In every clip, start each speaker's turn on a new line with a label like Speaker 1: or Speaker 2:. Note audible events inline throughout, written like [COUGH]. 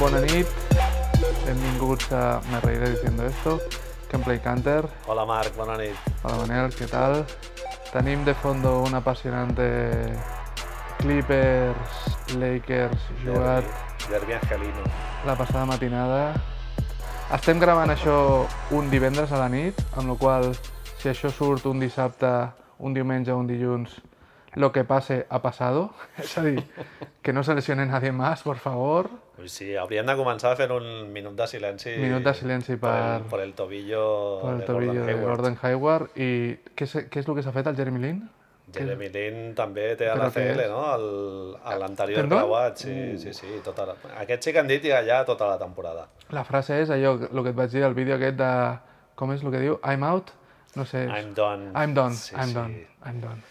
Speaker 1: Bona nit, benvinguts a Me Reiré Diciendo Esto, Gameplay Canter.
Speaker 2: Hola Marc, bona nit.
Speaker 1: Hola Manel, ¿qué tal? Tenim de fondo un apasionante Clippers, Lakers, jugat
Speaker 2: Derbi- Derbi angelino.
Speaker 1: la passada matinada. Estem gravant això un divendres a la nit, amb la qual cosa, si això surt un dissabte, un diumenge o un dilluns, lo que pase ha pasado. [LAUGHS] És a dir, que no se lesione nadie más, por favor.
Speaker 2: Ui, sí, hauríem de començar fent un minut de silenci...
Speaker 1: Minut de silenci
Speaker 2: Per,
Speaker 1: per-
Speaker 2: el, per el tobillo,
Speaker 1: Por el
Speaker 2: de Gordon
Speaker 1: tobillo de
Speaker 2: Hayward.
Speaker 1: eh, Gordon Hayward. I què és, què és el que s'ha fet al Jeremy Lin?
Speaker 2: Jeremy Lin també té a
Speaker 1: Però què
Speaker 2: l'ACL,
Speaker 1: és? Ah, Uh.
Speaker 2: no? El- A l'anterior
Speaker 1: Tendó?
Speaker 2: creuat, sí, sí, sí. Tota la... Aquest sí que han dit ja, ja tota la temporada.
Speaker 1: La frase és allò, el que et vaig dir al vídeo aquest de... Com és el que diu? I'm out? No sé.
Speaker 2: I'm done.
Speaker 1: I'm done,
Speaker 2: Sí,
Speaker 1: I'm
Speaker 2: sí.
Speaker 1: done, I'm done.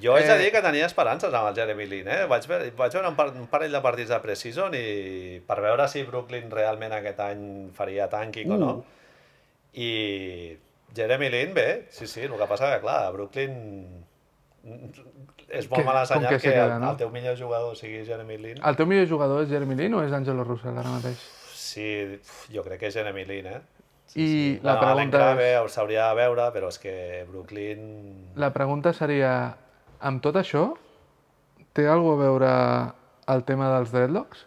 Speaker 2: Jo
Speaker 1: Eh,
Speaker 2: haig de dir que tenia esperances amb el Jeremy Lin, eh? Vaig, ve vaig veure un, par un parell de partits de preseason i per veure si Brooklyn realment aquest any faria tanking uh. o no.
Speaker 1: Mm.
Speaker 2: I Jeremy Lin, bé, sí, sí, el que passa que, clar, a Brooklyn és molt
Speaker 1: Que-
Speaker 2: mal
Speaker 1: com
Speaker 2: assenyat
Speaker 1: que
Speaker 2: que,
Speaker 1: se
Speaker 2: que
Speaker 1: queda,
Speaker 2: el,
Speaker 1: no? Ah.
Speaker 2: el teu millor jugador sigui Jeremy Lin.
Speaker 1: El teu millor jugador és Jeremy Lin o és Angelo Russell ara mateix?
Speaker 2: Sí, uf, jo crec que és Jeremy Lin, eh?
Speaker 1: I la
Speaker 2: Bueno, Allen
Speaker 1: pregunta és-
Speaker 2: Crabbe ho s'hauria de veure, però és que Brooklyn...
Speaker 1: La pregunta seria, amb tot això, té alguna a veure el tema dels dreadlocks?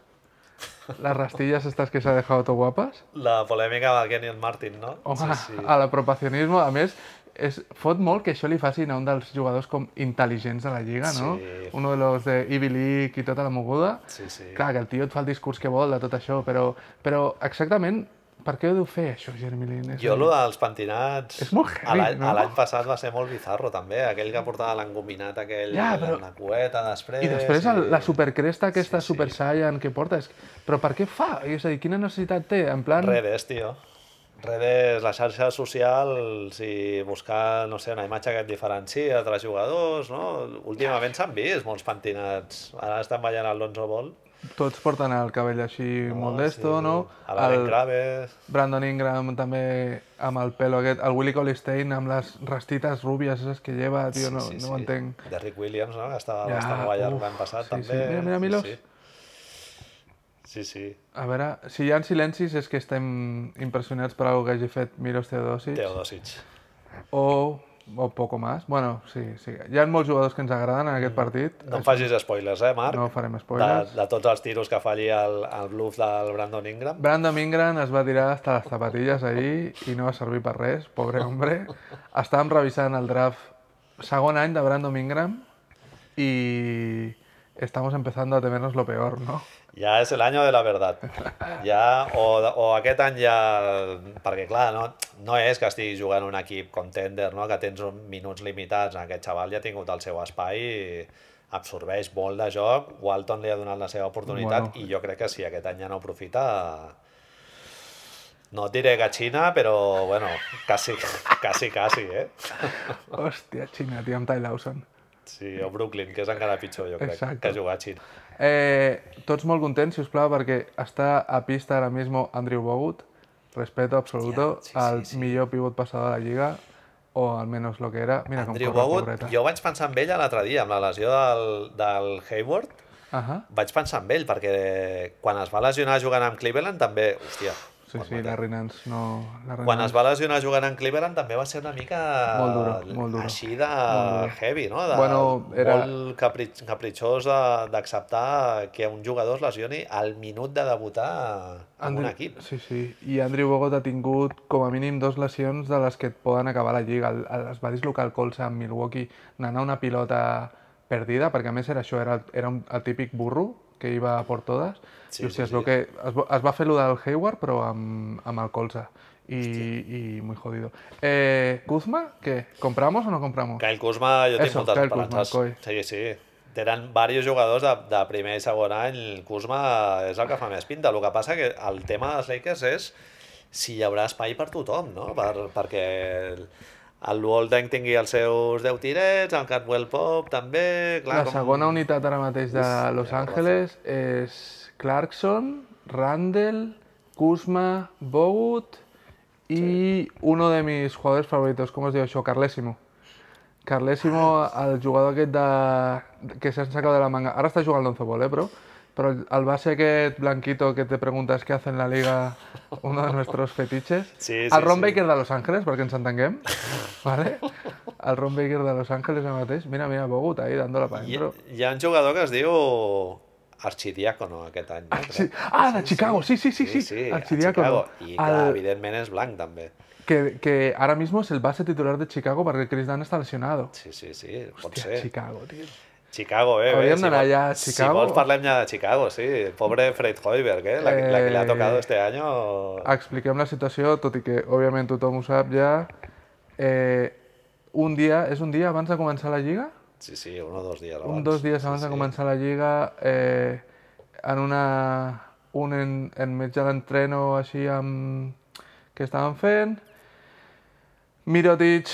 Speaker 1: Les rastilles estas que s'ha dejado todo guapas?
Speaker 2: La polèmica amb el Kenyon Martin, no?
Speaker 1: Home,
Speaker 2: sí, sí.
Speaker 1: a l'apropacionisme, a més, és, fot molt que això li facin a un dels jugadors com intel·ligents de la Lliga, no?
Speaker 2: Sí.
Speaker 1: Uno de los de Ivy League i tota la moguda.
Speaker 2: Sí, sí.
Speaker 1: Clar, que el tio et fa el discurs que vol de tot això, però, però exactament per què ho deu fer, això, Jeremy Lin? És
Speaker 2: Jo,
Speaker 1: a dir,
Speaker 2: lo dels pentinats...
Speaker 1: És molt heavy,
Speaker 2: a l'any-
Speaker 1: no?
Speaker 2: a L'any passat va ser molt bizarro, també. Aquell que portava l'engominat aquell,
Speaker 1: Ja,
Speaker 2: ja,
Speaker 1: però-
Speaker 2: però... la cueta, després...
Speaker 1: I després el, la supercresta aquesta
Speaker 2: Sí, sí.
Speaker 1: Super Saiyan que porta, és... però per què fa? És a dir, quina necessitat té? En plan,
Speaker 2: Redes, tio. Redes, les xarxes socials i buscar, no sé, una imatge que et diferenciï d'altres jugadors, no? Últimament s'han vist molts pentinats. Ara estan ballant Alonso Ball.
Speaker 1: tots porten el cabell així molt d'esto, no?
Speaker 2: A l'Allen Crabbe.
Speaker 1: Brandon Ingram també amb el pelo aquest, el Willie Colley Stein amb les rastites rúbies esas que lleva, tio, no, no ho entenc.
Speaker 2: Derrick Williams, no? Que estava
Speaker 1: Ja,
Speaker 2: ja, bastant Nova York
Speaker 1: uf,
Speaker 2: l'any passat,
Speaker 1: sí,
Speaker 2: també.
Speaker 1: sí. Mira, mira, Milos.
Speaker 2: Sí, sí. sí, sí.
Speaker 1: A veure, si hi ha silencis és que estem impressionats per alguna que hagi fet Miros Teodosic
Speaker 2: Teodosic.
Speaker 1: o, o poco más. Bueno, sí, sí. Hi ha molts jugadors que ens agraden en aquest partit.
Speaker 2: No em facis spoilers, eh, Marc?
Speaker 1: No farem spoilers.
Speaker 2: de, de tots els tiros que falli el, el bluff del Brandon Ingram.
Speaker 1: Brandon Ingram es va tirar hasta les zapatilles ahir i no va servir per res, pobre hombre. Estàvem revisant el draft segon any de Brandon Ingram i estamos empezando a temernos lo peor, ¿no?
Speaker 2: Ja és l'any de la verdad.
Speaker 1: [LAUGHS]
Speaker 2: Ja, o, o aquest any ja... Perquè, clar, no, no és que estigui jugant un equip contender, no? que tens un- minuts limitats. Aquest xaval ja ha tingut el seu espai i absorbeix molt de joc. Walton li ha donat la seva oportunitat
Speaker 1: Bueno.
Speaker 2: bueno. i jo crec que si aquest any ja no aprofita... No et diré que Xina, però, bueno, quasi, [LAUGHS] quasi, quasi, eh?
Speaker 1: Hòstia, Xina, tio, amb Ty Lawson.
Speaker 2: Sí, o Brooklyn, que és encara pitjor, jo crec,
Speaker 1: Exacte.
Speaker 2: Exacte. que jugar a Xina.
Speaker 1: Eh, tots molt contents, si us plau, perquè està a pista ara mismo Andrew Bogut, respeto absoluto,
Speaker 2: Hòstia, sí, sí,
Speaker 1: al
Speaker 2: sí.
Speaker 1: millor pivot passador de la Lliga, o almenys lo que era. Mira com
Speaker 2: Andrew
Speaker 1: corre,
Speaker 2: Bogut,
Speaker 1: pobreta.
Speaker 2: jo vaig pensar en ell l'altre dia, amb la lesió del, del Hayward,
Speaker 1: Ahà.
Speaker 2: vaig pensar en ell, perquè quan es va lesionar jugant amb Cleveland també... Hòstia,
Speaker 1: Sí, sí, la Rinans no... La
Speaker 2: Pues quan
Speaker 1: Rinans-
Speaker 2: es va lesionar jugant amb Cleveland també va ser una mica
Speaker 1: Molt duro, molt duro.
Speaker 2: així de heavy, no? De,
Speaker 1: Bueno, era-
Speaker 2: Molt capritx, capritxós de- d'acceptar que un jugador es lesioni al minut de debutar en un equip.
Speaker 1: Sí, sí. I Andrew Bogot ha tingut com a mínim dos lesions de les que et poden acabar la lliga. El, el, es va dislocar el colze amb Milwaukee anant a una pilota perdida, perquè a més era això, era, el- era un, el típic burro que iba a por todas.
Speaker 2: Sí,
Speaker 1: I, hòstia,
Speaker 2: sí,
Speaker 1: es, veu
Speaker 2: sí.
Speaker 1: que es, va- es va fer lo del Hayward, però amb, amb el colze. I, i muy jodido. Eh, Kuzma, què? ¿Compramos o no compramos?
Speaker 2: Kyle Kuzma, jo tinc
Speaker 1: Eso,
Speaker 2: moltes
Speaker 1: Kyle Kuzma,
Speaker 2: esperances.
Speaker 1: coi.
Speaker 2: sí, sí. Tenen diversos jugadors de, de primer i segon any. El Kuzma és el que fa més pinta. El que passa que el tema dels Lakers és si hi haurà espai per tothom, no? Per, perquè el- el Walden tingui els seus 10 tirets, el Catwell Pop també... Clar,
Speaker 1: La segona unitat ara mateix de Los Angeles és Clarkson, Randall, Kuzma, Bogut i uno de mis jugadors favoritos, com es diu això? Carlésimo. Carlésimo, el jugador aquest de... que s'ha sacat de la manga... Ara està jugant l'Onzo Ball, eh, però... Però el base aquest blanquito que te preguntes què hace en la liga, uno de nuestros fetiches.
Speaker 2: Sí, sí,
Speaker 1: el Ron
Speaker 2: sí.
Speaker 1: Baker de Los Ángeles, perquè ens [LAUGHS] entenguem, ¿vale? el Ron Baker de Los Ángeles ara mateix, mira, mira, Bogut, ahí, dándola para
Speaker 2: Hi,
Speaker 1: dentro.
Speaker 2: hi ha un jugador que es diu Archidiácono aquest any. No?
Speaker 1: Sí.
Speaker 2: Crec.
Speaker 1: Ah, de Chicago, sí, sí, sí, sí,
Speaker 2: a
Speaker 1: Archidiácono.
Speaker 2: Chicago. I clar,
Speaker 1: El-
Speaker 2: evidentment és blanc també.
Speaker 1: que, que ahora mismo es el base titular de Chicago porque Chris Dunn está lesionado.
Speaker 2: Sí, sí, sí, pot
Speaker 1: Hòstia,
Speaker 2: ser.
Speaker 1: Chicago, tio.
Speaker 2: Chicago, eh?
Speaker 1: Hauríem
Speaker 2: bé,
Speaker 1: d'anar
Speaker 2: vol-
Speaker 1: allà a Chicago.
Speaker 2: Si vols parlem ja de Chicago, sí. Pobre Fred Hoiberg, eh? La, que- la que le ha
Speaker 1: Eh, ah.
Speaker 2: tocado este año...
Speaker 1: Expliquem la situació, tot i que, òbviament, tothom ho sap ja. Eh, un dia, és un dia abans de començar la Lliga?
Speaker 2: Sí, sí, uno o dos días abans.
Speaker 1: Un, dos dies
Speaker 2: Sí,
Speaker 1: abans
Speaker 2: sí.
Speaker 1: de començar la Lliga, eh, en una... un en, enmig de l'entreno així amb... que estaven fent. Mirotic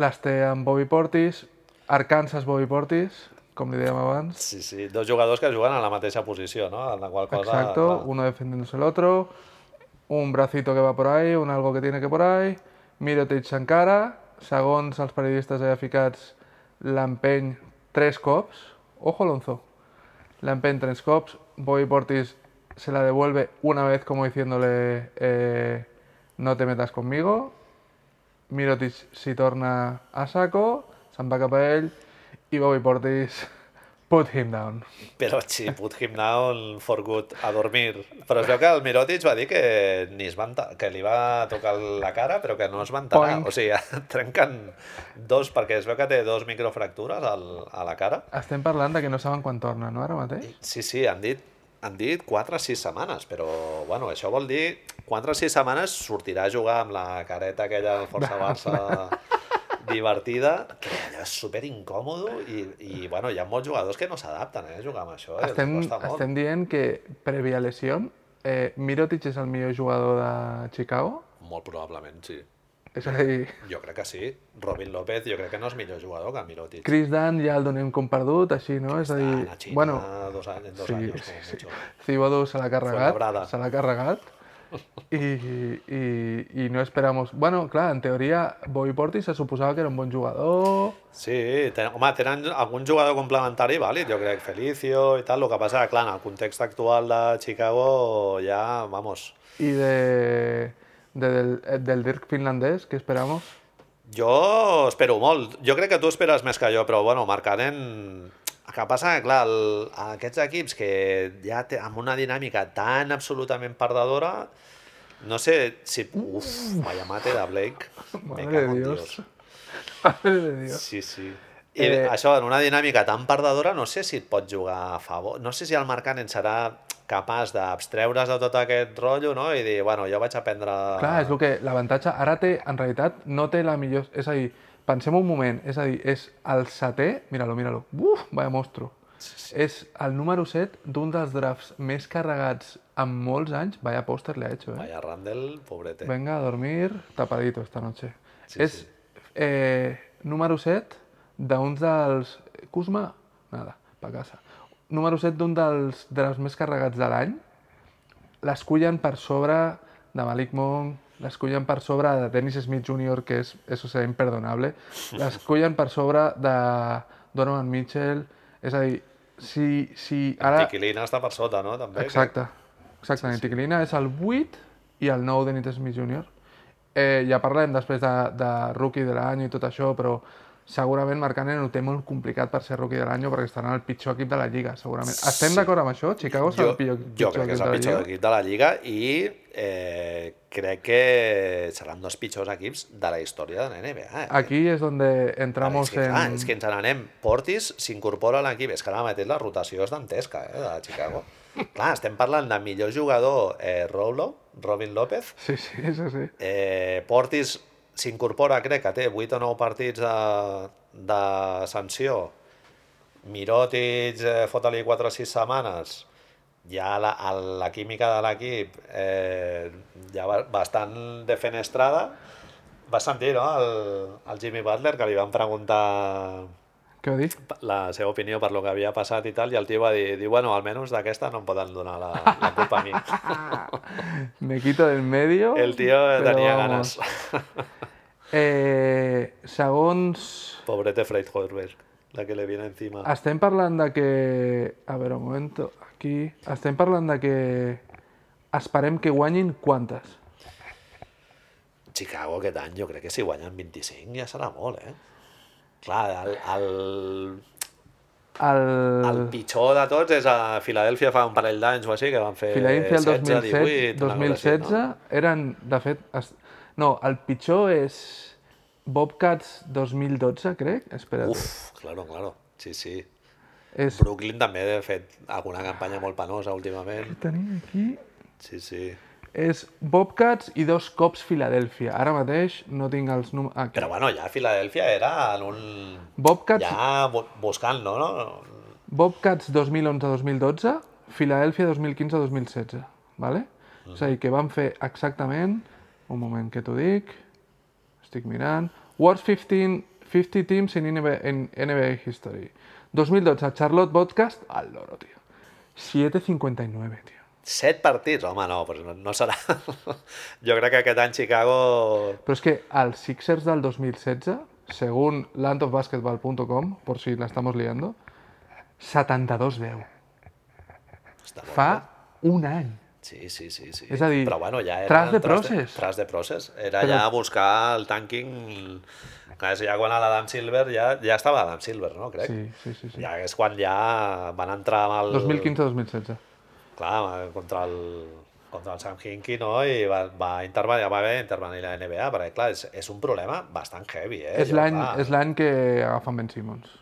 Speaker 1: les té amb Bobby Portis, Arkansas Bobby Portis, com li dèiem abans.
Speaker 2: Sí, sí, dos jugadors que juguen a la mateixa posició, no? En la qual cosa...
Speaker 1: Exacto,
Speaker 2: clar,
Speaker 1: uno defendiéndose el otro, un bracito que va por ahí, un algo que tiene que por ahí, Mirotic s'encara, segons els periodistes allà ficats, l'empeny tres cops, ojo Alonso, l'empeny tres cops, Boy Portis se la devuelve una vez como diciéndole eh, no te metas conmigo, Mirotic s'hi torna a saco, se'n va cap a ell, i Bobby Portis [LAUGHS] put him down.
Speaker 2: Però sí, put him down for good, a dormir. Però es veu que el Mirotic va dir que, ni es va enta- que li va tocar la cara, però que no es va enterar.
Speaker 1: Poing.
Speaker 2: O sigui, [LAUGHS] trenquen dos, perquè es veu que té dos microfractures al, a la cara.
Speaker 1: Estem parlant de que no saben quan torna, no, ara mateix?
Speaker 2: Sí, sí, han dit, han dit 4 o 6 setmanes, però bueno, això vol dir 4 o 6 setmanes sortirà a jugar amb la careta aquella del Força Barça [LAUGHS] divertida, que allò és super incòmodo i, i bueno, hi ha molts jugadors que no s'adapten eh, a jugar amb això, eh,
Speaker 1: estem,
Speaker 2: els costa molt.
Speaker 1: estem dient que, prèvia lesió, eh, Mirotic és el millor jugador de Chicago?
Speaker 2: Molt probablement, sí.
Speaker 1: És a dir,
Speaker 2: Jo crec que sí. Robin López jo crec que no és millor jugador que Mirotic.
Speaker 1: Chris Dunn ja el donem com perdut, així, no? És a
Speaker 2: Ah,
Speaker 1: dir,
Speaker 2: la Xina,
Speaker 1: bueno,
Speaker 2: dos anys, dos
Speaker 1: sí,
Speaker 2: anys,
Speaker 1: sí,
Speaker 2: com
Speaker 1: sí.
Speaker 2: mucho.
Speaker 1: Thibodeau se l'ha
Speaker 2: Fuenlabrada.
Speaker 1: carregat, se l'ha carregat, i, i, i no esperamos... Bueno, clar, en teoria, Bobby Portis se suposava que era un bon jugador...
Speaker 2: Sí, ten, home, tenen algun jugador complementari vàlid, jo crec, Felicio i tal, el que passa, clar, en el context actual de Chicago ja, vamos,
Speaker 1: I de, de, del, del Dirk finlandès, que esperamos? [LAUGHS]
Speaker 2: jo espero molt, jo crec que tu esperes més que jo, però bueno, marcarem... El que passa, clar, el, aquests equips que ja té, amb una dinàmica tan absolutament perdedora, no sé si... Uf, vaya mate de Blake.
Speaker 1: Madre
Speaker 2: Me cago
Speaker 1: de
Speaker 2: en
Speaker 1: Dios. Madre de Dios.
Speaker 2: Sí, sí. I
Speaker 1: Eh,
Speaker 2: això, en una dinàmica tan perdedora, no sé si et pot jugar a favor. No sé si el mercant en serà capaç d'abstreure's de tot aquest rotllo no? i dir, bueno, jo vaig aprendre...
Speaker 1: Clar, és el que l'avantatge ara té, en realitat, no té la millor... És a dir, pensem un moment, és a dir, és el setè... Mira-lo, mira-lo. Uf, vaya monstro. És el número 7 d'un dels drafts més carregats en molts anys. Vaya pòster li ha hecho, eh?
Speaker 2: Vaya Randall, pobrete.
Speaker 1: Venga a dormir tapadito esta noche. és
Speaker 2: sí.
Speaker 1: Eh, número 7 d'uns dels... eh, Kuzma? Nada, pa casa. Número 7 d'un dels drafts més carregats de l'any. L'escullen per sobre de Malik Monk, l'escullen per sobre de Dennis Smith Jr., que és, és o sigui, imperdonable, l'escullen per sobre de Donovan Mitchell, és a dir, si, si ara...
Speaker 2: Tiquilina està per sota, no? També,
Speaker 1: Exacte. Exacte, sí, és el 8 i el 9 de Nit Smith Jr. Eh, ja parlem després de, de rookie de l'any i tot això, però segurament Marcanen ho té molt complicat per ser rookie de l'any perquè estan en el pitjor equip de la Lliga, segurament. Estem
Speaker 2: Sí.
Speaker 1: d'acord amb això? Chicago és el
Speaker 2: Jo,
Speaker 1: pitjor,
Speaker 2: jo crec que és el
Speaker 1: de
Speaker 2: pitjor
Speaker 1: la Lliga?
Speaker 2: equip de la Lliga i eh, crec que seran dos pitjors equips de la història de la NBA. Eh?
Speaker 1: Aquí és on entramos
Speaker 2: és que, clar,
Speaker 1: en...
Speaker 2: és que ens n'anem. Portis s'incorpora a l'equip. És que ara mateix la rotació és dantesca, eh, de Chicago. clar, estem parlant del millor jugador, eh, Rolo, Robin López.
Speaker 1: Sí, sí, sí, sí.
Speaker 2: Eh, Portis s'incorpora, crec que té 8 o 9 partits de, de sanció. Mirotic, eh, fota-li 4 o 6 setmanes. Ja la, a la química de l'equip eh, ja ba- bastant defenestrada. Vas sentir, no?, el, el Jimmy Butler, que li van preguntar
Speaker 1: Què ho
Speaker 2: [LAUGHS]
Speaker 1: dic?
Speaker 2: la seva opinió per lo que havia passat i tal, i el tio va dir, dir bueno, almenys d'aquesta no em poden donar la, la culpa
Speaker 1: [LAUGHS]
Speaker 2: a mi.
Speaker 1: Me quito del medio...
Speaker 2: El tio
Speaker 1: però
Speaker 2: tenia
Speaker 1: vamos.
Speaker 2: ganes.
Speaker 1: Eh, segons
Speaker 2: Pobrete Freight Hoiberg. la que le viene encima.
Speaker 1: Estem parlant de que... A veure, un moment, aquí... Estem parlant de que esperem que guanyin quantes?
Speaker 2: Chicago aquest any jo crec que si guanyen 25 ja serà molt, eh? Clar, el, el,
Speaker 1: El...
Speaker 2: el pitjor de tots és a Filadèlfia fa un parell d'anys o així, que van fer
Speaker 1: Filadèlfia el 2007,
Speaker 2: 16, 18, una cosa així,
Speaker 1: 2016 eren, de fet... Es... No, el pitjor és Bobcats 2012, crec.
Speaker 2: no?
Speaker 1: Espera't.
Speaker 2: Uf, claro, claro, sí, sí.
Speaker 1: és...
Speaker 2: Brooklyn també ha fet alguna campanya molt penosa últimament.
Speaker 1: Ho tenia aquí...
Speaker 2: Sí, sí.
Speaker 1: És Bobcats i dos cops Filadèlfia. Ara mateix no tinc els números... Aquí.
Speaker 2: Però bueno, ja Filadèlfia era en un...
Speaker 1: Bobcats,
Speaker 2: Ja bu- buscant, no? no?
Speaker 1: Bobcats 2011-2012, Filadèlfia 2015-2016, ¿vale? És a dir, que van fer exactament... Un moment que t'ho dic... Estic mirant... Worst 15, 50 teams in NBA, in NBA history. 2012, Charlotte Podcast... Al loro, tío. 7.59, tío.
Speaker 2: Set partits, home, no, però no, no serà... [LAUGHS] jo crec que aquest any Chicago...
Speaker 1: Però és que els Sixers del 2016, según landofbasketball.com, por si la estamos liando, 72-10.
Speaker 2: Està molt
Speaker 1: Fa un any.
Speaker 2: Sí, sí, sí, sí.
Speaker 1: És a dir,
Speaker 2: però bueno, ja era...
Speaker 1: tras de
Speaker 2: De,
Speaker 1: process.
Speaker 2: tras de process. Era
Speaker 1: Però-
Speaker 2: ja buscar el tanking... Clar, és ja quan l'Adam Silver, ja, ja estava Adam Silver, no? Crec.
Speaker 1: Sí, sí, sí. sí.
Speaker 2: Ja és quan ja van entrar amb el...
Speaker 1: 2015-2016.
Speaker 2: Clar, contra el, contra el Sam Hinkie, no? I va, va intervenir, va haver d'intervenir la NBA, perquè, clar, és, és un problema bastant heavy, eh?
Speaker 1: És
Speaker 2: Jo,
Speaker 1: l'any
Speaker 2: clar,
Speaker 1: és l'any que agafen Ben Simmons.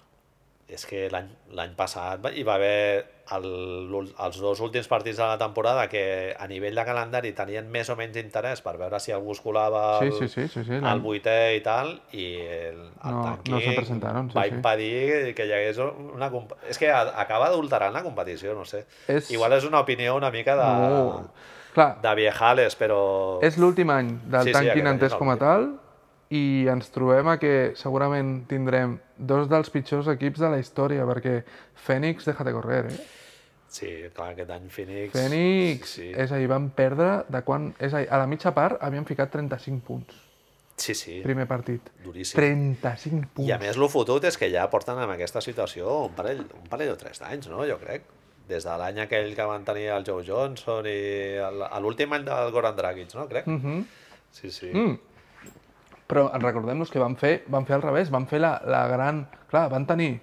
Speaker 2: És que l'any l'any passat va- hi va haver el, l'ul- els dos últims partits de la temporada que a nivell de calendari tenien més o menys interès per veure si algú es colava
Speaker 1: Sí,
Speaker 2: el,
Speaker 1: sí, sí, sí, sí,
Speaker 2: el
Speaker 1: l'any.
Speaker 2: vuitè i tal, i el, el
Speaker 1: No- no
Speaker 2: tanquing
Speaker 1: se presentaron, sí,
Speaker 2: va
Speaker 1: sí.
Speaker 2: impedir que hi hagués una... comp- És que a- acaba adulterant la competició, no sé.
Speaker 1: És-
Speaker 2: Igual és una opinió una mica de,
Speaker 1: No. Clar,
Speaker 2: de viejales, però...
Speaker 1: és l'últim any del
Speaker 2: Sí,
Speaker 1: sí,
Speaker 2: sí, aquest
Speaker 1: tanquing
Speaker 2: any és
Speaker 1: entès
Speaker 2: el
Speaker 1: com a tal i ens trobem a que segurament tindrem dos dels pitjors equips de la història perquè Phoenix, déjate correr, eh?
Speaker 2: Sí, clar, aquest any Phoenix...
Speaker 1: Phoenix,
Speaker 2: Sí,
Speaker 1: sí,
Speaker 2: sí.
Speaker 1: és a dir, van perdre de quan... És a dir, a la mitja part havien ficat 35 punts,
Speaker 2: Sí, sí,
Speaker 1: primer partit.
Speaker 2: duríssim.
Speaker 1: 35 punts.
Speaker 2: I a més, lo fotut és que ja porten en aquesta situació un parell, un parell o tres d'anys, no? Jo crec. Des de l'any aquell que van tenir el Joe Johnson i el- a l'últim any del Goran Dragic, no? Crec.
Speaker 1: Mhm.
Speaker 2: Sí, sí.
Speaker 1: Mm. Però recordem-nos que van fer, van fer al revés, van fer la, la gran... Clar, van tenir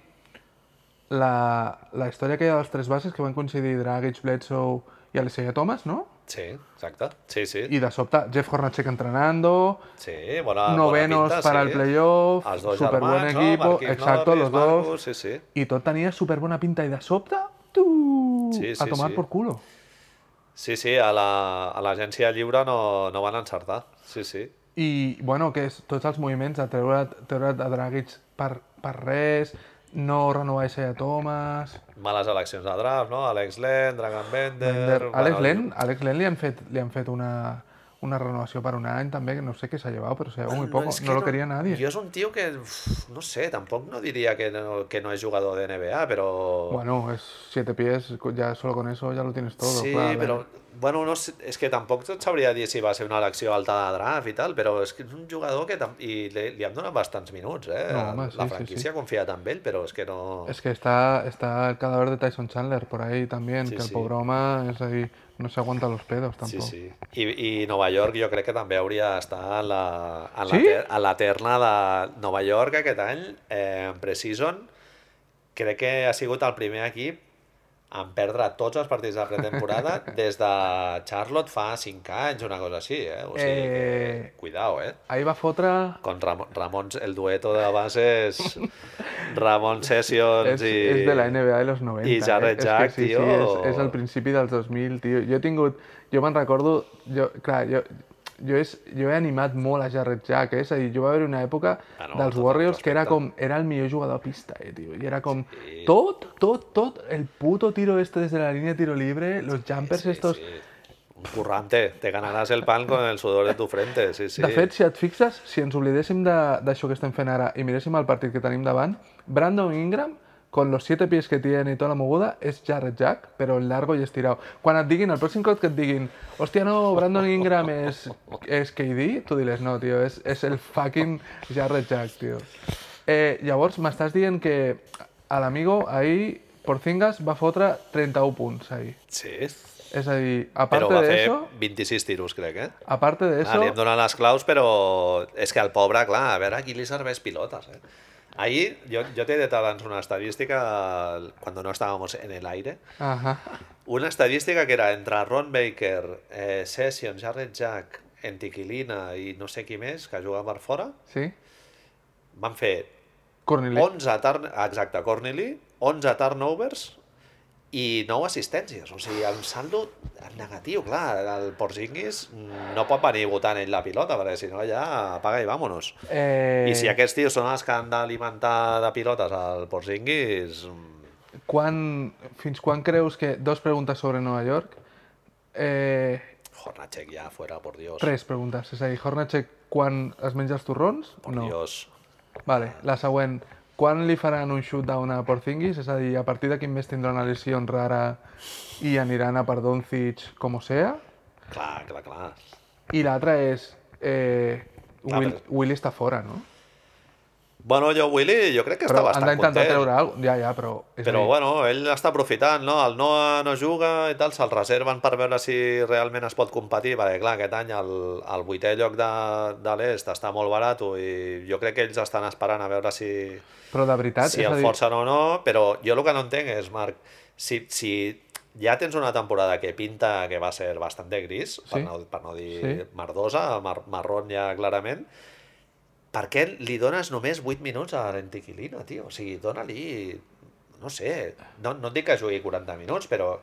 Speaker 1: la, la història aquella dels tres bases que van coincidir Dragic, Bledsoe i Alessia Thomas, no?
Speaker 2: Sí, exacte. Sí, sí.
Speaker 1: I de sobte Jeff Hornacek entrenando,
Speaker 2: Sí, bona,
Speaker 1: novenos
Speaker 2: bona pinta,
Speaker 1: para
Speaker 2: sí.
Speaker 1: el playoff,
Speaker 2: Els dos
Speaker 1: superbuen
Speaker 2: germans, no?
Speaker 1: equipo,
Speaker 2: Marquis
Speaker 1: exacto,
Speaker 2: Morris,
Speaker 1: los dos.
Speaker 2: Marcus, Sí, sí.
Speaker 1: Y todo tenía súper buena pinta y de sobta, ¡tú!
Speaker 2: Sí,
Speaker 1: a
Speaker 2: sí,
Speaker 1: tomar
Speaker 2: sí.
Speaker 1: por culo.
Speaker 2: Sí, sí, a la- a l'agència lliure no, no van encertar. Sí, sí.
Speaker 1: I, bueno, que és tots els moviments de treure't, treure't a Dragic per, per res, no renovar Isaiah Thomas...
Speaker 2: Males eleccions de draft, no? Alex Len, Dragan Bender...
Speaker 1: Ender, Alex
Speaker 2: bueno,
Speaker 1: Len, Alex Len li han fet, li han fet una, una renovació per un any també, que no sé què s'ha llevat, però s'ha llevat muy poco,
Speaker 2: es que
Speaker 1: no, lo quería nadie.
Speaker 2: Yo es un tío que, uf, no sé, tampoco no diría que no, que no es jugador de NBA, pero...
Speaker 1: Bueno, es siete pies, ya solo con eso ya lo tienes todo.
Speaker 2: sí,
Speaker 1: clar,
Speaker 2: pero... Bueno, no sé, és que tampoc et sabria dir si va ser una elecció alta de draft i tal, però és que és un jugador que tam... i li, li han donat bastants minuts, eh?
Speaker 1: No, home, sí,
Speaker 2: La
Speaker 1: sí,
Speaker 2: franquícia
Speaker 1: sí.
Speaker 2: ha confiat en ell, però és que no...
Speaker 1: Es que está, está el cadáver de Tyson Chandler por ahí también,
Speaker 2: Sí,
Speaker 1: que el
Speaker 2: sí.
Speaker 1: pobroma es ahí, no se aguanta los pedos
Speaker 2: Sí,
Speaker 1: tampoco.
Speaker 2: sí. I, I Nova York jo crec que també hauria d'estar en la, en,
Speaker 1: Sí?
Speaker 2: la ter, en la terna de Nova York aquest any, eh, en preseason. Crec que ha sigut el primer equip en perdre tots els partits de
Speaker 1: [LAUGHS]
Speaker 2: pretemporada des de Charlotte fa 5 anys, una cosa així, eh? O sigui,
Speaker 1: Eh.
Speaker 2: que, cuidao, eh?
Speaker 1: Ahí va Fotra,
Speaker 2: Con Ram Ramon, el dueto de bases, Ramon Sessions
Speaker 1: és,
Speaker 2: i...
Speaker 1: és de la NBA de los 90.
Speaker 2: i Jarrett
Speaker 1: eh?
Speaker 2: Jack,
Speaker 1: és que sí,
Speaker 2: tio.
Speaker 1: Sí, és, és el principi dels 2000, tio. Jo he tingut... Jo me'n recordo... Jo, clar, jo, jo, és, jo he animat molt a Jarrett Jack, eh? és a dir, jo va haver una època
Speaker 2: Ah, no,
Speaker 1: dels
Speaker 2: tot el
Speaker 1: Warriors que era
Speaker 2: respecte.
Speaker 1: com... Era el millor jugador a pista, eh, tio. I era com... Tot, tot, tot, el puto tiro este des de la línia de tiro libre, los jumpers
Speaker 2: Sí,
Speaker 1: estos...
Speaker 2: sí. Un currante, te ganarás el pan con el sudor de tu frente, sí, sí.
Speaker 1: De fet, si et fixes, si ens oblidéssim de- d'això que estem fent ara i miréssim el partit que tenim davant, Brandon Ingram, con los siete pies que tiene y toda la moguda, és Jared Jack, però largo i estirado. Quan et diguin, el pròxim cop que et diguin, hòstia, no, Brandon Ingram és, és KD, tu diles, no, tio, és, és el fucking Jared Jack, tio. Eh, llavors, m'estàs dient que a l'Amigo ahir Porcingas va fotre 31 punts ahir.
Speaker 2: Sí,
Speaker 1: És a dir,
Speaker 2: però
Speaker 1: aparte
Speaker 2: va fer
Speaker 1: d'això,
Speaker 2: 26 tiros, crec, eh?
Speaker 1: aparte
Speaker 2: Ah, li hem
Speaker 1: d'això,
Speaker 2: donat les claus, però és que al pobre, clar, a veure qui li serveix pilotes, eh? Ahir, jo, jo t'he dit abans una estadística, quan no estábamos en el aire,
Speaker 1: Ahà.
Speaker 2: Una estadística que era entre Ron Baker, eh, Session, Jarrett Jack, Antiquilina i no sé qui més, que jugava per fora,
Speaker 1: sí,
Speaker 2: van fer
Speaker 1: Corneli.
Speaker 2: 11 turn... Exacte, Corneli, 11 turnovers i 9 assistències. O sigui, el saldo negatiu, clar, el Porzingis mm, no pot venir votant ell la pilota, perquè si no ja apaga i vámonos.
Speaker 1: Eh,
Speaker 2: I si aquests tios són els que han d'alimentar de pilotes al Porzingis... mm,
Speaker 1: quan, fins quan creus que... Dos preguntes sobre Nova York. Eh,
Speaker 2: Hornacek ja, fuera, por Dios.
Speaker 1: tres preguntes. És a dir, Hornacek, quan es menja els torrons?
Speaker 2: Por
Speaker 1: no.
Speaker 2: Dios.
Speaker 1: Vale, la següent. Quan li faran un shootdown a Porzingis? És a dir, a partir de quin mes tindrà una lesió rara i aniran a per Doncic com o sea?
Speaker 2: Clar, clar, clar.
Speaker 1: I l'altra és... Eh,
Speaker 2: Ah,
Speaker 1: Will,
Speaker 2: però-
Speaker 1: Will està fora, no?
Speaker 2: Bueno, jo, Willy, jo crec que està
Speaker 1: Però han
Speaker 2: bastant
Speaker 1: d'intentar
Speaker 2: content.
Speaker 1: treure alguna cosa. Ja, ja, però... És a
Speaker 2: Però,
Speaker 1: dir,
Speaker 2: bueno, ell està aprofitant, no? El Noah no juga i tal, se'l reserven per veure si realment es pot competir, perquè, clar, aquest any el, el vuitè lloc de, de l'est està molt barat i jo crec que ells estan esperant a veure si,
Speaker 1: però de veritat, és
Speaker 2: si
Speaker 1: a
Speaker 2: el
Speaker 1: dir...
Speaker 2: forcen o no, però jo el que no entenc és, Marc, si, si ja tens una temporada que pinta que va ser bastant de gris, per,
Speaker 1: Sí.
Speaker 2: no, per no dir
Speaker 1: Sí.
Speaker 2: merdosa, mar, marrón ja clarament, per què li dones només 8 minuts a l'Antiquilina, tio? O sigui, dona-li... No sé, no, no et dic que jugui 40 minuts, però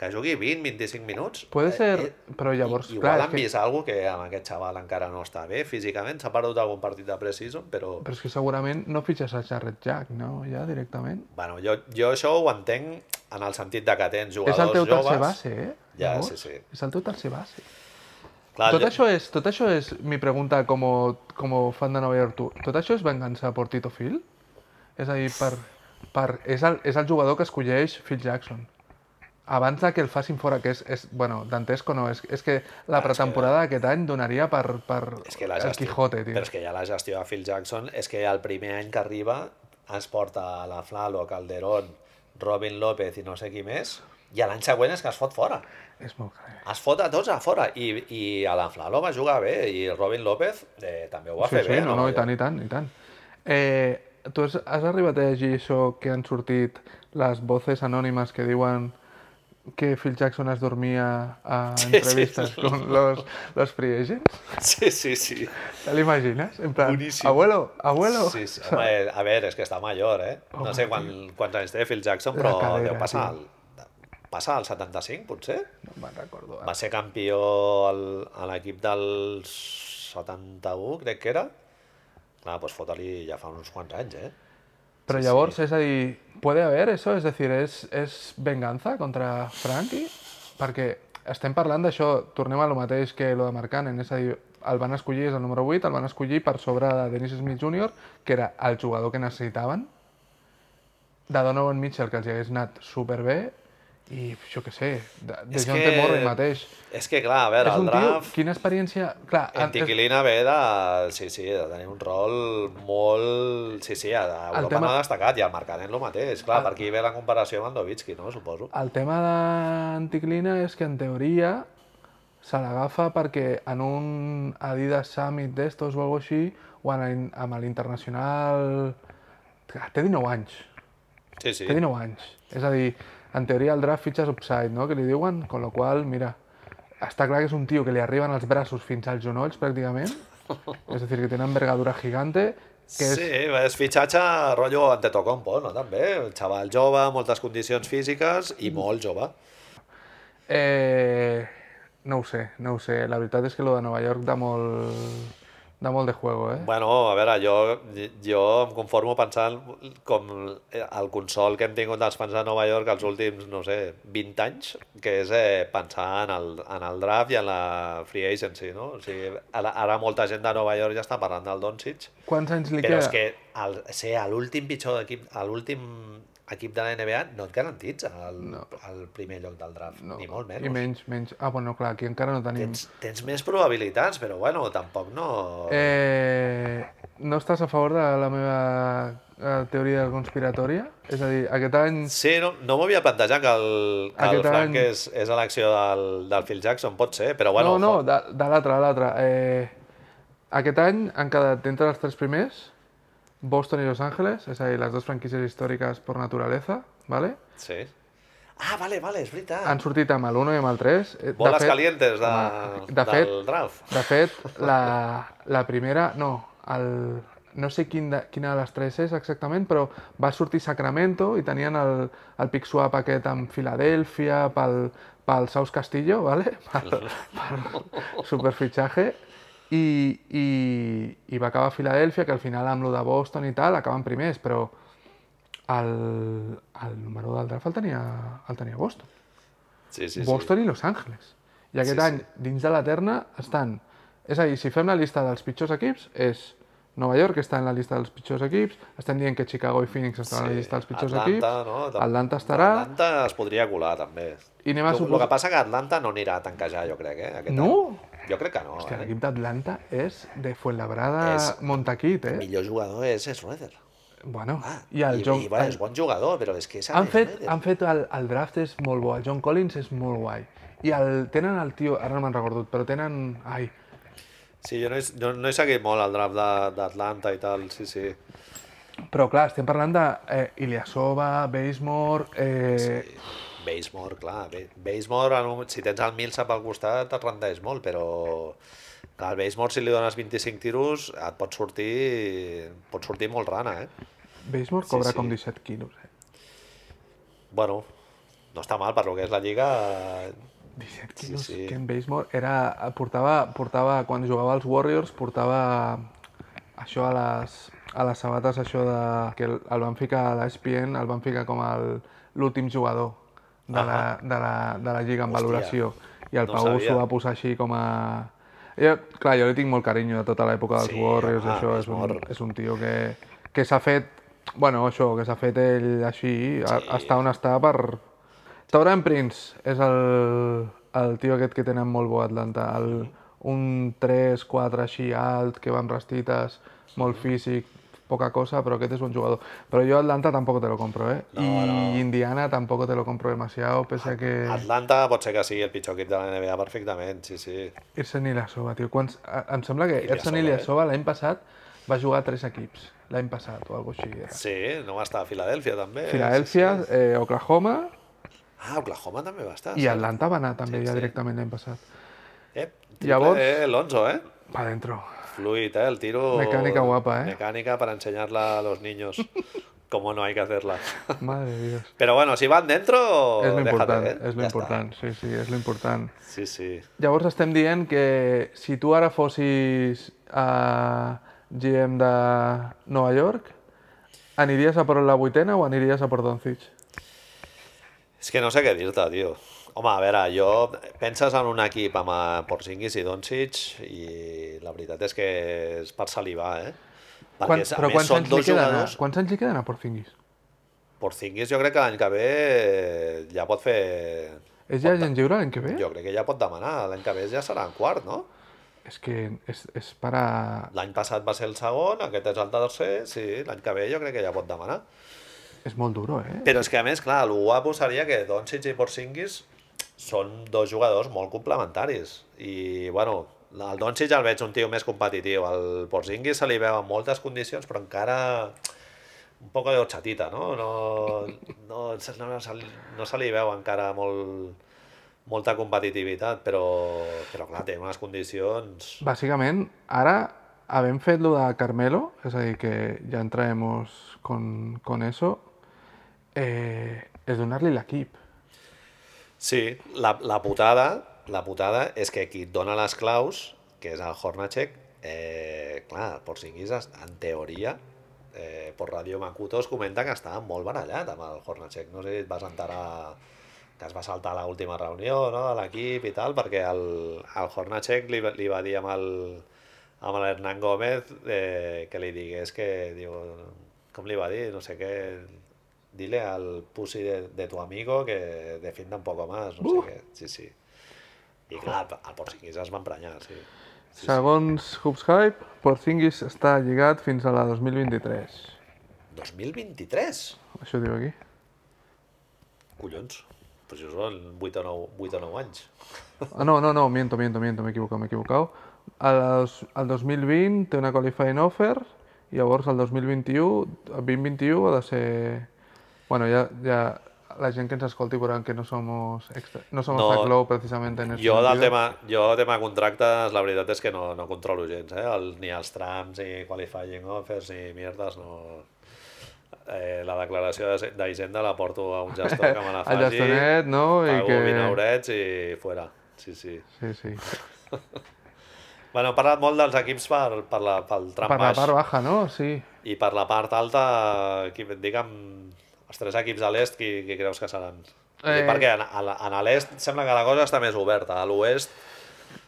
Speaker 2: que jugui 20-25 minuts. eh,
Speaker 1: Puede ser, però
Speaker 2: i-
Speaker 1: llavors,
Speaker 2: Igual
Speaker 1: clar, és
Speaker 2: han
Speaker 1: que-
Speaker 2: vist alguna que amb aquest xaval encara no està bé físicament, s'ha perdut algun partit de preseason, però...
Speaker 1: Però és que segurament no fitxes a Jarrett Jack, no? Ja directament.
Speaker 2: Bueno, jo, jo això ho entenc en el sentit de que tens jugadors
Speaker 1: és el teu tercer
Speaker 2: joves.
Speaker 1: base, eh?
Speaker 2: Ja, sí, sí.
Speaker 1: És el teu tercer base.
Speaker 2: Clar,
Speaker 1: tot,
Speaker 2: jo-
Speaker 1: això és, tot això és mi pregunta com, com fan de Nova York tu. Tot això és vengança per Tito Phil? És a dir, per, per, és, el, és el jugador que escolleix Phil Jackson. Abans de que el facin fora, que és, és bueno, dantesco no, és, és que la pretemporada d'aquest any donaria per, per
Speaker 2: és que la
Speaker 1: el
Speaker 2: gestió,
Speaker 1: Quijote, tio.
Speaker 2: Però és que ja la gestió de Phil Jackson és que el primer any que arriba ens porta a la Flalo, Calderón, Robin López i no sé qui més, i a l'any següent és que es fot fora.
Speaker 1: És molt greu.
Speaker 2: Es fot a tots a fora. I, i a la Flalo va jugar bé, i Robin López eh, també ho va
Speaker 1: sí,
Speaker 2: fer
Speaker 1: sí,
Speaker 2: bé.
Speaker 1: no, no, i tant, i tant, i tant. Eh, tu has, has arribat a llegir això que han sortit les voces anònimes que diuen que Phil Jackson es dormia a
Speaker 2: [LAUGHS] Sí, sí,
Speaker 1: entrevistas
Speaker 2: sí.
Speaker 1: con los, los free agents?
Speaker 2: Sí, sí, sí.
Speaker 1: ¿Te lo imaginas? En plan,
Speaker 2: Boníssim.
Speaker 1: abuelo, abuelo.
Speaker 2: Sí, sí. Home, a veure, és que està major, eh? No sé quan, quants anys té Phil Jackson,
Speaker 1: La
Speaker 2: però
Speaker 1: cadera,
Speaker 2: deu passar al, passar al 75, potser?
Speaker 1: No me'n recordo. ara.
Speaker 2: Va ser campió al- a l'equip del 71, crec que era. Clar, doncs fota-li ja fa uns quants anys, eh?
Speaker 1: Però llavors, és a dir, puede haver això? És a dir, és, és venganza contra Frankie? Perquè estem parlant d'això, tornem a lo mateix que lo de Markkanen, és a dir, el van escollir, és el número 8, el van escollir per sobre de Dennis Smith Jr., que era el jugador que necessitaven, de Donovan Mitchell, que els hi hagués anat superbé, i jo què sé, de, de
Speaker 2: És
Speaker 1: John
Speaker 2: que-
Speaker 1: que... Murray mateix.
Speaker 2: És que, clar, a veure,
Speaker 1: és
Speaker 2: el
Speaker 1: un tio,
Speaker 2: draft...
Speaker 1: quina experiència... Clar, en- és,
Speaker 2: Antiquilina ve de... Sí, sí, de tenir un rol molt... Sí, sí, a a
Speaker 1: El
Speaker 2: Europa
Speaker 1: tema- Ah.
Speaker 2: no ha destacat, i al Mercadet el mateix. Clar, per aquí ve la comparació amb Andovitsky, no? Suposo.
Speaker 1: El tema d'Anticlina és que en teoria se l'agafa perquè en un Adidas Summit d'estos o alguna així, o en, l'in- amb l'internacional... Té 19 anys,
Speaker 2: Sí, sí.
Speaker 1: té 19 anys. És a dir, en teoria el draft fitxes upside, no?, que li diuen, con lo qual, mira, està clar que és un tio que li arriben els braços fins als genolls, pràcticament, és a dir, que té una envergadura gigante, que és...
Speaker 2: Sí, és fitxatge rotllo Antetokounmpo, no? També, un xaval jove, moltes condicions físiques i
Speaker 1: Mm.
Speaker 2: molt jove.
Speaker 1: Eh, no ho sé, no ho sé. La veritat és que lo de Nova York da molt, da molt de juego, eh?
Speaker 2: Bueno, a veure, jo, jo em conformo pensant com el consol que hem tingut els fans de Nova York els últims, no sé, 20 anys, que és eh, pensar en el, en el draft i en la free agency, no? O sigui, ara, ara molta gent de Nova York ja està parlant del Doncic,
Speaker 1: Quants anys li
Speaker 2: però
Speaker 1: queda?
Speaker 2: és que el, ser a l'últim pitjor equip, a l'últim equip de la NBA no et garantitza el,
Speaker 1: No.
Speaker 2: el primer lloc del draft,
Speaker 1: No.
Speaker 2: ni molt
Speaker 1: I
Speaker 2: menys.
Speaker 1: menys, menys. Ah, bueno, clar, aquí encara no tenim...
Speaker 2: eh, Tens, tens més probabilitats, però bueno, tampoc no...
Speaker 1: Eh, no estàs a favor de la meva eh, teoria conspiratòria? És a dir, aquest any...
Speaker 2: Sí, no, no m'ho havia plantejat que el, que el
Speaker 1: Aquest
Speaker 2: Frank
Speaker 1: any-
Speaker 2: és, és elecció del, del Phil Jackson, pot ser, però bueno...
Speaker 1: no, no, de, de l'altre, de l'altre. Eh, aquest any han quedat entre els tres primers Boston i Los Angeles, és a dir, les dues franquícies històriques per naturaleza, ¿vale?
Speaker 2: jo- Sí. Ah, vale, vale, és veritat.
Speaker 1: han sortit amb el 1 i amb el 3. Eh,
Speaker 2: Boles
Speaker 1: fet-
Speaker 2: calientes de,
Speaker 1: home,
Speaker 2: de
Speaker 1: de fet,
Speaker 2: del draft.
Speaker 1: De fet, la, la primera, no, el, no sé quin de, quina de les tres és exactament, però va sortir Sacramento i tenien el, el pick swap aquest amb Filadèlfia, pel, pel Saus Castillo, ¿vale? [LAUGHS] pel, pel superfitxatge, i, i, i va acabar Filadèlfia, que al final amb lo de Boston i tal acaben primers, però el, el número del draft el tenia, el tenia Boston.
Speaker 2: Sí, sí,
Speaker 1: Sí,
Speaker 2: sí.
Speaker 1: Boston i Los Angeles. I aquest
Speaker 2: Sí,
Speaker 1: any, dins de la terna, estan... És a dir, si fem la llista dels pitjors equips, és Nova York, que està en la llista dels pitjors equips, estem dient que Chicago i Phoenix estan en la llista dels pitjors
Speaker 2: Atlanta,
Speaker 1: equips,
Speaker 2: no? Tam-
Speaker 1: Atlanta estarà,
Speaker 2: Atlanta es podria colar, també.
Speaker 1: i anem a
Speaker 2: El
Speaker 1: suposar...
Speaker 2: que passa que Atlanta no anirà a tanquejar, jo crec, eh? Aquest
Speaker 1: No?
Speaker 2: Any. Jo crec que no.
Speaker 1: Hòstia,
Speaker 2: eh?
Speaker 1: l'equip d'Atlanta és de Fuenlabrada
Speaker 2: És-
Speaker 1: Montaquit, eh?
Speaker 2: El millor jugador és Schroeder.
Speaker 1: Bueno,
Speaker 2: Ah,
Speaker 1: i el John...
Speaker 2: I, bueno,
Speaker 1: el-
Speaker 2: és bon jugador, però és que eh? és
Speaker 1: han fet,
Speaker 2: Schroeder.
Speaker 1: han fet el, el draft és molt bo, el John Collins és molt guai. I el, tenen el tio, ara no me'n recordo, però tenen... Ai,
Speaker 2: Sí, jo no he, no, no he seguit molt el draft de- d'Atlanta i tal, sí, sí.
Speaker 1: Però clar, estem parlant de eh, Ilyasova, Basemore... Eh, sí.
Speaker 2: Basemore, clar. Ba- Basemore, en un- si tens el Millsap al costat, et rendeix molt, però... Clar, al Basemore, si li dones 25 tiros, et pot sortir, pot sortir molt rana, eh?
Speaker 1: Basemore cobra
Speaker 2: sí.
Speaker 1: com 17 quilos. Eh?
Speaker 2: Bueno, no està mal per lo que és la lliga.
Speaker 1: 17 quilos,
Speaker 2: sí.
Speaker 1: sí, sí. que en Basemore era, portava, portava, quan jugava als Warriors, portava això a les, a les sabates, això de, que el, el van ficar a l'ESPN, el van ficar com el- l'últim jugador de la, de, la, de la lliga en
Speaker 2: Hòstia,
Speaker 1: valoració. I el
Speaker 2: no
Speaker 1: Pau
Speaker 2: sabia.
Speaker 1: s'ho va posar així com a... Jo, clar, jo li tinc molt carinyo de tota l'època dels
Speaker 2: Sí,
Speaker 1: Warriors,
Speaker 2: home,
Speaker 1: això és un,
Speaker 2: Basemore.
Speaker 1: és un tio que, que s'ha fet, bueno, això, que s'ha fet ell així, a, està on està per... Tauran Prince és el, el tio aquest que tenen molt bo a Atlanta, el, un 3, 4 així alt, que va amb rastites, molt físic, poca cosa, però aquest és bon jugador. Però jo a Atlanta tampoc te lo compro, eh? No, I no. Ah, Indiana tampoc te lo compro demasiado, pese a que...
Speaker 2: Atlanta pot ser que sigui el pitjor equip de la NBA perfectament, sí, sí.
Speaker 1: Ersen Ilyasova, tio. Quants... a- Em sembla que Ersen
Speaker 2: eh?
Speaker 1: Ilyasova l'any passat va jugar a tres equips, l'any passat o alguna cosa així. Era.
Speaker 2: Sí, no va estar a Filadèlfia, també.
Speaker 1: Filadèlfia, eh, Oklahoma
Speaker 2: Sí, sí. Ah, Oklahoma també va estar.
Speaker 1: i Atlanta va anar també ja directament l'any passat.
Speaker 2: Eh,
Speaker 1: Llavors-
Speaker 2: Llavors... Eh, Lonzo, eh?
Speaker 1: Pa dentro.
Speaker 2: Fluid, eh? El tiro...
Speaker 1: Mecánica guapa, eh?
Speaker 2: Mecánica para enseñarla a los niños [LAUGHS] cómo no hay que hacerla.
Speaker 1: Madre de Dios.
Speaker 2: Pero bueno, si van dentro,
Speaker 1: És lo
Speaker 2: déjate,
Speaker 1: important,
Speaker 2: eh?
Speaker 1: és lo
Speaker 2: Ja
Speaker 1: important, sí, sí, és lo important.
Speaker 2: Està. Sí, sí.
Speaker 1: Llavors estem dient que si tu ara fossis a GM de Nova York, aniries a per la vuitena o aniries a per Doncic?
Speaker 2: És que no sé què dir-te, tio. Home, a veure, jo... Penses en un equip amb eh, Porzingis i Doncic i la veritat és que és per salivar, eh? Perquè,
Speaker 1: Quan,
Speaker 2: a
Speaker 1: però
Speaker 2: més,
Speaker 1: quants
Speaker 2: són
Speaker 1: anys, li
Speaker 2: dos
Speaker 1: queden, a,
Speaker 2: jugadors...
Speaker 1: quants anys li queden a Porzingis?
Speaker 2: Porzingis jo crec que l'any que ve eh, ja pot fer...
Speaker 1: És ja gent lliure l'any que ve?
Speaker 2: Jo crec que ja pot demanar. L'any que ve ja serà en quart, no?
Speaker 1: És que és, és per a...
Speaker 2: L'any passat va ser el segon, aquest és el tercer, sí, l'any que ve jo crec que ja pot demanar.
Speaker 1: És molt duro, eh?
Speaker 2: Però és que a més, clar, el guapo seria que Doncic i Porzingis són dos jugadors molt complementaris. I, bueno, el Doncic el veig un tio més competitiu, el Porzingis se li veu en moltes condicions, però encara un poc de xatita, no? No, no, se- no, se, li- no se li veu encara molt, molta competitivitat, però, però clar, té unes condicions...
Speaker 1: Bàsicament, ara havent fet lo de Carmelo, és a dir, que ja entraremos con, con eso, eh, és donar-li l'equip.
Speaker 2: Sí, la, la putada, la putada és que qui et dona les claus, que és el Hornacek, eh, clar, el Porzingis, es- en teoria, eh, per Radio Makuto es comenta que estava molt barallat amb el Hornacek. No sé si et vas enterar que es va saltar a l'última reunió no, de l'equip i tal, perquè el, el Hornacek li, va- li va dir amb el, amb l'Hernan Gómez eh, que li digués que, diu, com li va dir, no sé què, dile al pussy de, de tu amigo que defienda un poco más, no
Speaker 1: Uh!
Speaker 2: sé què, sí, sí. I clar, el, el Porzingis es va emprenyar, sí.
Speaker 1: Segons Hoops Hype, Porzingis està lligat fins a la 2023.
Speaker 2: 2023?
Speaker 1: Això diu aquí.
Speaker 2: Collons, pues jo són 8 o 9, 8 o 9 anys.
Speaker 1: Ah, no, no, no, miento, miento, miento, m'he equivocat, m'he equivocat. Al, al 2020 té una qualifying offer i llavors el 2021, el 2021 ha de ser... Bueno, ja, ja la gent que ens escolti veuran que no som extra, no somos
Speaker 2: No,
Speaker 1: no, glow precisament en
Speaker 2: Doncs
Speaker 1: este
Speaker 2: Jo
Speaker 1: del
Speaker 2: del tema, jo tema contractes, la veritat és que no, no controlo gens, eh? El, ni els trams, ni qualifying offers, ni mierdes, no... Eh, la declaració de- d'Hisenda la porto a un gestor que me [LAUGHS] la
Speaker 1: El
Speaker 2: faci,
Speaker 1: Jastonet, no? I
Speaker 2: pago que... 20
Speaker 1: que...
Speaker 2: aurets i fuera. Sí, sí.
Speaker 1: Sí, sí.
Speaker 2: Bueno, hem parlat molt dels equips per, per la, pel tram
Speaker 1: Per la
Speaker 2: baix
Speaker 1: part baja, no? Sí.
Speaker 2: i per la part alta, qui, digue'm, els tres equips a l'est, qui, qui creus que seran?
Speaker 1: Eh.
Speaker 2: Eh... Perquè en, a la- en l'est sembla que la cosa està més oberta, a l'oest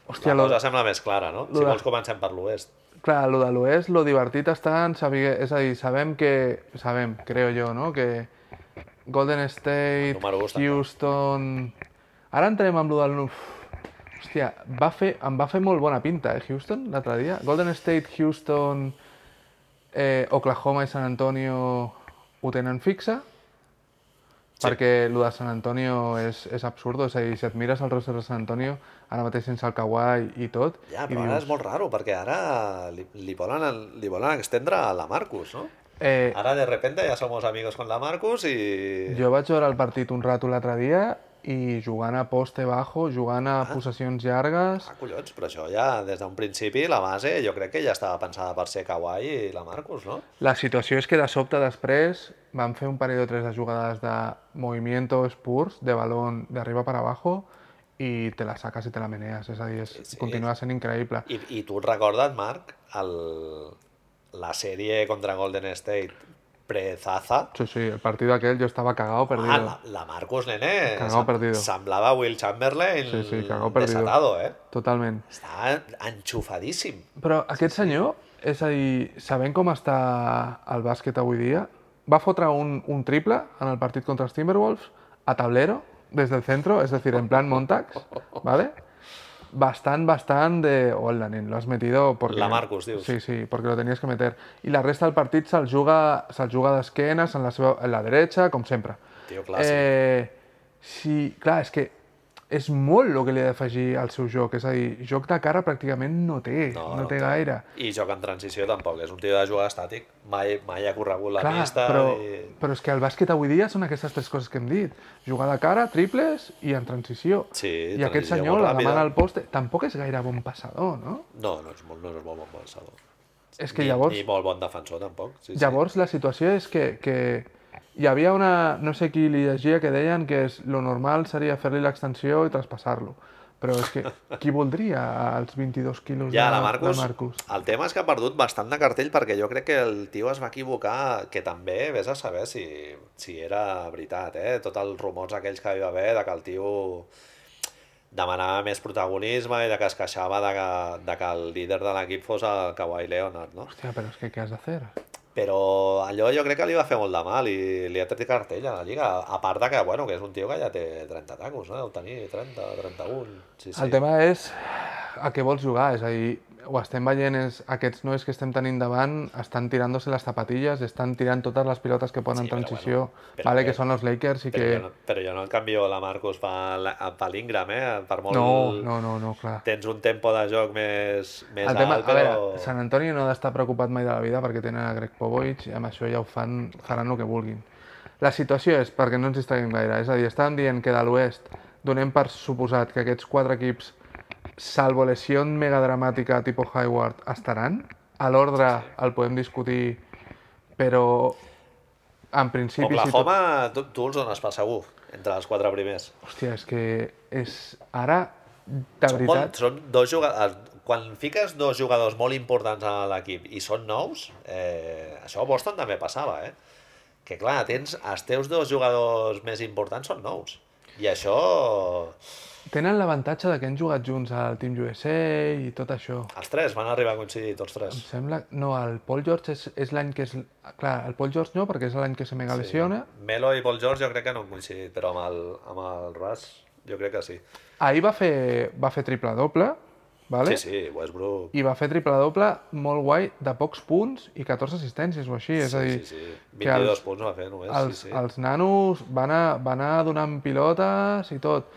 Speaker 1: Hòstia,
Speaker 2: La
Speaker 1: lo,
Speaker 2: cosa sembla més clara, no? Si
Speaker 1: de-
Speaker 2: vols comencem per l'oest.
Speaker 1: Clar, lo de l'oest, lo divertit està en saber... És a dir, sabem que... Sabem, creo jo, no? Que Golden State,
Speaker 2: Número u està clar.
Speaker 1: Houston... Ara entrem amb lo del... Uf, hòstia, va fer, em va fer molt bona pinta, eh, Houston, l'altre dia. Golden State, Houston, eh, Oklahoma i San Antonio ho tenen fixa.
Speaker 2: Sí.
Speaker 1: Perquè lo de San Antonio és, és absurdo, és a dir, si et mires el roster de San Antonio, ara mateix sense el Kawhi i tot,
Speaker 2: Ja,
Speaker 1: i
Speaker 2: però ara és molt raro, perquè ara li, li, volen, li volen extendre a la Marcus, no?
Speaker 1: eh,
Speaker 2: Ara, de repente, ja somos amigos con la Marcus i...
Speaker 1: Jo vaig veure el partit un rato l'altre dia i jugant a poste bajo, jugant a possessions llargues...
Speaker 2: Ah, collons, però això ja, des d'un principi, la base jo crec que ja estava pensada per ser Kawhi i la Marcus, no?
Speaker 1: La situació és que de sobte després van fer un parell o tres de jugades de movimiento spurs, de balón d'arriba per abajo, i te la saques i te la menees. És a dir, és,
Speaker 2: sí.
Speaker 1: continua sent increïble.
Speaker 2: I, i tu et recordes, Marc, el, la sèrie contra Golden State pre-Zaza?
Speaker 1: Sí, sí, el partit aquell jo estava cagado,
Speaker 2: Ah,
Speaker 1: perdido.
Speaker 2: la, la Marcus, nene,
Speaker 1: Cagao perdido.
Speaker 2: semblava Will Chamberlain
Speaker 1: Sí, sí, cagao perdido.
Speaker 2: desatado, eh?
Speaker 1: Totalment.
Speaker 2: Està enxufadíssim.
Speaker 1: Però aquest senyor, és a dir, sabent com està el bàsquet avui dia, va fotre un, un triple en el partit contra els Timberwolves a tablero, des del centro, és a dir, en plan Montax, ¿vale? Bastant, bastant de... Hola, nen, lo has metido porque...
Speaker 2: La Marcus, dius.
Speaker 1: Sí, sí, porque lo tenías que meter. I la resta del partit se'l juga, se'l juga d'esquenes, en la, seva, en la dreta, com sempre.
Speaker 2: Tio, clàssic.
Speaker 1: Eh, sí, clar, és que és molt el que li ha d'afegir al seu joc. És a dir, joc de cara pràcticament no té, no, no té gaire.
Speaker 2: I joc en transició tampoc, és un tio de jugar estàtic, mai, mai ha corregut la
Speaker 1: Clar,
Speaker 2: pista.
Speaker 1: però,
Speaker 2: I...
Speaker 1: però és que el bàsquet avui dia són aquestes tres coses que hem dit. Jugar de cara, triples i en transició.
Speaker 2: Sí,
Speaker 1: I aquest
Speaker 2: transició
Speaker 1: senyor,
Speaker 2: molt
Speaker 1: la
Speaker 2: ràpida.
Speaker 1: demana al poste, tampoc és gaire bon passador, no?
Speaker 2: No, no és molt, no és molt bon pensador.
Speaker 1: És que llavors...
Speaker 2: Ni, ni molt bon defensor tampoc. Sí,
Speaker 1: Llavors, la situació és que, que hi havia una... No sé qui li llegia que deien que és, lo normal seria fer-li l'extensió i traspassar-lo. Però és
Speaker 2: [LAUGHS]
Speaker 1: que qui voldria els 22 quilos
Speaker 2: sí. Ja,
Speaker 1: de,
Speaker 2: la Marcus,
Speaker 1: de Marcus?
Speaker 2: el tema és que ha perdut bastant de cartell perquè jo crec que el tio es va equivocar, que també, vés a saber si, si era veritat, eh? Tots els rumors aquells que hi va haver de que el tio demanava més protagonisme i de que es queixava de que, de que el líder de l'equip fos el Kawhi Leonard, no?
Speaker 1: Hòstia, però és que què has de fer?
Speaker 2: Però allò jo crec que li va fer molt de mal i li ha tret cartell a la Lliga. A part de que, bueno, que és un tio que ja té 30 tacos, no? Deu tenir 30, 31... Sí, sí.
Speaker 1: El tema és a què vols jugar, és a dir, ho estem veient, és, aquests nois que estem tenint davant estan tirant-se les zapatilles, estan tirant totes les pilotes que poden
Speaker 2: Sí,
Speaker 1: en
Speaker 2: però
Speaker 1: transició,
Speaker 2: bueno, però
Speaker 1: vale,
Speaker 2: que-
Speaker 1: que són els Lakers i
Speaker 2: Però,
Speaker 1: que...
Speaker 2: jo no, però jo no el canvio la Marcus per, la- per l'Ingram, eh? Per molt...
Speaker 1: No, no, no, no, clar.
Speaker 2: Tens un tempo de joc més, més
Speaker 1: El tema,
Speaker 2: alt,
Speaker 1: a
Speaker 2: però...
Speaker 1: veure, Sant Antoni no ha d'estar preocupat mai de la vida perquè tenen a Greg Popovich i amb això ja ho fan, faran el que vulguin. La situació és, perquè no ens distraguem gaire, és a dir, estàvem dient que de l'oest donem per suposat que aquests quatre equips, salvo lesió megadramàtica tipus Hayward, estaran. A l'ordre el podem discutir, però en principi... si tot-
Speaker 2: Oklahoma, tu, tu els dones per segur, entre els quatre primers.
Speaker 1: Hòstia, és que és... Ara, de
Speaker 2: Són,
Speaker 1: veritat...
Speaker 2: molt, són dos jugadors... Quan fiques dos jugadors molt importants a l'equip i són nous, eh, això a Boston també passava, eh? Que clar, tens, els teus dos jugadors més importants són nous. I això...
Speaker 1: Tenen l'avantatge de que han jugat junts al Team USA i tot això.
Speaker 2: Els tres van arribar a coincidir, tots tres.
Speaker 1: Em sembla... No, el Paul George és, és l'any que és... Clar, el Paul George no, perquè és l'any que se mega lesiona.
Speaker 2: Melo i Paul George jo crec que no han coincidit, però amb el, amb el Russ jo crec que sí.
Speaker 1: Ahir va fer, va fer triple-doble, vale?
Speaker 2: Sí, sí, Westbrook...
Speaker 1: i va fer triple-doble molt guai, de pocs punts i 14 assistències o així. És a dir,
Speaker 2: sí, sí, sí.
Speaker 1: que els-
Speaker 2: 22 punts va fer només,
Speaker 1: els,
Speaker 2: sí, sí.
Speaker 1: els nanos van, a, van anar donant pilotes i tot.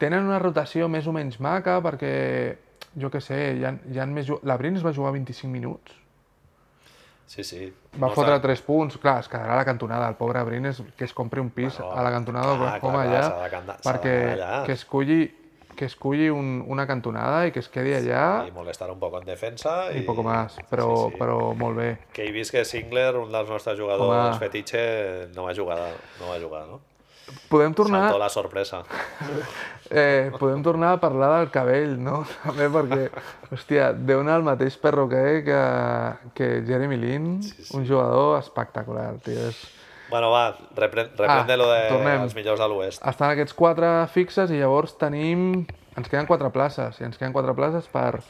Speaker 1: Tenen una rotació més o menys maca perquè, jo que sé, hi ha, hi ha més... ju- La Brin es va jugar 25 minuts.
Speaker 2: Sí, sí.
Speaker 1: Va
Speaker 2: No
Speaker 1: fotre
Speaker 2: està-
Speaker 1: 3 punts, clar, es quedarà a la cantonada. El pobre Brines que es compri un pis
Speaker 2: Bueno,
Speaker 1: a la cantonada
Speaker 2: clar,
Speaker 1: d'Oklahoma
Speaker 2: clar,
Speaker 1: allà,
Speaker 2: s'ha de canta- s'ha de
Speaker 1: perquè
Speaker 2: quedar allà.
Speaker 1: que es culli, que es culli un, una cantonada i que es quedi allà
Speaker 2: I molestar un poc en defensa.
Speaker 1: i poco más, però,
Speaker 2: sí, sí.
Speaker 1: però molt bé.
Speaker 2: Que he vist que Singler, un dels nostres jugadors
Speaker 1: Home.
Speaker 2: fetitxe, no va jugar, no va jugar, no?
Speaker 1: Podem tornar...
Speaker 2: Saltó la sorpresa.
Speaker 1: Eh, podem tornar a parlar del cabell, no? [LAUGHS] També perquè, hòstia, deu anar el mateix perro que, que, que Jeremy Lin, un jugador espectacular, tio. És...
Speaker 2: Bueno, va, repren, reprende
Speaker 1: Ah,
Speaker 2: lo de
Speaker 1: tornem.
Speaker 2: els millors de l'oest.
Speaker 1: Estan aquests quatre fixes i llavors tenim... Ens queden quatre places, i ens queden quatre places per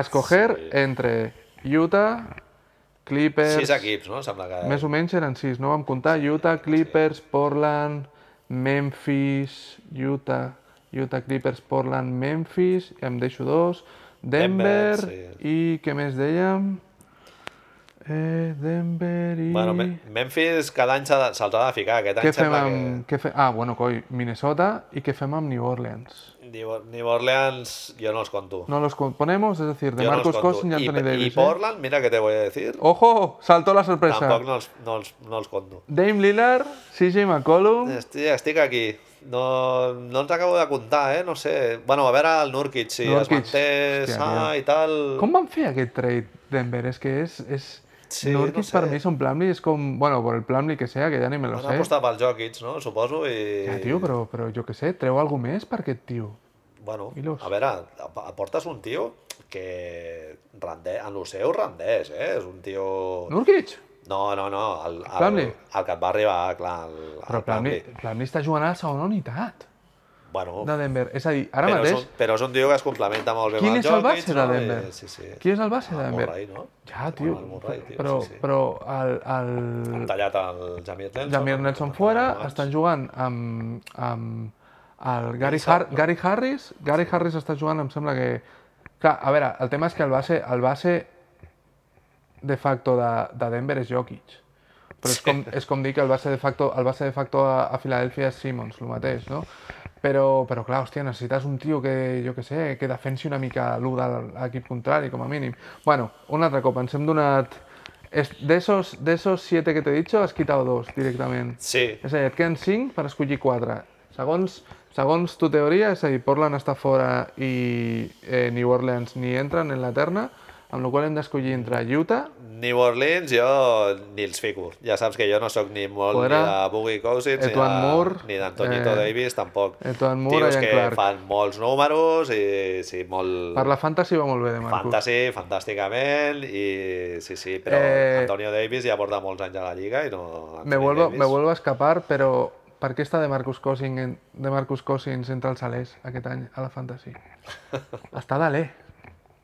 Speaker 1: escoger
Speaker 2: Sí.
Speaker 1: entre Utah, Clippers...
Speaker 2: Sis eh? equips, no? Sembla que...
Speaker 1: Més o menys eren sis, no? Vam comptar Utah, Clippers, Portland, Memphis, Utah, Utah, Clippers, Portland, Memphis, i em deixo dos, Denver,
Speaker 2: Denver, sí.
Speaker 1: i què més dèiem? Eh, Denver i...
Speaker 2: Bueno, Me- Memphis cada any s'ha de- se'ls ha de ficar. Aquest
Speaker 1: què
Speaker 2: any
Speaker 1: fem
Speaker 2: sembla
Speaker 1: amb... Què fe... Ah, bueno, coi, Minnesota, i què fem amb New Orleans?
Speaker 2: que... New- New Orleans jo no els conto.
Speaker 1: No los co- ponemos, es decir, de
Speaker 2: jo
Speaker 1: Marcus
Speaker 2: no els conto.
Speaker 1: Cousins i Anthony
Speaker 2: I,
Speaker 1: Davis.
Speaker 2: I Portland, mira que te voy a decir,
Speaker 1: Eh? Ojo, saltó la sorpresa.
Speaker 2: tampoc no els, no, els, no els conto.
Speaker 1: Dame Lillard, CJ McCollum...
Speaker 2: Estic, estic aquí. No, no ens acabo de comptar, eh? No sé. Bueno, a veure el Nurkic, si
Speaker 1: Nurkic.
Speaker 2: es manté
Speaker 1: Hòstia,
Speaker 2: sa
Speaker 1: mira.
Speaker 2: i tal...
Speaker 1: Com van fer aquest trade, Denver? És que és... és...
Speaker 2: Sí,
Speaker 1: Sí, Nurkic no
Speaker 2: no sé.
Speaker 1: sé. per mi és un Plumlee, és com... Bueno, por el Plumlee que sea, que ja ni me lo
Speaker 2: Van
Speaker 1: sé.
Speaker 2: apostar pel Jokic, no? Suposo, i...
Speaker 1: Ja, tio, però, però jo que sé, treu alguna més per aquest tio.
Speaker 2: Bueno,
Speaker 1: I los?
Speaker 2: a veure, ap- aportes un tio que rendeix, en lo seu rendeix, eh? És un tio...
Speaker 1: Nurkic?
Speaker 2: No, no, no, el, el,
Speaker 1: Plumlee?
Speaker 2: el, que et va arribar, clar, el,
Speaker 1: Però
Speaker 2: el
Speaker 1: Plumlee,
Speaker 2: Plumlee.
Speaker 1: Plumlee està jugant a la segona unitat
Speaker 2: Bueno,
Speaker 1: de Denver. És a dir, ara
Speaker 2: però, és
Speaker 1: mateix,
Speaker 2: un, però és un tio que es complementa molt bé
Speaker 1: Quin
Speaker 2: amb el
Speaker 1: és el
Speaker 2: Jokic.
Speaker 1: base de
Speaker 2: no? I-
Speaker 1: Denver?
Speaker 2: eh, Sí, sí.
Speaker 1: qui és el base de
Speaker 2: El
Speaker 1: Denver?
Speaker 2: Murray, no?
Speaker 1: Ja, tio,
Speaker 2: El Murray, tio,
Speaker 1: però,
Speaker 2: sí, sí.
Speaker 1: però el, el
Speaker 2: Han tallat el Jamir Nelson.
Speaker 1: Jamir Nelson fora, estan jugant amb, amb el Gary, Har Gary Harris. Gary Harris està jugant, em sembla que... Clar, a veure, el tema és que el base, el base de facto de, de Denver és Jokic. Però és com, és com dir que el base de facto, el base de facto a, a Filadèlfia és Simmons, el mateix, no? Però, però clar, hòstia, necessites un tio que, jo que sé, que defensi una mica l'1 de l'equip contrari, com a mínim. Bueno, un altre cop, ens hem donat... Es, de, esos, de esos siete que t'he dit, has quitat dos directament.
Speaker 2: Sí,
Speaker 1: És a dir, et queden 5 per escollir 4. Segons, segons tu teoria, és a dir, Portland està fora i eh, New Orleans ni entren en la terna, amb la qual cosa hem d'escollir entre Utah,
Speaker 2: New Orleans jo ni els fico. Ja saps que jo no sóc ni molt
Speaker 1: Podrà.
Speaker 2: ni de Boogie Cousins, ni,
Speaker 1: Etuan
Speaker 2: de,
Speaker 1: Moore,
Speaker 2: ni d'Antonito
Speaker 1: eh,
Speaker 2: Davis, tampoc.
Speaker 1: Etuan Moore,
Speaker 2: Tios
Speaker 1: Ian
Speaker 2: que
Speaker 1: Clark.
Speaker 2: fan molts números i sí, molt
Speaker 1: per la fantasy va molt bé de Marcus.
Speaker 2: fantasy, fantàsticament, i sí, sí, però
Speaker 1: Eh,
Speaker 2: Antonio Davis ja porta molts anys a la Lliga i no...
Speaker 1: Me
Speaker 2: Anthony
Speaker 1: vuelvo,
Speaker 2: Davis.
Speaker 1: me vuelvo a escapar, però per què està de Marcus Cousins, en, de Marcus Cousins entre els alers aquest any a la
Speaker 2: [LAUGHS]
Speaker 1: fantasy? està d'aler.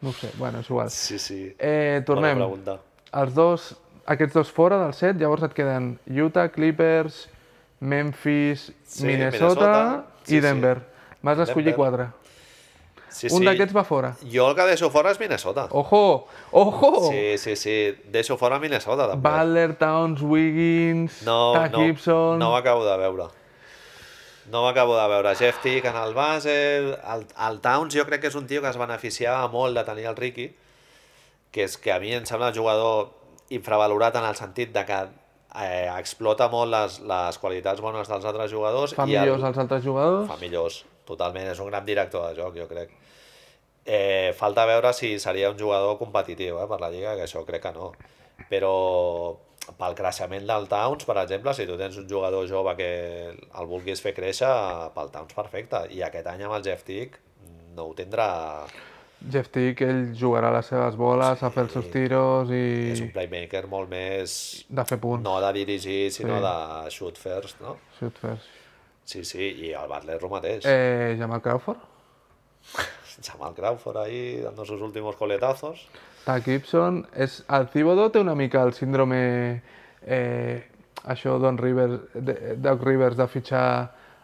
Speaker 1: No ho sé, bueno, és igual.
Speaker 2: Sí, sí.
Speaker 1: Eh,
Speaker 2: Bona
Speaker 1: tornem.
Speaker 2: pregunta.
Speaker 1: els dos, aquests dos fora del set, llavors et queden Utah, Clippers, Memphis,
Speaker 2: Sí,
Speaker 1: Minnesota,
Speaker 2: Minnesota, sí,
Speaker 1: i Denver. M'has d'escollir
Speaker 2: Denver.
Speaker 1: quatre.
Speaker 2: Sí,
Speaker 1: Un
Speaker 2: sí.
Speaker 1: d'aquests va fora.
Speaker 2: Jo el que deixo fora és Minnesota.
Speaker 1: Ojo! Ojo!
Speaker 2: Sí, sí, sí. Deixo fora Minnesota, també.
Speaker 1: Butler, Towns, Wiggins,
Speaker 2: No,
Speaker 1: Taj
Speaker 2: no,
Speaker 1: Gibson...
Speaker 2: no m'acabo de veure. No m'acabo de veure. Jeff Tick en el base, el, el Towns jo crec que és un tio que es beneficiava molt de tenir el Ricky, que és que a mi em sembla un jugador infravalorat en el sentit de que eh, explota molt les, les qualitats bones dels altres jugadors.
Speaker 1: Fa
Speaker 2: i el-
Speaker 1: millors els altres jugadors.
Speaker 2: Fa millors, totalment. És un gran director de joc, jo crec. Eh, falta veure si seria un jugador competitiu eh, per la Lliga, que això crec que no. Però pel creixement del Towns, per exemple, si tu tens un jugador jove que el vulguis fer créixer, pel Towns perfecte. I aquest any amb el Jeff Tick no ho tindrà...
Speaker 1: Jeff Tick, ell jugarà les seves boles, a fer els seus tiros
Speaker 2: És
Speaker 1: i
Speaker 2: un playmaker molt més...
Speaker 1: de fer punts.
Speaker 2: No de dirigir, sinó
Speaker 1: Sí.
Speaker 2: de shoot first, no?
Speaker 1: Shoot first.
Speaker 2: Sí, sí, i el Butler el mateix. Eh.
Speaker 1: Eh, Jamal Crawford,
Speaker 2: Jamal Crawford ahí dando sus últimos coletazos.
Speaker 1: Ta Gibson, és, el Thibodeau té una mica el síndrome, eh, això Don Rivers, de, Doc Rivers, de fitxar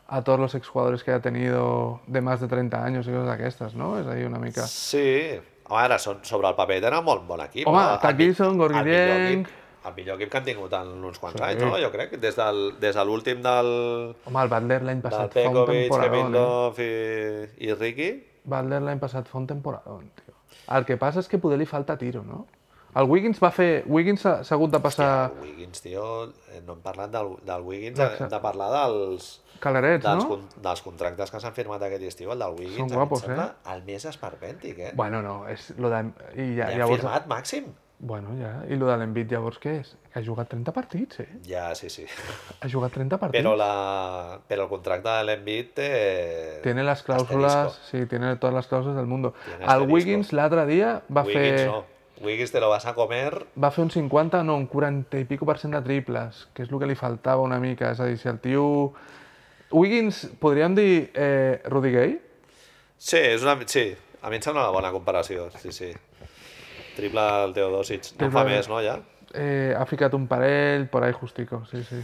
Speaker 1: a tots els exjugadors que ha tenido de més de 30 anys i coses d'aquestes, no? És ahí una mica...
Speaker 2: Sí, a veure, so- sobre el paper tenen molt bon equip.
Speaker 1: Home,
Speaker 2: no? El
Speaker 1: Tad
Speaker 2: mi-
Speaker 1: Gilson, Gorgui
Speaker 2: el millor
Speaker 1: Dieng.
Speaker 2: equip- El millor equip que han tingut en uns quants anys, no? Jo crec, des, del, des de l'últim del,
Speaker 1: Home, el Butler l'any
Speaker 2: del
Speaker 1: passat fa un
Speaker 2: Pekovic, Kevin
Speaker 1: temporadón, eh?
Speaker 2: Love i, i Ricky.
Speaker 1: Butler l'any passat fa un temporadón, tio. El que passa és que poder li falta tiro, no? El Wiggins va fer... Wiggins s'ha s'ha hagut de passar
Speaker 2: El Wiggins, tio, eh, no hem parlat del, del Wiggins, hem de parlar dels,
Speaker 1: calarets,
Speaker 2: dels,
Speaker 1: no?
Speaker 2: con- dels contractes que s'han firmat aquest estiu, el del Wiggins, a mi em
Speaker 1: guapos, eh?
Speaker 2: sembla el més esperpèntic, eh?
Speaker 1: Bueno, no, és lo de... I ja,
Speaker 2: Ja han
Speaker 1: llavors...
Speaker 2: firmat màxim.
Speaker 1: Bueno, ja. I lo de l'Envit llavors què és? Que ha jugat 30 partits, eh?
Speaker 2: Ja, sí, [LAUGHS] sí.
Speaker 1: Ha jugat 30 partits.
Speaker 2: Però, la, però el contracte de l'Envit té...
Speaker 1: Tiene las cláusulas, sí, tiene todas las cláusulas del mundo.
Speaker 2: Tiene
Speaker 1: Al
Speaker 2: asterisco.
Speaker 1: Wiggins l'altre dia va
Speaker 2: Wiggins
Speaker 1: fer
Speaker 2: no. Wiggins te lo vas a comer.
Speaker 1: va fer un 50, no, un 40 i pico per cent de triples, que és el que li faltava una mica. És a dir, si el tio... Wiggins, podríem dir eh, Rudy Gay?
Speaker 2: Sí, és una, sí, a mi em sembla una bona comparació, sí, sí. Triple al Teodosic. No en fa
Speaker 1: Triple.
Speaker 2: més, no, ja?
Speaker 1: Eh, ha ficat un parell, por ahí justico, sí, sí.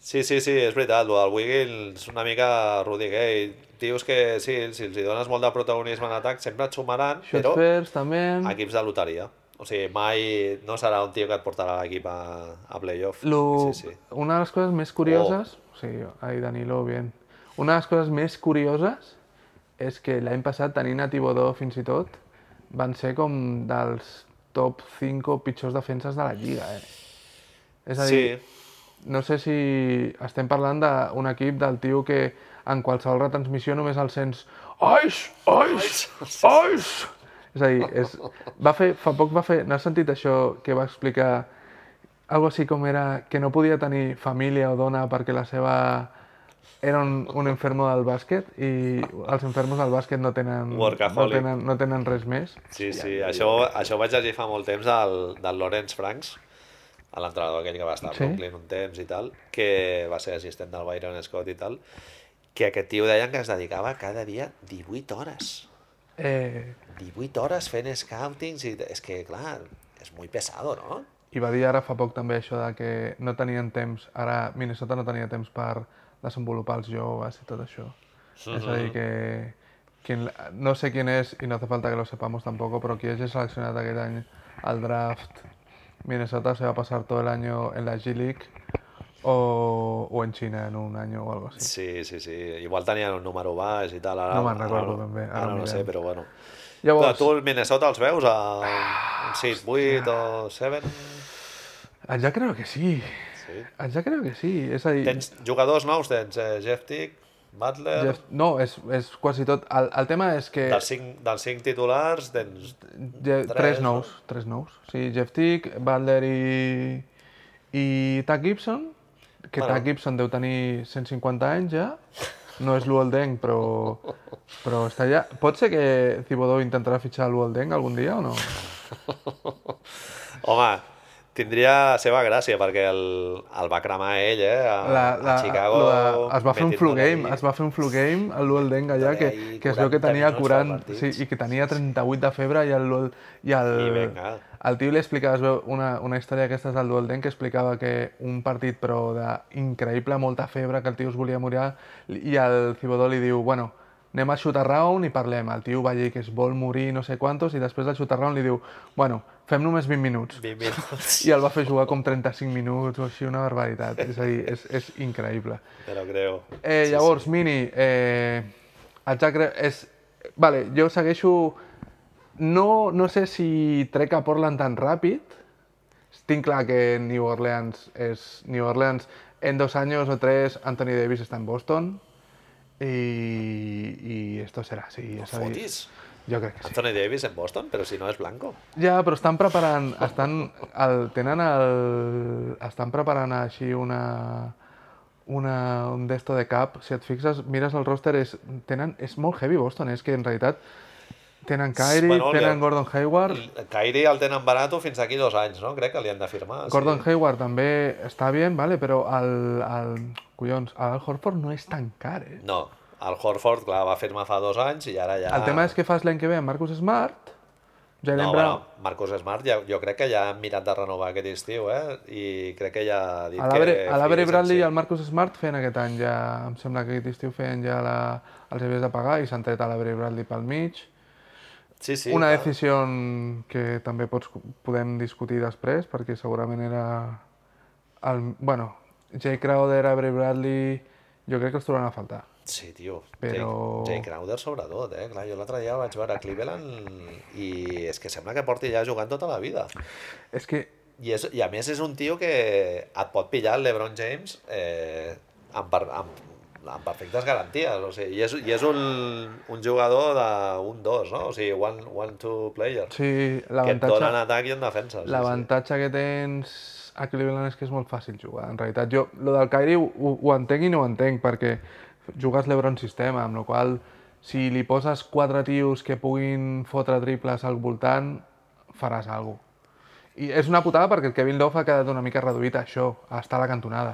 Speaker 2: Sí, sí, sí, és veritat, lo del Wiggins una mica Rudy Gay. Tios que sí, si els hi dones molt de protagonisme en atac, sempre et sumaran,
Speaker 1: Shot
Speaker 2: però
Speaker 1: first, també...
Speaker 2: a equips de loteria. O sigui, mai no serà un tio que et portarà l'equip a, a playoff.
Speaker 1: Lo,
Speaker 2: Sí, Oh. sí.
Speaker 1: Una de les coses més curioses... Sí, ahí Danilo, bien. Una de les coses més curioses és que l'any passat, tenint a Tibodó fins i tot, van ser com dels top 5 pitjors defenses de la Lliga, eh? És a dir,
Speaker 2: Sí,
Speaker 1: no sé si estem parlant d'un equip del tio que en qualsevol retransmissió només el sents Oix, oix, oix! És a dir, és, va fer, fa poc va fer, n'has sentit això que va explicar algo així com era que no podia tenir família o dona perquè la seva era un, un enfermo del bàsquet i els enfermos del bàsquet no tenen, no
Speaker 2: Workaholic.
Speaker 1: tenen, no tenen res més.
Speaker 2: Sí, sí, això, això ho vaig llegir fa molt temps del, del Lawrence Franks, a l'entrenador aquell que va estar a
Speaker 1: Sí.
Speaker 2: Brooklyn un temps i tal, que va ser assistent del Byron Scott i tal, que aquest tio deien que es dedicava cada dia 18 hores.
Speaker 1: Eh,
Speaker 2: 18 hores fent scoutings i és que, clar, és muy pesado, no?
Speaker 1: I va dir ara fa poc també això de que no tenien temps, ara Minnesota no tenia temps per desenvolupar els joves i tot això. És a
Speaker 2: Mhm.
Speaker 1: dir, que quien, no sé quién és i no hace falta que lo sepamos tampoco, però qui hagi seleccionat aquest any al draft Minnesota se va pasar todo el año en la G-League o, o en China en un año o algo así.
Speaker 2: Sí, sí, sí. Igual tenien un número baix i tal. Ara,
Speaker 1: No me'n
Speaker 2: ara
Speaker 1: recordo ben bé, ara
Speaker 2: Ara,
Speaker 1: ho
Speaker 2: no sé,
Speaker 1: mirem.
Speaker 2: però bueno. Clar,
Speaker 1: Llavors,
Speaker 2: tu el Minnesota els veus a 6, 8
Speaker 1: Ah.
Speaker 2: o 7?
Speaker 1: ja creo que sí. Ah,
Speaker 2: Sí.
Speaker 1: Ja creo que sí. És a dir,
Speaker 2: Tens jugadors nous, tens eh, Jeff Tick, Butler...
Speaker 1: Jeff- no, és, és quasi tot. El, el tema és que...
Speaker 2: Dels cinc, dels cinc titulars tens...
Speaker 1: Je tres,
Speaker 2: Tres, no?
Speaker 1: nous, tres nous. Sí, Jeff Tick, Butler i, i Tag Gibson, que bueno.
Speaker 2: Bueno.
Speaker 1: Tag Gibson deu tenir 150 anys ja, no és l'Uoldenc, però, però està allà. Pot ser que Thibodeau intentarà fitxar l'Uoldenc algun dia o no?
Speaker 2: Home, tindria la seva gràcia perquè el, el va cremar ell, eh? A, a Chicago...
Speaker 1: la- es va fer un
Speaker 2: metiéndole
Speaker 1: flu game,
Speaker 2: ahí.
Speaker 1: es va fer un flu game, el Luol Deng allà, que,
Speaker 2: ahí
Speaker 1: que es veu que
Speaker 2: 40
Speaker 1: tenia
Speaker 2: minuts per
Speaker 1: 40,
Speaker 2: partit.
Speaker 1: sí, i que tenia 38 de febre i el Luol, i el,
Speaker 2: I vinga.
Speaker 1: el tio li explicava, es veu una, una història d'aquestes del Luol Deng que explicava que un partit però d'increïble, molta febre, que el tio es volia morir, i el Cibodó li diu, bueno, anem a shoot around i parlem. El tio va dir que es vol morir no sé quantos i després del shoot around li diu, bueno, fem només 20 minuts.
Speaker 2: 20
Speaker 1: [LAUGHS]
Speaker 2: minuts.
Speaker 1: I el va fer jugar com 35 minuts o així, una barbaritat. És a dir, és, és increïble.
Speaker 2: Te lo creo.
Speaker 1: Eh, llavors, Mini, eh, el Jack Re- és... Vale, jo segueixo... No, no sé si trec a Portland tan ràpid. Tinc clar que New Orleans és New Orleans. En dos anys o tres, Anthony Davis està en Boston. I, i esto será así.
Speaker 2: No
Speaker 1: és a dir,
Speaker 2: fotis.
Speaker 1: Jo crec que sí.
Speaker 2: Anthony Davis en Boston, però si no és blanco.
Speaker 1: Ja, però estan preparant, estan, el, tenen el, estan preparant així una, una, un desto de cap. Si et fixes, mires el roster, és, tenen, és molt heavy Boston, eh? és que en realitat tenen Kyrie,
Speaker 2: Bueno,
Speaker 1: bueno,
Speaker 2: li-
Speaker 1: tenen Gordon Hayward,
Speaker 2: Kyrie el tenen barato fins aquí dos anys, no? Crec que li han de firmar.
Speaker 1: Gordon Hayward també està bien, vale, però el, el collons, el Horford no és tan car, eh?
Speaker 2: No, el Horford, clar, va firmar fa dos anys i ara ja...
Speaker 1: El tema és que fas l'any que ve amb Marcus Smart, Jalen
Speaker 2: Ah. No,
Speaker 1: Brown...
Speaker 2: bueno, Marcus Smart ja, jo crec que ja han mirat de renovar aquest estiu, eh? I crec que ja ha dit
Speaker 1: A l'Abre
Speaker 2: que...
Speaker 1: a l'Abre
Speaker 2: filis en
Speaker 1: Bradley
Speaker 2: sí.
Speaker 1: i el Marcus Smart feien aquest any ja, em sembla que aquest estiu feien ja la, els havies de pagar i s'han tret a l'Abre Bradley pel mig.
Speaker 2: Sí, sí,
Speaker 1: Una
Speaker 2: clar.
Speaker 1: decisió que també pots, podem discutir després, perquè segurament era... El, bueno, Jay Crowder, Avery Bradley, jo crec que els trobaran a faltar.
Speaker 2: Sí, tio.
Speaker 1: Però-
Speaker 2: Jay, Jay Crowder sobretot, eh? Clar, jo l'altre dia vaig veure a Cleveland i és que sembla que porti ja jugant tota la vida.
Speaker 1: És que,
Speaker 2: I, és, I a més és un tio que et pot pillar el LeBron James eh, amb, per, amb, amb perfectes garanties. O sigui, I és, i és un, un jugador d'un dos, no? O sigui, one, one two player.
Speaker 1: sí,
Speaker 2: que et dona en
Speaker 1: l'avantatge
Speaker 2: atac i en defensa. Sí, sí.
Speaker 1: l'avantatge que tens a Cleveland és que és molt fàcil jugar, en realitat. Jo, lo del Kyrie ho, ho entenc i no ho entenc, perquè jugues l'Ebron sistema, amb la qual si li poses quatre tios que puguin fotre triples al voltant, faràs alguna cosa. I és una putada perquè el Kevin Love ha quedat una mica reduït a això, a estar a la cantonada.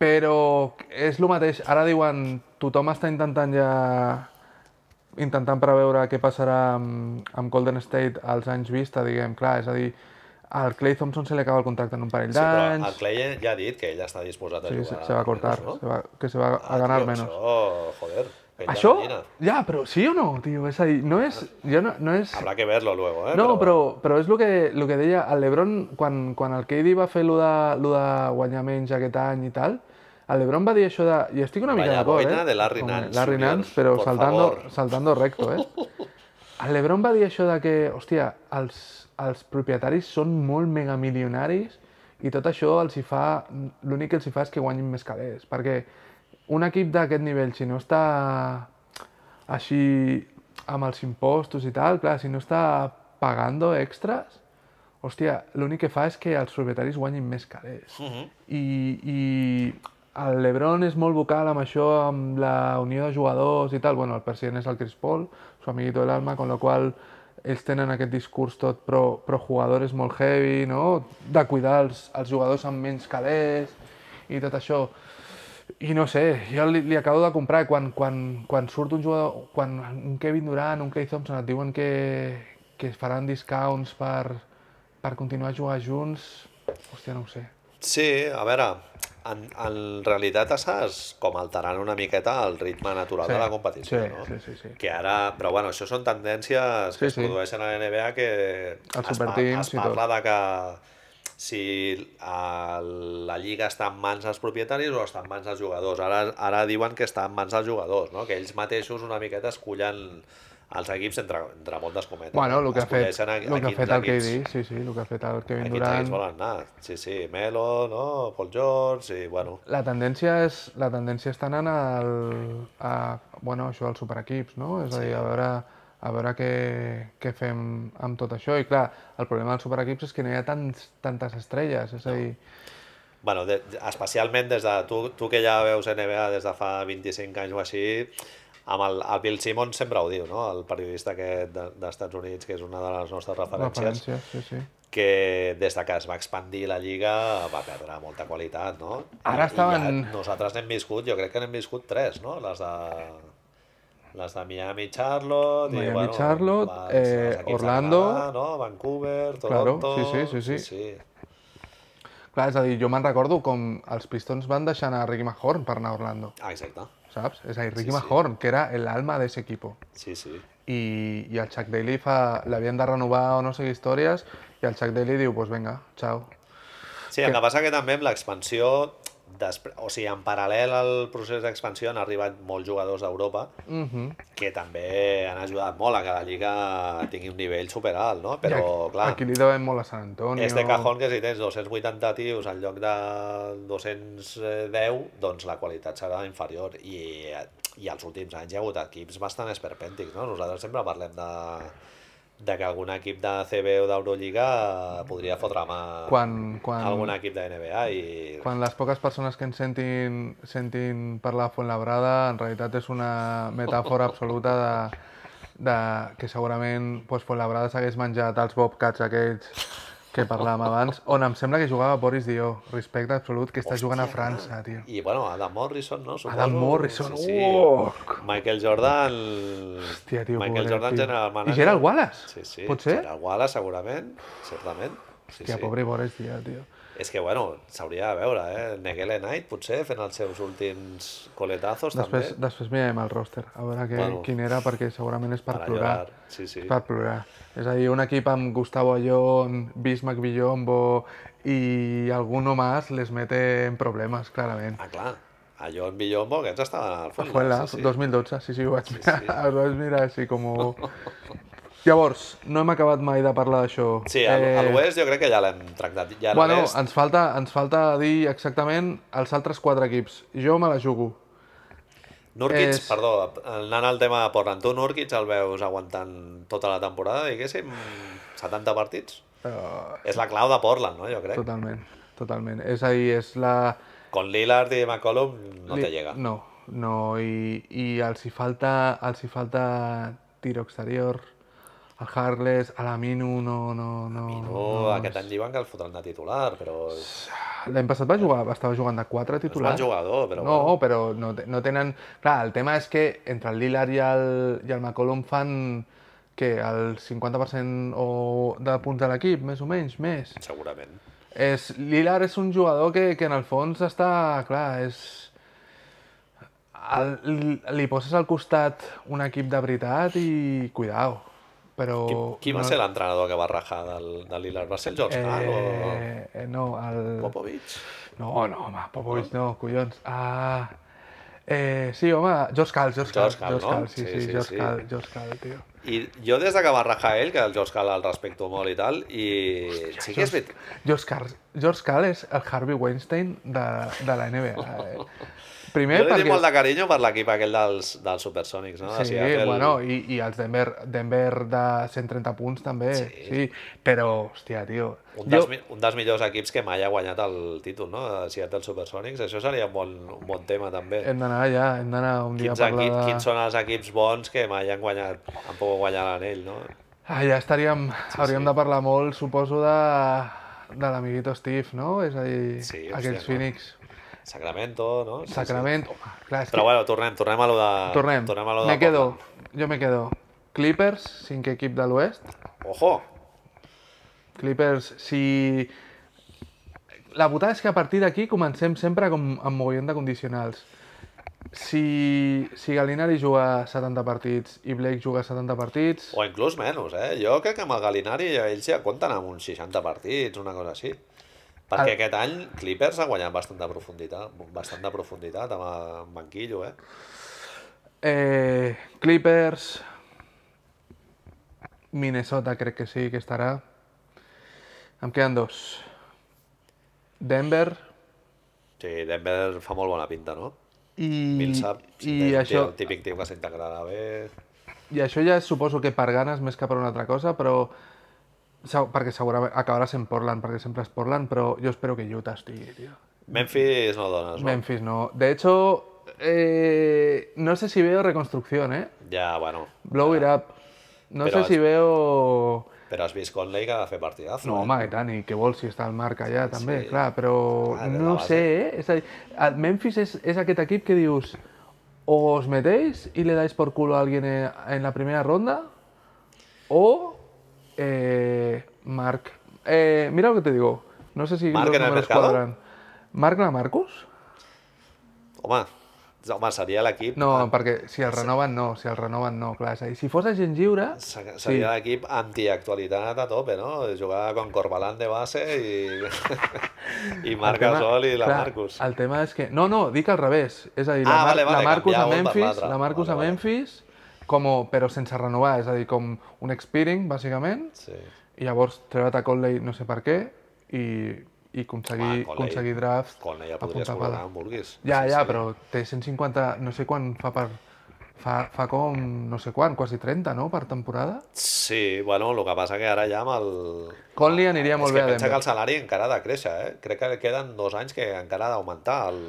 Speaker 1: Però és el mateix, ara diuen, tothom està intentant ja intentant preveure què passarà amb, amb Golden State als anys vista, diguem, clar, és a dir, al Clay Thompson se li acaba el contracte en un parell
Speaker 2: Sí, però el
Speaker 1: d'anys,
Speaker 2: Clay ja ha dit que ell està disposat a
Speaker 1: sí,
Speaker 2: jugar.
Speaker 1: se, se va a cortar,
Speaker 2: menys, Ah,
Speaker 1: se va, que se va a ganar
Speaker 2: tio,
Speaker 1: menos.
Speaker 2: Això, joder, pell de
Speaker 1: Això,
Speaker 2: gallina.
Speaker 1: ja, però sí o no, tio, és a dir, no és, jo no, no és...
Speaker 2: Habrá que verlo luego, eh?
Speaker 1: No, però, però és el que, lo que deia el Lebron, quan, quan el KD va fer lo de, lo de guanyar menys aquest any i tal, el Lebron va dir això de... I estic una mica
Speaker 2: Vaya
Speaker 1: d'acord,
Speaker 2: boina
Speaker 1: eh?
Speaker 2: de Larry
Speaker 1: Home,
Speaker 2: Nance,
Speaker 1: Larry
Speaker 2: Julián,
Speaker 1: Nance, però
Speaker 2: por
Speaker 1: saltando,
Speaker 2: favor.
Speaker 1: saltando recto,
Speaker 2: [LAUGHS]
Speaker 1: eh? El Lebron va dir això de que, hòstia, els, els propietaris són molt megamilionaris i tot això els hi fa... L'únic que els hi fa és que guanyin més calés, perquè un equip d'aquest nivell, si no està així amb els impostos i tal, clar, si no està pagando extras, hòstia, l'únic que fa és que els propietaris guanyin més calés. Uh -huh. I, I el Lebron és molt vocal amb això, amb la unió de jugadors i tal. Bueno, el president és el Chris Paul, su amiguito del alma, con lo cual ells tenen aquest discurs tot pro, pro jugadores molt heavy, no? De cuidar els, els jugadors amb menys calés i tot això. I no sé, jo li, li acabo de comprar quan, quan, quan surt un jugador, quan un Kevin Durant, un Clay Thompson et diuen que, que es faran discounts per, per continuar a jugar junts, hòstia, no ho sé.
Speaker 2: Sí, a veure, en, en realitat estàs com alterant una miqueta el ritme natural
Speaker 1: Sí,
Speaker 2: de la competició,
Speaker 1: sí,
Speaker 2: no?
Speaker 1: sí, sí, sí.
Speaker 2: Que ara... Però bueno, això són tendències
Speaker 1: Sí,
Speaker 2: que es
Speaker 1: sí.
Speaker 2: produeixen a la NBA que
Speaker 1: Els
Speaker 2: es, pa-
Speaker 1: superteams
Speaker 2: es
Speaker 1: i tot.
Speaker 2: parla de que si eh, la lliga està en mans dels propietaris o està en mans dels jugadors. Ara, ara diuen que està en mans dels jugadors, no? que ells mateixos una miqueta escollen els equips entre, entre moltes cometes.
Speaker 1: Bueno, el que ha fet,
Speaker 2: Escolleixen a- a
Speaker 1: el que ha
Speaker 2: quins
Speaker 1: fet el
Speaker 2: equips-
Speaker 1: KD, sí, sí, el que ha fet el Kevin
Speaker 2: Aquí Durant...
Speaker 1: Durant.
Speaker 2: volen anar. Sí, sí, Melo, no? Paul George, i bueno...
Speaker 1: La tendència, és, la tendència està anant al, a, bueno, això, als superequips, no? És a dir, a veure, a veure què, què fem amb tot això. I clar, el problema dels superequips és que no hi ha tants, tantes estrelles, és a dir...
Speaker 2: bueno de, especialment des de... Tu, tu que ja veus NBA des de fa 25 anys o així, amb el, el Bill Simmons sempre ho diu, no? El periodista aquest de- d'Estats Units, que és una de les nostres referències,
Speaker 1: Referències, sí, sí.
Speaker 2: que des de que es va expandir la Lliga va perdre molta qualitat, no?
Speaker 1: Ara
Speaker 2: I- i
Speaker 1: estaven-
Speaker 2: Ja nosaltres n'hem viscut, jo crec que n'hem viscut tres, no? Les de, les de Miami, Charlotte...
Speaker 1: Miami, Charlotte,
Speaker 2: els-
Speaker 1: eh,
Speaker 2: els equips de
Speaker 1: Orlando.
Speaker 2: Canadà, no? Vancouver,
Speaker 1: Claro,
Speaker 2: Toronto...
Speaker 1: sí, sí, sí, sí.
Speaker 2: sí.
Speaker 1: Clar, és a dir, jo me'n recordo com els Pistons van deixant a Ricky Mahorn per anar a Orlando,
Speaker 2: Ah, exacte.
Speaker 1: saps? És a dir, Ricky sí, Mahorn, que era el alma de ese equipo.
Speaker 2: Sí, sí.
Speaker 1: I, i el Chuck Daly fa... l'havien de renovar o no sé què històries, i el Chuck Daly diu, pues venga, ciao.
Speaker 2: Sí, el que passa que també amb l'expansió, despre... o sigui, en paral·lel al procés d'expansió han arribat molts jugadors d'Europa
Speaker 1: Mhm.
Speaker 2: que també han ajudat molt a que la Lliga tingui un nivell superalt, no? Però,
Speaker 1: aquí,
Speaker 2: clar,
Speaker 1: Aquí li devem molt a Sant Antonio.
Speaker 2: és de cajón que si tens 280 tios en lloc de 210, doncs la qualitat serà inferior. I, i els últims anys hi ha hagut equips bastant esperpèntics, no? Nosaltres sempre parlem de, de que algun equip de CB o d'Eurolliga podria fotre mà
Speaker 1: Quan, quan,
Speaker 2: algun equip de NBA i...
Speaker 1: quan les poques persones que ens sentin, sentin parlar a Fuentlabrada, en realitat és una metàfora absoluta doncs, de, de que segurament pues, Fuentlabrada s'hagués menjat els bobcats aquells que parlàvem abans, on em sembla que jugava Boris Dio, respecte absolut, que està jugant a França, tio.
Speaker 2: I bueno, Adam Morrison, no? Suposo.
Speaker 1: Adam Morrison,
Speaker 2: Sí, sí.
Speaker 1: uoc!
Speaker 2: Michael Jordan...
Speaker 1: Hòstia, tio,
Speaker 2: Michael
Speaker 1: pobret,
Speaker 2: Jordan,
Speaker 1: tio.
Speaker 2: general manager.
Speaker 1: I Gerald Wallace,
Speaker 2: Sí, sí.
Speaker 1: pot ser?
Speaker 2: Gerald Wallace, segurament, certament. Sí,
Speaker 1: Hòstia,
Speaker 2: sí.
Speaker 1: pobre Boris Dio, tio.
Speaker 2: És que, bueno, s'hauria de veure, eh? Negele Knight, potser, fent els seus últims coletazos,
Speaker 1: Després,
Speaker 2: també.
Speaker 1: després mirarem el roster, a veure que,
Speaker 2: Bueno.
Speaker 1: quin era, perquè segurament és per
Speaker 2: Para
Speaker 1: plorar.
Speaker 2: llorar. Sí, sí.
Speaker 1: És per plorar. És a dir, un equip amb Gustavo Ayón, Bismack Villombo i alguno más les mete en problemes, clarament.
Speaker 2: Ah, clar. A John Villombo, aquests estaven al fons.
Speaker 1: Ajuela,
Speaker 2: sí, sí.
Speaker 1: 2012, sí, sí, ho vaig
Speaker 2: Sí,
Speaker 1: mirar, [LAUGHS]
Speaker 2: sí.
Speaker 1: ho vaig mirar així com... Llavors, no hem acabat mai de parlar d'això.
Speaker 2: Sí, a a l'Oest jo crec que ja l'hem tractat. Ja
Speaker 1: Eh, bueno,
Speaker 2: l'Est-
Speaker 1: ens falta, ens falta dir exactament els altres quatre equips. Jo me la jugo.
Speaker 2: Nurkic,
Speaker 1: és-
Speaker 2: perdó, anant al tema de Portland, tu Nurkic el veus aguantant tota la temporada, diguéssim, 70 partits?
Speaker 1: Uh,
Speaker 2: És la clau de Portland, no?, jo crec.
Speaker 1: totalment, totalment. És a dir, és la...
Speaker 2: Con Lillard i McCollum no
Speaker 1: Li-
Speaker 2: te llega.
Speaker 1: No, no, i, i els, hi falta, els hi falta tiro exterior, el Harless, a la Minu, no, no, no.
Speaker 2: I no,
Speaker 1: no.
Speaker 2: Oh, aquest any diuen que el fotran de titular, però és
Speaker 1: L'any passat va jugar, estava jugant de 4
Speaker 2: un
Speaker 1: titular.
Speaker 2: mal jugador, però
Speaker 1: no, però no, te- no tenen... Clar, el tema és que entre el Lillard i el, i el McCollum fan que el 50% o de punts de l'equip, més o menys, més.
Speaker 2: bueno, segurament.
Speaker 1: És, Lillard és un jugador que, que en el fons està... Clar, és... El, li- li poses al costat un equip de veritat i cuidao. Però...
Speaker 2: Qui, qui va ser l'entrenador que va rajar del, del Lillard? Va ser el George Karl eh...
Speaker 1: Eh, eh, no,
Speaker 2: o
Speaker 1: el...
Speaker 2: Popovich?
Speaker 1: No, no, home, Popovich no, collons. Ah, eh, sí, home, George Cal, George Cal.
Speaker 2: George Karl, no?
Speaker 1: sí, sí, George
Speaker 2: sí.
Speaker 1: Karl, George Karl, tio.
Speaker 2: I jo des de que va rajar ell, que el George Karl el respecto molt i tal, i Hòstia, sí que és veritat,
Speaker 1: George Karl, George Karl és el Harvey Weinstein de, de la NBA.
Speaker 2: [LAUGHS]
Speaker 1: Eh? Primer
Speaker 2: jo li
Speaker 1: perquè...
Speaker 2: tinc molt de carinyo per l'equip aquell dels, dels Supersonics, no? De
Speaker 1: Sí,
Speaker 2: Seattle.
Speaker 1: bueno, i, i els Denver, Denver de 130 punts també, sí. sí. Però, hòstia, tio...
Speaker 2: un, dels, mi- un dels millors equips que mai ha guanyat el títol, no? De Seattle Supersonics. Això seria un bon, un bon tema, també.
Speaker 1: Hem d'anar allà, hem d'anar un dia a Eh,
Speaker 2: Quins,
Speaker 1: parlar
Speaker 2: equip,
Speaker 1: de...
Speaker 2: quins són els equips bons que mai han guanyat, han pogut guanyar l'anell, no?
Speaker 1: Ah, ja estaríem, hauríem de parlar molt, suposo, de, de l'amiguito Steve, no? És a dir,
Speaker 2: Sí, hòstia,
Speaker 1: aquells
Speaker 2: clar.
Speaker 1: Phoenix.
Speaker 2: Sacramento, no? Sí, sí.
Speaker 1: Sacrament, home, clar, és
Speaker 2: Però
Speaker 1: que...
Speaker 2: bueno, tornem, tornem a lo de...
Speaker 1: Tornem,
Speaker 2: tornem a lo de
Speaker 1: me quedo,
Speaker 2: Portland.
Speaker 1: jo me quedo. Clippers, cinquè equip de l'oest.
Speaker 2: Ojo!
Speaker 1: Clippers, si... La putada és que a partir d'aquí comencem sempre com amb mogollon de condicionals. Si, si Galinari juga 70 partits i Blake juga 70 partits...
Speaker 2: O inclús menys, eh? Jo crec que amb el Galinari ells ja compten amb uns 60 partits, una cosa així. Perquè
Speaker 1: El-
Speaker 2: aquest any Clippers ha guanyat bastant de profunditat, bastant de profunditat amb, amb Banquillo, eh?
Speaker 1: Eh, Clippers... Minnesota crec que sí, que estarà. Em queden dos. Denver
Speaker 2: Sí, Denver fa molt bona pinta, no?
Speaker 1: i...
Speaker 2: Millsap,
Speaker 1: I,
Speaker 2: és un tio-
Speaker 1: això,
Speaker 2: el típic tio que s'integrarà bé...
Speaker 1: I això ja és, suposo que per ganes més que per una altra cosa, però seg- perquè segurament acabarà sent Portland, perquè sempre és Portland, però jo espero que Utah estigui, tio.
Speaker 2: Memphis no dones, no?
Speaker 1: Memphis no. De hecho, eh, no sé si veo reconstrucción, ¿eh?
Speaker 2: Ja, bueno.
Speaker 1: Blow it up. No
Speaker 2: Però
Speaker 1: sé si
Speaker 2: es-
Speaker 1: veo...
Speaker 2: Però has vist Conley que ha de fer partidazo.
Speaker 1: No,
Speaker 2: eh?
Speaker 1: home, i tant, i què vols si està al marc allà, també,
Speaker 2: sí.
Speaker 1: clar, però
Speaker 2: Clar, de la
Speaker 1: no
Speaker 2: base.
Speaker 1: sé, eh? És a dir, el Memphis és, és aquest equip que dius o os metéis i le dais por culo a alguien eh, en la primera ronda o eh, Marc. Eh, mira lo que te digo. No sé si
Speaker 2: Marc
Speaker 1: los
Speaker 2: en el
Speaker 1: números
Speaker 2: mercado?
Speaker 1: cuadran. Marc la Marcus?
Speaker 2: Home, home seria l'equip...
Speaker 1: No, perquè si el renoven no, si el renoven no, clar, és a dir, si fos agent lliure...
Speaker 2: Se- Seria l'equip antiactualitat a tope, no? Jugar con Corbalán de base
Speaker 1: [LAUGHS]
Speaker 2: i, i
Speaker 1: el
Speaker 2: Marc
Speaker 1: tema-
Speaker 2: Gasol i la
Speaker 1: clar,
Speaker 2: Marcus.
Speaker 1: El tema és que... No, no, dic al revés. És a dir, la,
Speaker 2: Ah,
Speaker 1: Mar
Speaker 2: vale, vale,
Speaker 1: la Marcus a
Speaker 2: canviava un per
Speaker 1: Memphis,
Speaker 2: l'altre.
Speaker 1: la Marcus
Speaker 2: Vale,
Speaker 1: a
Speaker 2: vale.
Speaker 1: Memphis, com, però sense renovar, és a dir, com un expiring, bàsicament,
Speaker 2: Sí.
Speaker 1: i llavors treure't a Conley no sé per què, i, i aconseguir,
Speaker 2: Home, Conley-
Speaker 1: aconseguir draft
Speaker 2: Con ella
Speaker 1: a
Speaker 2: podries
Speaker 1: punta
Speaker 2: col·locar
Speaker 1: pala.
Speaker 2: on vulguis.
Speaker 1: Ja,
Speaker 2: Sí,
Speaker 1: ja,
Speaker 2: sí.
Speaker 1: però té 150... No sé quan fa per... Fa, fa com, no sé quan, quasi 30, no?, per temporada.
Speaker 2: Sí, bueno, el que passa que ara ja amb el...
Speaker 1: Conley aniria molt
Speaker 2: és que
Speaker 1: bé a
Speaker 2: pensa
Speaker 1: Denver.
Speaker 2: que el salari encara ha de créixer, eh? Crec que queden dos anys que encara ha d'augmentar el...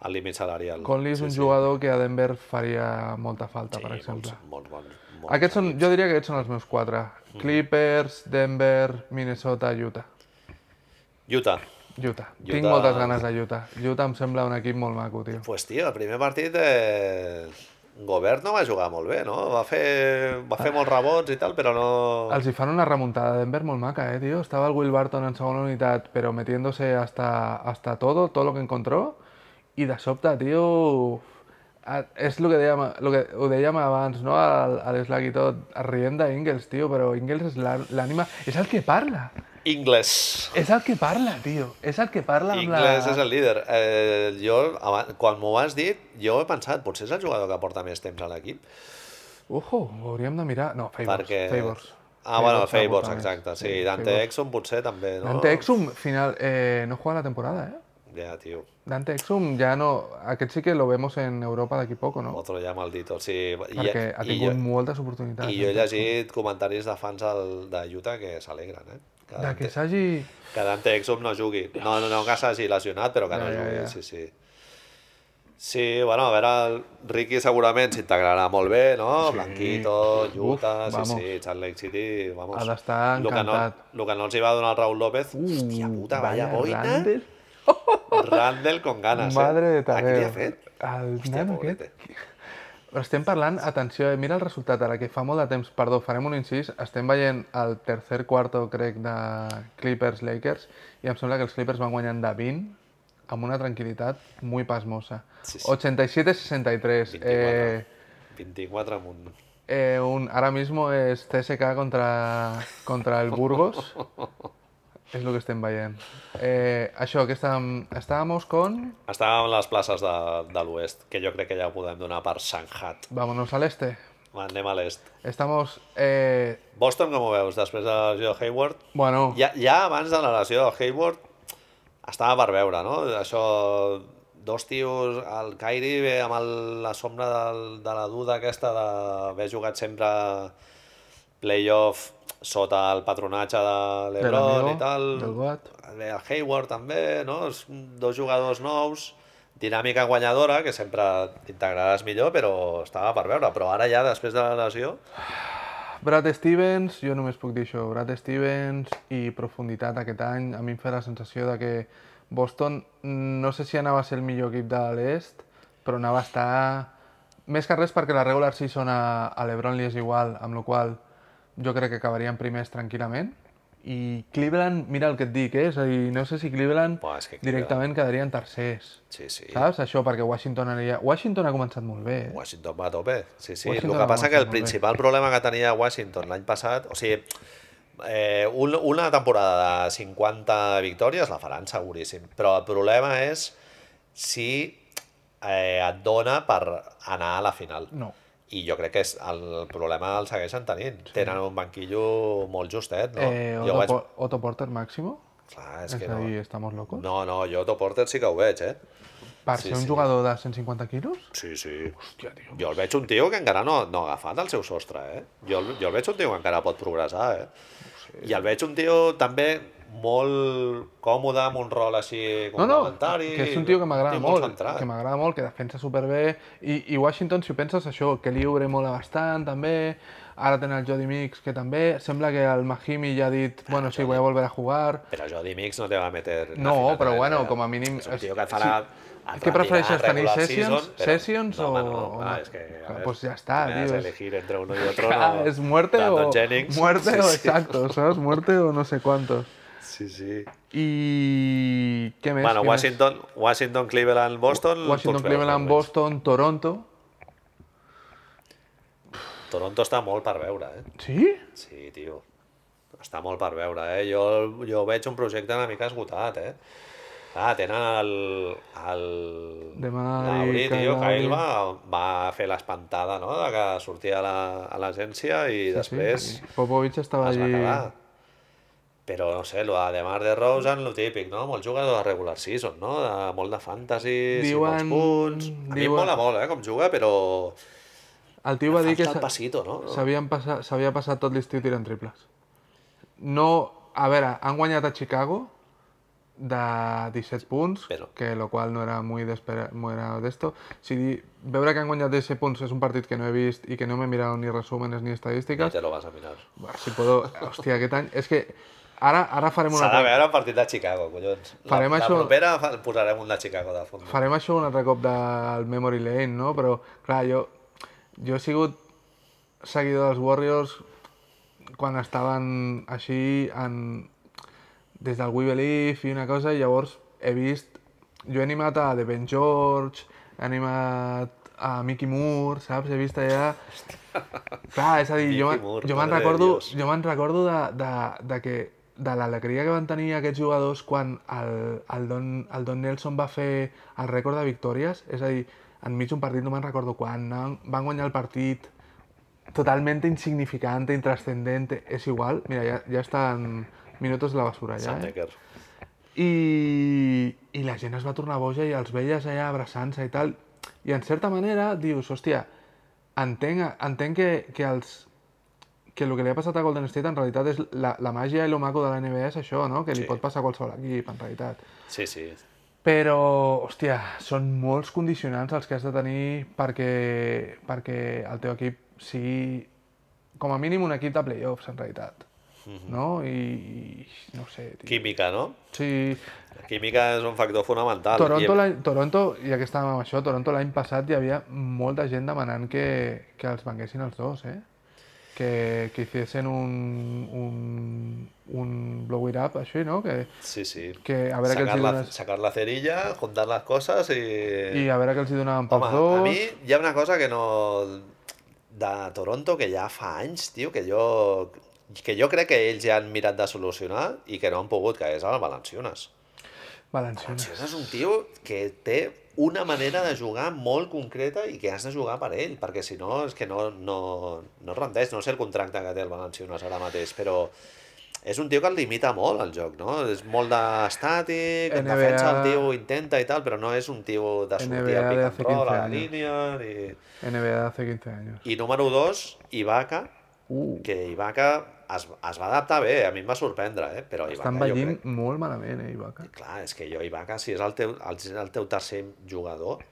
Speaker 2: al límit salarial.
Speaker 1: Conley és un jugador que a Denver faria molta falta,
Speaker 2: Sí,
Speaker 1: per exemple.
Speaker 2: Molts, molts, bons, molts
Speaker 1: Aquests són, jo diria que aquests són els meus quatre. Clippers, Denver, Minnesota, Utah.
Speaker 2: Utah.
Speaker 1: Utah. Tinc
Speaker 2: Utah-
Speaker 1: moltes ganes de Utah. Utah em sembla un equip molt maco, tio.
Speaker 2: Pues tio, el primer partit eh, Gobert no va jugar molt bé, no? Va fer, va
Speaker 1: Ah.
Speaker 2: fer molts rebots i tal, però no...
Speaker 1: Els hi fan una remuntada de Denver molt maca, eh, tio. Estava el Will Barton en segona unitat, però metiéndose hasta, hasta todo, todo lo que encontró, i de sobte, tio... a- És el que, dèiem, el que ho dèiem abans, no?, al- a l'Slack i tot, rient d'Ingles, tio, però Ingles és la- l'ànima... És el que parla!
Speaker 2: Ingles.
Speaker 1: És el que parla, tio! És el que parla amb la...
Speaker 2: Ingles és el líder. Eh, jo, abans, quan m'ho has dit, jo he pensat, potser és el jugador que porta més temps a l'equip.
Speaker 1: Ojo, ho hauríem de mirar... No, Favors,
Speaker 2: Perquè...
Speaker 1: Favors.
Speaker 2: Ah, bueno,
Speaker 1: Favors
Speaker 2: Favors,
Speaker 1: aporta més.
Speaker 2: exacte. Sí,
Speaker 1: Sí,
Speaker 2: Dante
Speaker 1: Favors.
Speaker 2: Exum potser també, no?
Speaker 1: Dante Exum, final, eh, no juega la temporada, eh?
Speaker 2: Ja, tio.
Speaker 1: Dante Exum ya no... Aquest sí que lo vemos en Europa d'aquí poco, no?
Speaker 2: Otro ja maldito. Sí, i-
Speaker 1: Perquè ha
Speaker 2: i
Speaker 1: tingut
Speaker 2: jo-
Speaker 1: moltes oportunitats. eh?
Speaker 2: I jo he llegit comentaris de fans del, de Utah que s'alegren, eh? Que
Speaker 1: De que
Speaker 2: Dante,
Speaker 1: s'hagi...
Speaker 2: que Dante Exum no jugui. No, no, no que s'hagi lesionat, però que
Speaker 1: Ja,
Speaker 2: no
Speaker 1: ja,
Speaker 2: jugui,
Speaker 1: ja.
Speaker 2: sí, sí. Sí, bueno, a veure, el Ricky segurament s'integrarà molt bé, no?
Speaker 1: Sí.
Speaker 2: Blanquito,
Speaker 1: Uf,
Speaker 2: Utah, sí,
Speaker 1: vamos.
Speaker 2: sí, Salt Lake City, vamos.
Speaker 1: Ha d'estar
Speaker 2: Lo que no,
Speaker 1: encantat.
Speaker 2: lo que no els hi va donar el Raúl López,
Speaker 1: Uh,
Speaker 2: hòstia puta, vaya,
Speaker 1: vaya
Speaker 2: boina. Randall.
Speaker 1: Randall.
Speaker 2: con ganes,
Speaker 1: Madre de
Speaker 2: eh? Ah, què li
Speaker 1: Tadeu.
Speaker 2: ha fet?
Speaker 1: El
Speaker 2: Hòstia,
Speaker 1: nano
Speaker 2: pobrete.
Speaker 1: aquest... Però estem parlant, atenció, eh? mira el resultat ara, que fa molt de temps, perdó, farem un incís, estem veient el tercer quarto, crec, de Clippers-Lakers, i em sembla que els Clippers van guanyant de 20, amb una tranquil·litat muy pasmosa.
Speaker 2: Sí, sí.
Speaker 1: 87-63.
Speaker 2: 24.
Speaker 1: Eh,
Speaker 2: 24 amunt.
Speaker 1: Eh, un, ahora mismo es TSK contra, contra el
Speaker 2: [LAUGHS]
Speaker 1: Burgos. és el que estem veient. Eh, això, que estàvem, estàvamos con...
Speaker 2: Estàvem en les places de, de l'oest, que jo crec que ja ho podem donar per Sanhat.
Speaker 1: Vámonos al este.
Speaker 2: Anem a l'est.
Speaker 1: Estamos... Eh,
Speaker 2: Boston, com ho veus, després de la lesió de Hayward?
Speaker 1: bueno,
Speaker 2: Ja, ja abans de la lesió de Hayward estava per veure, no? Això, dos tios, el Kyrie ve amb el, la sombra del, de la duda aquesta d'haver jugat sempre playoff sota el patronatge de
Speaker 1: de
Speaker 2: l'Ebron
Speaker 1: l'amigo,
Speaker 2: i tal.
Speaker 1: del Goat.
Speaker 2: el Hayward també, no? És un- dos jugadors nous, dinàmica guanyadora, que sempre t'integraràs millor, però estava per veure. Però ara ja, després de la lesió,
Speaker 1: Brad Stevens, jo només puc dir això, Brad Stevens i profunditat aquest any, a mi em fa la sensació de que Boston mm, no sé si anava a ser el millor equip de l'est, però anava a estar... Més que res perquè la regular season a, a l'Ebron li és igual, amb la qual cosa jo crec que acabarien primers tranquil·lament. I Cleveland, mira el que et dic, eh? és a dir, no sé si Cleveland
Speaker 2: Buah, és que Cleveland-
Speaker 1: directament quedarien tercers.
Speaker 2: sí, sí.
Speaker 1: Saps? Això perquè Washington aniria... Washington ha començat molt bé. Eh?
Speaker 2: Washington va a tope. Sí, sí.
Speaker 1: Washington
Speaker 2: el que
Speaker 1: va
Speaker 2: passa que el
Speaker 1: molt bé.
Speaker 2: principal problema que tenia Washington l'any passat, o sigui, eh, un, una temporada de 50 victòries la faran seguríssim, però el problema és si eh, et dona per anar a la final.
Speaker 1: No.
Speaker 2: I jo crec que és el problema el segueixen tenint. Sí. Tenen un banquillo molt justet, no?
Speaker 1: eh, Otto,
Speaker 2: jo vaig...
Speaker 1: Po- Otto Porter Máximo?
Speaker 2: Clar, és
Speaker 1: És
Speaker 2: que
Speaker 1: a
Speaker 2: no.
Speaker 1: dir, estamos locos.
Speaker 2: No, no, jo Otto Porter sí que ho veig, eh?
Speaker 1: Per
Speaker 2: Sí,
Speaker 1: ser un
Speaker 2: sí.
Speaker 1: jugador de 150 quilos?
Speaker 2: Sí, sí.
Speaker 1: Hòstia, tio.
Speaker 2: Jo el veig un tio que encara no, no ha agafat el seu sostre, eh? Jo el, jo el veig un tio que encara pot progressar, eh? I el veig un tio també molt còmode, amb un rol així
Speaker 1: No, no,
Speaker 2: complementari.
Speaker 1: que és un tio que m'agrada
Speaker 2: tio
Speaker 1: molt,
Speaker 2: centrat.
Speaker 1: que m'agrada molt, que defensa superbé, i, i Washington, si ho penses, això, que lliure mola bastant, també, ara tenen el Jody Mix, que també, sembla que el Mahimi ja ha dit,
Speaker 2: Ah,
Speaker 1: bueno, sí, voy a volver a jugar,
Speaker 2: Però Jody Mix no te va meter... en la
Speaker 1: No,
Speaker 2: final
Speaker 1: però
Speaker 2: de la
Speaker 1: bueno,
Speaker 2: NBA.
Speaker 1: com a mínim-
Speaker 2: És un tio que et farà... et
Speaker 1: Què
Speaker 2: rendirà
Speaker 1: prefereixes, tenir
Speaker 2: regular
Speaker 1: sessions?
Speaker 2: season, però-
Speaker 1: Sessions
Speaker 2: no,
Speaker 1: o-
Speaker 2: home, No,
Speaker 1: o
Speaker 2: clar,
Speaker 1: no?
Speaker 2: és que... a
Speaker 1: Clar,
Speaker 2: veure,
Speaker 1: doncs ja està,
Speaker 2: tu m'has
Speaker 1: tio, és-
Speaker 2: d'elegir entre
Speaker 1: [LAUGHS]
Speaker 2: uno y otro,
Speaker 1: Ah,
Speaker 2: no.
Speaker 1: és muerte
Speaker 2: Brandon
Speaker 1: o... [LAUGHS]
Speaker 2: Jennings.
Speaker 1: Muerte
Speaker 2: Sí,
Speaker 1: o
Speaker 2: sí.
Speaker 1: exacto, saps? Muerte o no sé cuántos.
Speaker 2: Sí, sí.
Speaker 1: I... què més?
Speaker 2: Bueno,
Speaker 1: què més?
Speaker 2: Washington, Washington, Cleveland, Boston...
Speaker 1: Washington,
Speaker 2: tots veus,
Speaker 1: Cleveland,
Speaker 2: no?
Speaker 1: Boston, Toronto...
Speaker 2: Toronto està molt per veure, eh?
Speaker 1: Sí?
Speaker 2: Sí, tio. Està molt per veure, eh? Jo, jo veig un projecte una mica esgotat, eh? Ah, tenen el... el...
Speaker 1: Demà
Speaker 2: Lauri,
Speaker 1: i
Speaker 2: tio,
Speaker 1: Kyle
Speaker 2: Kyle
Speaker 1: Lowry.
Speaker 2: va, va fer l'espantada, no?, de que sortia a la- a l'agència i sí, després sí,
Speaker 1: Popovich estava
Speaker 2: es va
Speaker 1: allí...
Speaker 2: quedar. Però, no sé, lo de Mar de Rose en lo típic, no? Molt jugador de regular season, no? De, molt de fantasy, diuen,
Speaker 1: Diuen-
Speaker 2: molts punts... A mi em
Speaker 1: diuen-
Speaker 2: mola molt, eh, com juga, però...
Speaker 1: El tio va dir que
Speaker 2: Falta el
Speaker 1: s'ha-
Speaker 2: passito, no?
Speaker 1: s'havien passa- s'havia passat tot l'estiu tirant triples. No... A veure, han guanyat a Chicago, de 17 punts,
Speaker 2: Però.
Speaker 1: que lo qual no era muy d'espera- no era d'esto. Si di- veure que han guanyat 17 punts és un partit que no he vist i que no m'he mirat ni resúmenes ni
Speaker 2: Ja
Speaker 1: estadístiques,
Speaker 2: te lo vas a mirar.
Speaker 1: Buah, si puedo... Hòstia, aquest any... És que ara, ara farem una
Speaker 2: S'ha de
Speaker 1: altra...
Speaker 2: veure el partit de Chicago, collons.
Speaker 1: Farem
Speaker 2: la,
Speaker 1: això-
Speaker 2: la propera fa- posarem un de Chicago de fons.
Speaker 1: Farem això un altre cop del Memory Lane, no? Però, clar, jo, jo he sigut seguidor dels Warriors quan estaven així en... des del We Believe i una cosa, i llavors he vist... Jo he animat a The Ben George, he animat a Mickey Moore, saps? He vist allà... Clar, és a dir, jo,
Speaker 2: Mickey
Speaker 1: me-
Speaker 2: Moore,
Speaker 1: jo me'n
Speaker 2: madre de
Speaker 1: recordo,
Speaker 2: Dios.
Speaker 1: jo me'n recordo de, de, de que de l'alegria que van tenir aquests jugadors quan el, el, Don, el Don Nelson va fer el rècord de victòries, és a dir, enmig d'un partit, no me'n recordo quan, no? van guanyar el partit totalment insignificante, intrascendente, és igual, mira, ja, ja estan minutos de la basura ja,
Speaker 2: Sam
Speaker 1: eh?
Speaker 2: Decker.
Speaker 1: I, I la gent es va tornar boja i els veies allà abraçant-se i tal. I en certa manera dius, hòstia, entenc, entenc que, que els que el que li ha passat a Golden State en realitat és la, la màgia i lo maco de la NBA és això, no? Que li
Speaker 2: Sí.
Speaker 1: pot passar a qualsevol equip, en realitat.
Speaker 2: Sí, sí.
Speaker 1: Però, hòstia, són molts condicionants els que has de tenir perquè, perquè el teu equip sigui com a mínim un equip de playoffs, en realitat.
Speaker 2: Mhm.
Speaker 1: No? I, i no ho sé, tio.
Speaker 2: Química, no?
Speaker 1: Sí,
Speaker 2: Química és un factor fonamental.
Speaker 1: Toronto,
Speaker 2: I-
Speaker 1: l'any... Toronto, ja que estàvem amb això, Toronto l'any passat hi havia molta gent demanant que, que els venguessin els dos, eh? Que, que hiciesen un, un, un blow it up, així, no? Que,
Speaker 2: Sí, sí.
Speaker 1: que a veure què els
Speaker 2: sacar,
Speaker 1: hi
Speaker 2: la,
Speaker 1: dones...
Speaker 2: sacar la cerilla, juntar las cosas y...
Speaker 1: I a veure què els hi donaven
Speaker 2: Home,
Speaker 1: pels dos...
Speaker 2: a mi hi ha una cosa que no... De Toronto, que ja fa anys, tio, que jo que jo crec que ells ja han mirat de solucionar i que no han pogut, que és el Valenciunes.
Speaker 1: Valenciunes.
Speaker 2: Valenciunes és un tio que té una manera de jugar molt concreta i que has de jugar per ell, perquè si no és que no, no, no rendeix, no sé el contracte que té el Valenciunes ara mateix, però és un tio que el limita molt el joc, no? És molt d'estàtic, en
Speaker 1: NBA
Speaker 2: defensa el tio intenta i tal, però no és un tio de sortir
Speaker 1: NBA
Speaker 2: al
Speaker 1: de
Speaker 2: pick
Speaker 1: hace
Speaker 2: and roll,
Speaker 1: 15
Speaker 2: a la
Speaker 1: años.
Speaker 2: línia... Ni...
Speaker 1: NBA de hace 15 anys.
Speaker 2: I número 2, Ibaka,
Speaker 1: Uh,
Speaker 2: que Ibaka es, es va adaptar bé, a mi em va sorprendre, eh? però Ibaka
Speaker 1: estan
Speaker 2: jo crec...
Speaker 1: veient molt malament, eh, Ibaka?
Speaker 2: Clar, és que jo Ibaka, si és el teu, el, el teu tercer jugador,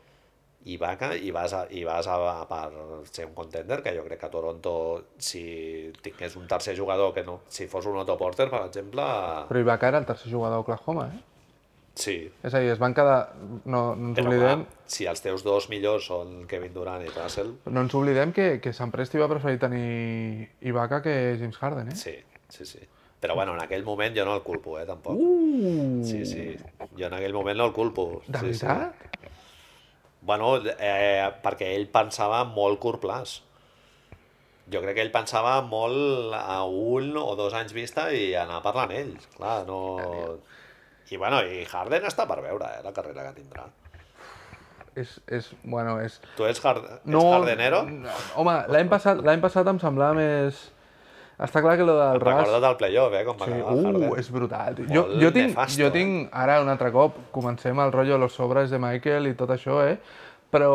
Speaker 2: Ibaka, i vas, a, i vas a, a per ser un contender, que jo crec que a Toronto, si tingués un tercer jugador, que no, si fos un Otto Porter, per exemple,
Speaker 1: Però Ibaka era el tercer jugador d'Oklahoma, eh?
Speaker 2: sí.
Speaker 1: És a dir, es van quedar... No, no ens
Speaker 2: Però
Speaker 1: oblidem...
Speaker 2: clar, si els teus dos millors són Kevin Durant i Russell,
Speaker 1: No ens oblidem que, que Sant Presti va preferir tenir Ibaka que James Harden, eh?
Speaker 2: sí, sí, sí. Però bueno, en aquell moment jo no el culpo, eh, tampoc.
Speaker 1: Uh!
Speaker 2: Sí, sí. Jo en aquell moment no el culpo.
Speaker 1: De
Speaker 2: sí, sí.
Speaker 1: veritat?
Speaker 2: Bueno, eh, perquè ell pensava molt curt plaç. Jo crec que ell pensava molt a un o dos anys vista i anar parlant ell. Clar, no... I bueno, i Harden està per veure, eh, la carrera que tindrà.
Speaker 1: És, és, bueno, és...
Speaker 2: Tu ets, hard... ets hardenero?
Speaker 1: No, home, l'any passat, l'any passat em semblava més... Està clar que lo del ras...
Speaker 2: Recorda't el playoff, eh, com va
Speaker 1: Sí,
Speaker 2: acabar
Speaker 1: uh,
Speaker 2: Harden.
Speaker 1: és brutal. tio. Jo,
Speaker 2: Molt
Speaker 1: jo, tinc,
Speaker 2: nefasto,
Speaker 1: jo
Speaker 2: eh?
Speaker 1: tinc, ara un altre cop, comencem el rotllo Los Sobres de Michael i tot això, eh? però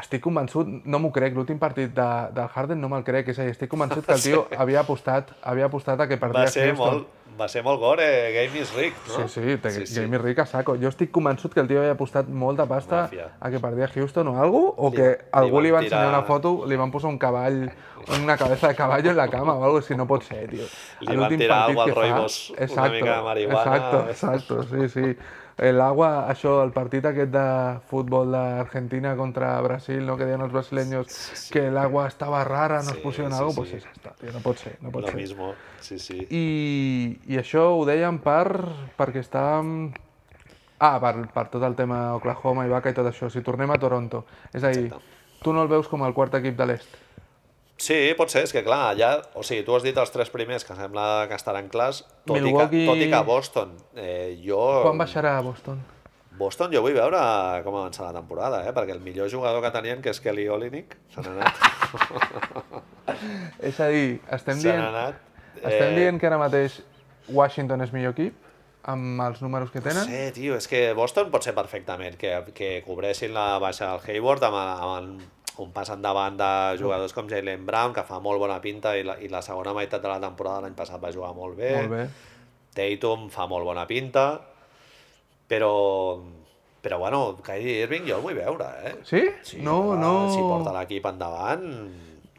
Speaker 1: estic convençut, no m'ho crec, l'últim partit de, del Harden no me'l crec, és a dir, estic convençut
Speaker 2: [LAUGHS]
Speaker 1: que el tio havia apostat, havia apostat a que perdia
Speaker 2: Va ser,
Speaker 1: Houston.
Speaker 2: molt, va ser molt gore, eh, Game is Rick, no?
Speaker 1: Sí, sí, te, sí, sí. Jamie Rick a saco. Jo estic convençut que el tio havia apostat molta pasta
Speaker 2: Màfia.
Speaker 1: a que perdia Houston o algo, o que
Speaker 2: li
Speaker 1: algú
Speaker 2: van
Speaker 1: li va ensenyar
Speaker 2: tirar-
Speaker 1: una foto, li van posar un cavall, una cabeza de caballo en la cama o algo, si no pot ser, tio. A
Speaker 2: Li van
Speaker 1: l'últim
Speaker 2: tirar
Speaker 1: partit
Speaker 2: algo
Speaker 1: que
Speaker 2: al
Speaker 1: fa-
Speaker 2: Roibos, una
Speaker 1: Exacto,
Speaker 2: mica de marihuana. eh.
Speaker 1: Exacto, exacto, sí, sí. L'agua, això, el partit aquest de futbol d'Argentina contra Brasil, no, que deien els brasileños que l'agua estava rara, no
Speaker 2: Sí,
Speaker 1: es pusieron
Speaker 2: sí,
Speaker 1: algo,
Speaker 2: sí.
Speaker 1: pues és esta, tio, no pot ser, no pot
Speaker 2: Lo
Speaker 1: ser.
Speaker 2: mismo, sí, sí.
Speaker 1: I, i això ho deia en part perquè estàvem... Ah, per, per tot el tema Oklahoma, Ibaka i tot això. Si tornem a Toronto, és a dir, tu no el veus com el quart equip de l'est.
Speaker 2: Sí, pot ser, és que clar, ja, o sigui, tu has dit els tres primers que sembla que estaran clars, tot,
Speaker 1: Milwaukee-
Speaker 2: i, que, tot i que Boston, eh, jo...
Speaker 1: Quan baixarà a Boston?
Speaker 2: Boston jo vull veure com avança la temporada, eh? perquè el millor jugador que tenien, que és Kelly Olynyk, se n'ha anat,
Speaker 1: És a dir, estem
Speaker 2: se n'ha
Speaker 1: dient,
Speaker 2: anat. eh,
Speaker 1: estem dient que ara mateix Washington és millor equip, amb els números que
Speaker 2: No
Speaker 1: tenen.
Speaker 2: sé, tio, és que Boston pot ser perfectament que, que cobressin la baixa del Hayward amb, amb un pas endavant de jugadors com Jalen Brown, que fa molt bona pinta i la, i la segona meitat de la temporada l'any passat va jugar molt bé.
Speaker 1: Molt bé.
Speaker 2: Tatum fa molt bona pinta. Però, però bueno, Kyrie Irving jo el vull veure, eh?
Speaker 1: Sí? no,
Speaker 2: home,
Speaker 1: no...
Speaker 2: Si porta l'equip endavant...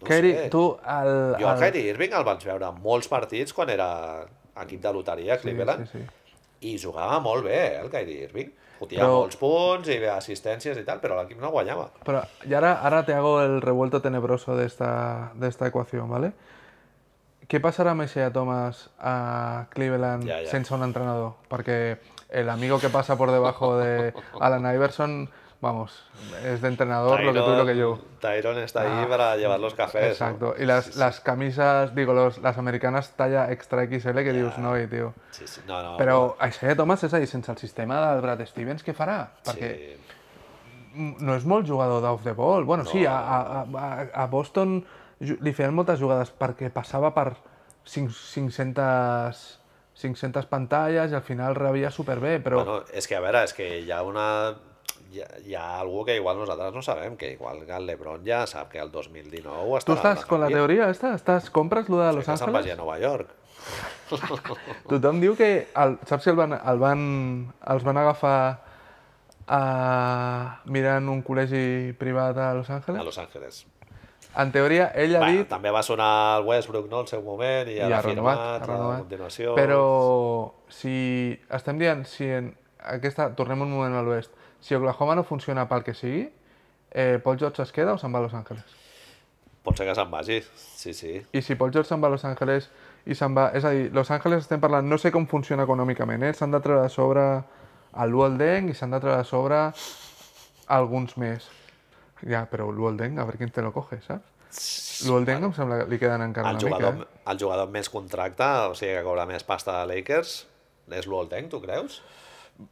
Speaker 2: No
Speaker 1: Kyrie,
Speaker 2: sé.
Speaker 1: tu, el...
Speaker 2: Jo a
Speaker 1: el-
Speaker 2: Kyrie Irving el vaig veure molts partits quan era equip de loteria,
Speaker 1: Sí,
Speaker 2: Cleveland,
Speaker 1: sí, sí.
Speaker 2: i jugava molt bé, eh, el Kyrie Irving. Fotia
Speaker 1: Però-
Speaker 2: molts punts i assistències i tal, però l'equip no guanyava.
Speaker 1: Pero y ahora, ahora te hago el revuelto tenebroso de esta, de esta ecuación, ¿vale? ¿Qué pasará Messiah Thomas a Cleveland
Speaker 2: Ja, ja.
Speaker 1: sense un entrenador? Porque el amigo que pasa por debajo de Alan Iverson, vamos, es de entrenador lo que tú y lo que yo. Ah,
Speaker 2: Tyrone está ahí para llevar los cafés.
Speaker 1: Exacto.
Speaker 2: ¿no?
Speaker 1: Y las, las camisas, digo, los, las americanas talla extra XL que dius, no, eh, tío.
Speaker 2: Sí, sí. No, no,
Speaker 1: Pero Isaiah Thomas és a dir, sense el sistema del Brad Stevens, què farà?
Speaker 2: Sí.
Speaker 1: Perquè no és molt jugador d'off the ball. Bueno, sí, a, a, a, a Boston ju- li feien moltes jugades perquè passava per cinc- 500, 500 pantalles i al final rebia superbé, però bueno,
Speaker 2: Bueno, és que a veure, és que hi ha una... Hi ha, hi ha algú que igual nosaltres no sabem, que igual el LeBron ja sap que el 2019
Speaker 1: tu
Speaker 2: estarà...
Speaker 1: estàs con la teoria esta? Estàs, compres lo de Los
Speaker 2: Que se'n vagi
Speaker 1: Angeles?
Speaker 2: a Nova York.
Speaker 1: Tothom diu que, el, saps si el van, el van, els van agafar a, mirant un col·legi privat a Los
Speaker 2: A
Speaker 1: Angeles?
Speaker 2: Los Ángeles.
Speaker 1: En teoria, ell ha
Speaker 2: Bueno,
Speaker 1: dit
Speaker 2: també va sonar el Westbrook, no?, al seu moment, i,
Speaker 1: i
Speaker 2: ara
Speaker 1: ha
Speaker 2: ha
Speaker 1: renovat, ha
Speaker 2: firmat a
Speaker 1: renovat.
Speaker 2: continuació. doncs.
Speaker 1: Però si estem dient, si en aquesta, tornem un moment a l'oest, si Oklahoma no funciona pel que sigui, eh, Paul George es queda o se'n va a Los Angeles?
Speaker 2: Pot ser que se'n vagi, sí, sí.
Speaker 1: I si Paul George se'n va a Los Angeles i se'n va... És a dir, Los Angeles estem parlant, no sé com funciona econòmicament, eh? s'han de treure de sobre el Walden i s'han de treure de sobre alguns més. Ja, però el Walden, a veure quién te lo coge, saps? El Walden em sembla que li queden encara
Speaker 2: el
Speaker 1: una
Speaker 2: jugador,
Speaker 1: mica. Eh?
Speaker 2: el jugador amb més contracte, o sigui que cobra més pasta a Lakers, és l'Oltenc, tu creus?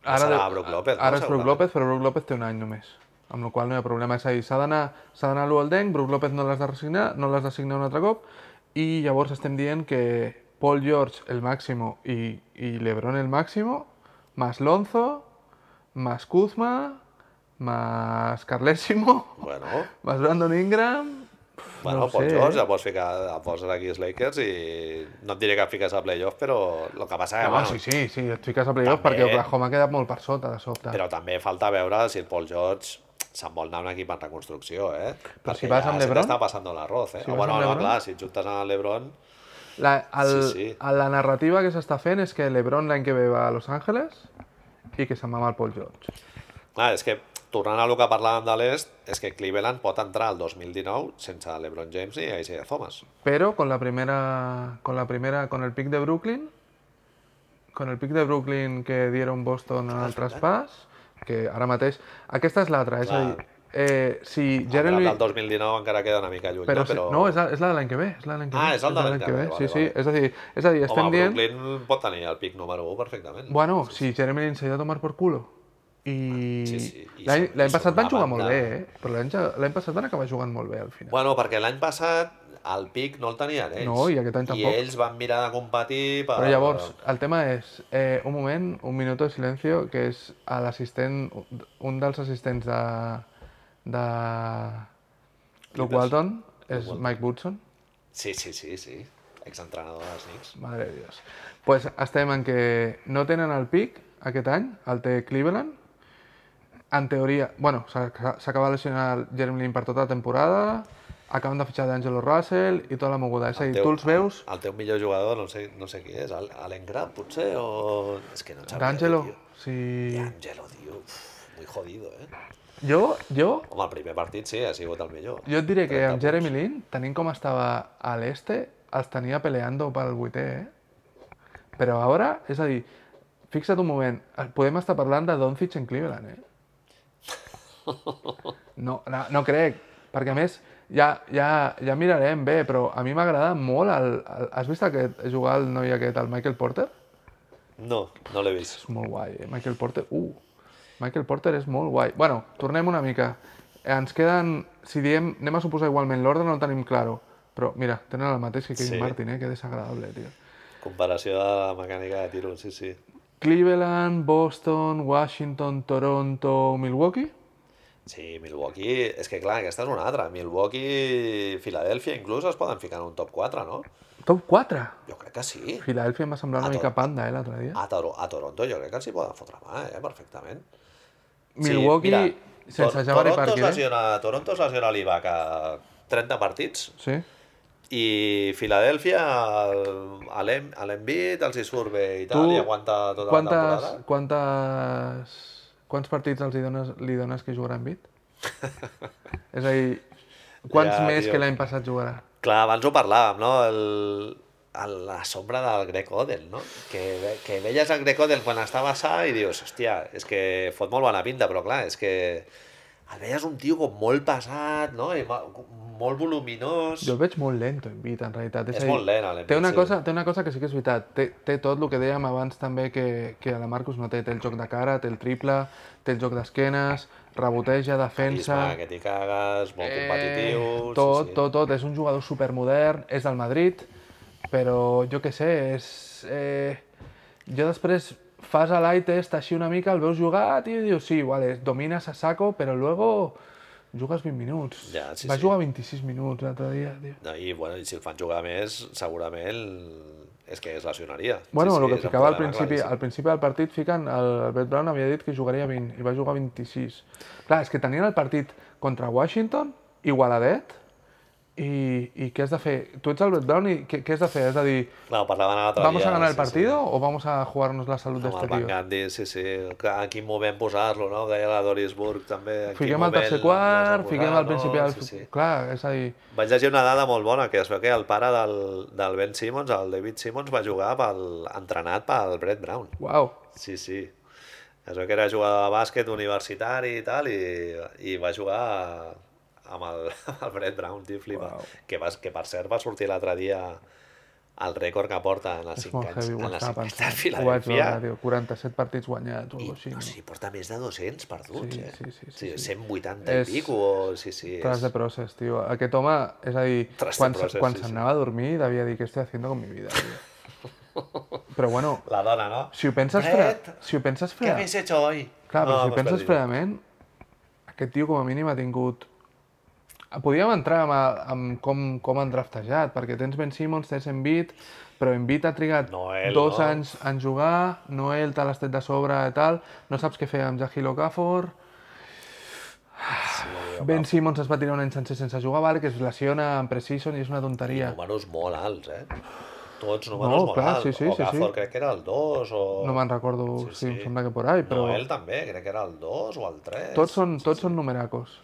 Speaker 2: Ara serà
Speaker 1: de-
Speaker 2: Brook López, no?
Speaker 1: Ara és Brook
Speaker 2: Segurament.
Speaker 1: López, però Brook López té un any només. Amb la qual cosa no hi ha problema. És a dir, s'ha d'anar s'ha d'anar a l'Ualdenc, Brook López no l'has de resignar, no l'has de signar un altre cop, i llavors estem dient que Paul George el màximo i, i Lebron el màximo, más Lonzo, más Kuzma, más Carlésimo, [LAUGHS]
Speaker 2: Bueno,
Speaker 1: más Brandon Ingram... Pff,
Speaker 2: bueno
Speaker 1: no
Speaker 2: no
Speaker 1: ho
Speaker 2: Paul
Speaker 1: sé,
Speaker 2: George
Speaker 1: eh?
Speaker 2: el pots, ficar, el pots aquí als Lakers i no et diré que et fiques a playoff, però el que
Speaker 1: Ah,
Speaker 2: passa... que,
Speaker 1: bueno,
Speaker 2: bueno,
Speaker 1: sí, sí, sí, et fiques a playoff
Speaker 2: També.
Speaker 1: perquè Oklahoma ha quedat molt per sota, de sobte.
Speaker 2: Però també falta veure si el Paul George se'n vol anar a un equip en reconstrucció, eh? Però
Speaker 1: si vas amb LeBron?
Speaker 2: Està passant l'arroz,
Speaker 1: Si
Speaker 2: eh? Si
Speaker 1: vas
Speaker 2: bueno,
Speaker 1: amb
Speaker 2: no,
Speaker 1: LeBron?
Speaker 2: clar, si et juntes amb el LeBron...
Speaker 1: La, el,
Speaker 2: Sí, sí.
Speaker 1: a la narrativa que s'està fent és que LeBron l'any que ve va a Los Angeles i que se'n va amb el Paul George.
Speaker 2: Clar, és que tornant a lo que parlàvem de l'est, és que Cleveland pot entrar al 2019 sense LeBron James ni Isaiah Thomas.
Speaker 1: Però con la primera, con la primera, con el pic de Brooklyn, con el pic de Brooklyn que dieron Boston en el traspàs, que ara mateix... Aquesta és l'altra, és a dir, eh, si
Speaker 2: Jeremy...
Speaker 1: Jeremy...
Speaker 2: El del 2019 encara queda una mica lluny,
Speaker 1: Però,
Speaker 2: no?
Speaker 1: si,
Speaker 2: Però...
Speaker 1: no, és la, és la de l'any que ve. És la de l'any que
Speaker 2: Ah,
Speaker 1: ve,
Speaker 2: és el de l'any que ve,
Speaker 1: Sí,
Speaker 2: vale,
Speaker 1: sí,
Speaker 2: vale.
Speaker 1: és a dir, és a dir estem
Speaker 2: Home,
Speaker 1: dient...
Speaker 2: Brooklyn pot tenir el pic número 1 perfectament.
Speaker 1: Bueno, si Jeremy Lin se ha de tomar por culo. I
Speaker 2: Sí, sí, i
Speaker 1: l'any
Speaker 2: són- i
Speaker 1: l'any
Speaker 2: són
Speaker 1: passat van
Speaker 2: una
Speaker 1: jugar
Speaker 2: banda.
Speaker 1: molt bé, eh? Però l'any ja- l'any passat van acabar jugant molt bé al final.
Speaker 2: Bueno, perquè l'any passat el pic no el tenien ells.
Speaker 1: No, i aquest any tampoc.
Speaker 2: I ells van mirar de competir per...
Speaker 1: Però llavors, el tema és, eh, un moment, un minuto de silencio, que és a l'assistent, un dels assistents de, de Luke Walton, és Mike Woodson.
Speaker 2: Sí, sí, sí, sí. Exentrenador dels Knicks.
Speaker 1: Madre de Dios. Pues estem en que no tenen el pic aquest any, el té Cleveland. En teoria, bueno, s'ha- s'ha- s'acaba de lesionar Jeremy Lin per tota la temporada, acaben de fitxar d'Angelo Russell i tota la moguda. És a dir, tu els veus,
Speaker 2: El teu millor jugador, no sé, no sé qui és, el- Allen Grant, potser, o... És que no en sabia,
Speaker 1: d'Angelo,
Speaker 2: tio.
Speaker 1: si...
Speaker 2: D'Angelo, tio. Uf, muy jodido, eh?
Speaker 1: Jo, jo,
Speaker 2: Home, el primer partit sí, ha sigut el millor.
Speaker 1: jo et diré que amb Jeremy Lin, tenint com estava a l'este, els tenia peleando pel vuitè, eh? Però ara, és a dir, fixa't un moment, eh, podem estar parlant de Doncic en Cleveland, eh? No, no, no crec, perquè a més ja, ja, ja mirarem bé, però a mi m'agrada molt el, el... Has vist aquest, jugar el noi aquest, el Michael Porter?
Speaker 2: No, no l'he vist.
Speaker 1: És molt guai, eh? Michael Porter... Uh! Michael Porter és molt guai. Bueno, tornem una mica. Eh, Ens queden... Si diem... Anem a suposar igualment, l'ordre no el tenim claro. Però, mira, tenen el mateix que Kevin
Speaker 2: Sí.
Speaker 1: Martin, eh? Que desagradable, tio.
Speaker 2: Comparació de la mecànica de tiro, sí, sí.
Speaker 1: Cleveland, Boston, Washington, Toronto, Milwaukee.
Speaker 2: Sí, Milwaukee... És que, clar, aquesta és una altra. Milwaukee, Filadèlfia, inclús, es poden ficar en un top 4, no?
Speaker 1: Top 4?
Speaker 2: Jo crec que sí.
Speaker 1: Filadelfia em va semblar una
Speaker 2: A
Speaker 1: mica
Speaker 2: tot. Ah,
Speaker 1: panda, eh, l'altre dia.
Speaker 2: A, Toro, a Toronto jo crec que els hi poden fotre mà, eh, perfectament.
Speaker 1: Milwaukee, sense Jabari
Speaker 2: Toronto es
Speaker 1: Parker, eh?
Speaker 2: lesiona, Toronto es lesiona l'Ibaka 30 partits
Speaker 1: Sí?
Speaker 2: i Filadèlfia el- a l'Em- a l'Embiid els hi surt bé i tal,
Speaker 1: Tu,
Speaker 2: i aguanta tota la
Speaker 1: Quantes,
Speaker 2: temporada.
Speaker 1: quantes, quants partits els hi dones, li dones que jugarà en
Speaker 2: [LAUGHS]
Speaker 1: bit? És a dir, quants
Speaker 2: Ja,
Speaker 1: més
Speaker 2: tio.
Speaker 1: que l'any passat jugarà?
Speaker 2: Clar, abans ho parlàvem, no? El, el, la sombra del Greg Odell, no? Que, ve- que veies el Greg Odell quan estava sa i dius, hòstia, és que fot molt bona pinta, però clar, és que el veies un tio com molt pesat, no? I ma- molt voluminós.
Speaker 1: Jo el veig molt lento en bit, en realitat. És,
Speaker 2: És
Speaker 1: a dir,
Speaker 2: molt lent, l'Embiid,
Speaker 1: té una,
Speaker 2: sí.
Speaker 1: cosa, té una cosa que sí que és veritat. Té, té tot el que dèiem abans també que, que la Marcus no té. Té el joc de cara, té el triple, té el joc d'esquenes, reboteja, defensa...
Speaker 2: Isma, que t'hi cagues, molt competitiu... sí,
Speaker 1: Eh, tot,
Speaker 2: sí.
Speaker 1: tot, tot. És un jugador supermodern, és del Madrid, però jo què sé, és... Eh, jo després fas a l'eye test així una mica, el veus jugar, tio, i dius, sí, vale, domines a saco, però luego jugues 20 minuts.
Speaker 2: Ja, sí,
Speaker 1: Va
Speaker 2: sí.
Speaker 1: jugar 26 minuts l'altre dia, tio.
Speaker 2: No, I, bueno, i si el fan jugar més, segurament és que es lesionaria.
Speaker 1: Bueno, sí, el
Speaker 2: és
Speaker 1: que
Speaker 2: un
Speaker 1: ficava al
Speaker 2: problema
Speaker 1: principi,
Speaker 2: claríssim.
Speaker 1: al principi del partit, fiquen, el Brett Brown havia dit que jugaria 20 i va jugar 26. Clar, és que tenien el partit contra Washington, igualadet, i, i què has de fer? Tu ets el Brett Brown i què, què has de fer? És a dir,
Speaker 2: Clar, ho parlaven l'altre
Speaker 1: ¿vamos
Speaker 2: dia,
Speaker 1: a ganar el
Speaker 2: sí, sí.
Speaker 1: partido o vamos a jugarnos la salud de
Speaker 2: Amb
Speaker 1: este
Speaker 2: el Van
Speaker 1: tío?
Speaker 2: Gandhi, sí, sí. Clar, en quin moment posar-lo, no? Ho Deia la Doris Burg, també. En quin
Speaker 1: Fiquem al
Speaker 2: moment
Speaker 1: tercer
Speaker 2: l'has de
Speaker 1: quart,
Speaker 2: posar,
Speaker 1: fiquem al principi
Speaker 2: no?
Speaker 1: del...
Speaker 2: Sí, sí.
Speaker 1: Clar, és a dir...
Speaker 2: Vaig llegir una dada molt bona, que es veu que el pare del, del Ben Simmons, el David Simmons, va jugar pel, entrenat pel Brett Brown.
Speaker 1: Uau,
Speaker 2: Sí, sí. Es veu que era jugador de bàsquet universitari i tal, i, i va jugar amb el, [LAUGHS] amb el Brett Brown, tio, flipa.
Speaker 1: Uau.
Speaker 2: Que, va, que per cert va sortir l'altre dia el rècord que porta en els
Speaker 1: és
Speaker 2: 5
Speaker 1: molt
Speaker 2: anys,
Speaker 1: heavy,
Speaker 2: en
Speaker 1: ho
Speaker 2: les
Speaker 1: estava
Speaker 2: 5 anys de
Speaker 1: pensant. Ho vaig
Speaker 2: Filadèlfia.
Speaker 1: veure, tio, 47 partits guanyats o
Speaker 2: I,
Speaker 1: alguna cosa així.
Speaker 2: o
Speaker 1: no?
Speaker 2: sigui, porta més de 200 perduts,
Speaker 1: Sí,
Speaker 2: eh?
Speaker 1: sí, sí, sí, sí.
Speaker 2: 180
Speaker 1: És-
Speaker 2: i pico, o... Sí, sí,
Speaker 1: Tras
Speaker 2: és...
Speaker 1: de process, tio. Aquest home, és a dir,
Speaker 2: Tras de
Speaker 1: quan, se-
Speaker 2: process,
Speaker 1: quan
Speaker 2: sí,
Speaker 1: s'anava a dormir devia dir què estic haciendo con mi vida, tio.
Speaker 2: [LAUGHS]
Speaker 1: Però bueno,
Speaker 2: La dona, no?
Speaker 1: si ho penses, fre...
Speaker 2: Brett,
Speaker 1: si ho penses
Speaker 2: ¿Qué
Speaker 1: fre...
Speaker 2: habéis hecho hoy?
Speaker 1: Clar, però si ho
Speaker 2: Ah, pues
Speaker 1: penses
Speaker 2: perdido.
Speaker 1: fredament, aquest tio com a mínim ha tingut... Podíem entrar amb, amb com, com han draftejat, perquè tens Ben Simmons, tens Embiid, però Embiid ha trigat
Speaker 2: Noel,
Speaker 1: dos
Speaker 2: no?
Speaker 1: anys en jugar, Noel te l'has tret de sobre i tal, no saps què fer amb Jahil Okafor, Ben Simmons es va tirar un any sencer sense jugar, vale, que es lesiona en preseason i és una tonteria.
Speaker 2: Números molt alts, eh? Tots números
Speaker 1: No,
Speaker 2: molt
Speaker 1: clar,
Speaker 2: alts.
Speaker 1: sí, sí, sí,
Speaker 2: Okafor
Speaker 1: sí.
Speaker 2: crec que era el 2 o...
Speaker 1: No me'n recordo
Speaker 2: Sí,
Speaker 1: sí, si em
Speaker 2: sí.
Speaker 1: sembla que por ahí, però
Speaker 2: Noel també, crec que era el 2 o el 3.
Speaker 1: tots són, Eh, tots són numeracos.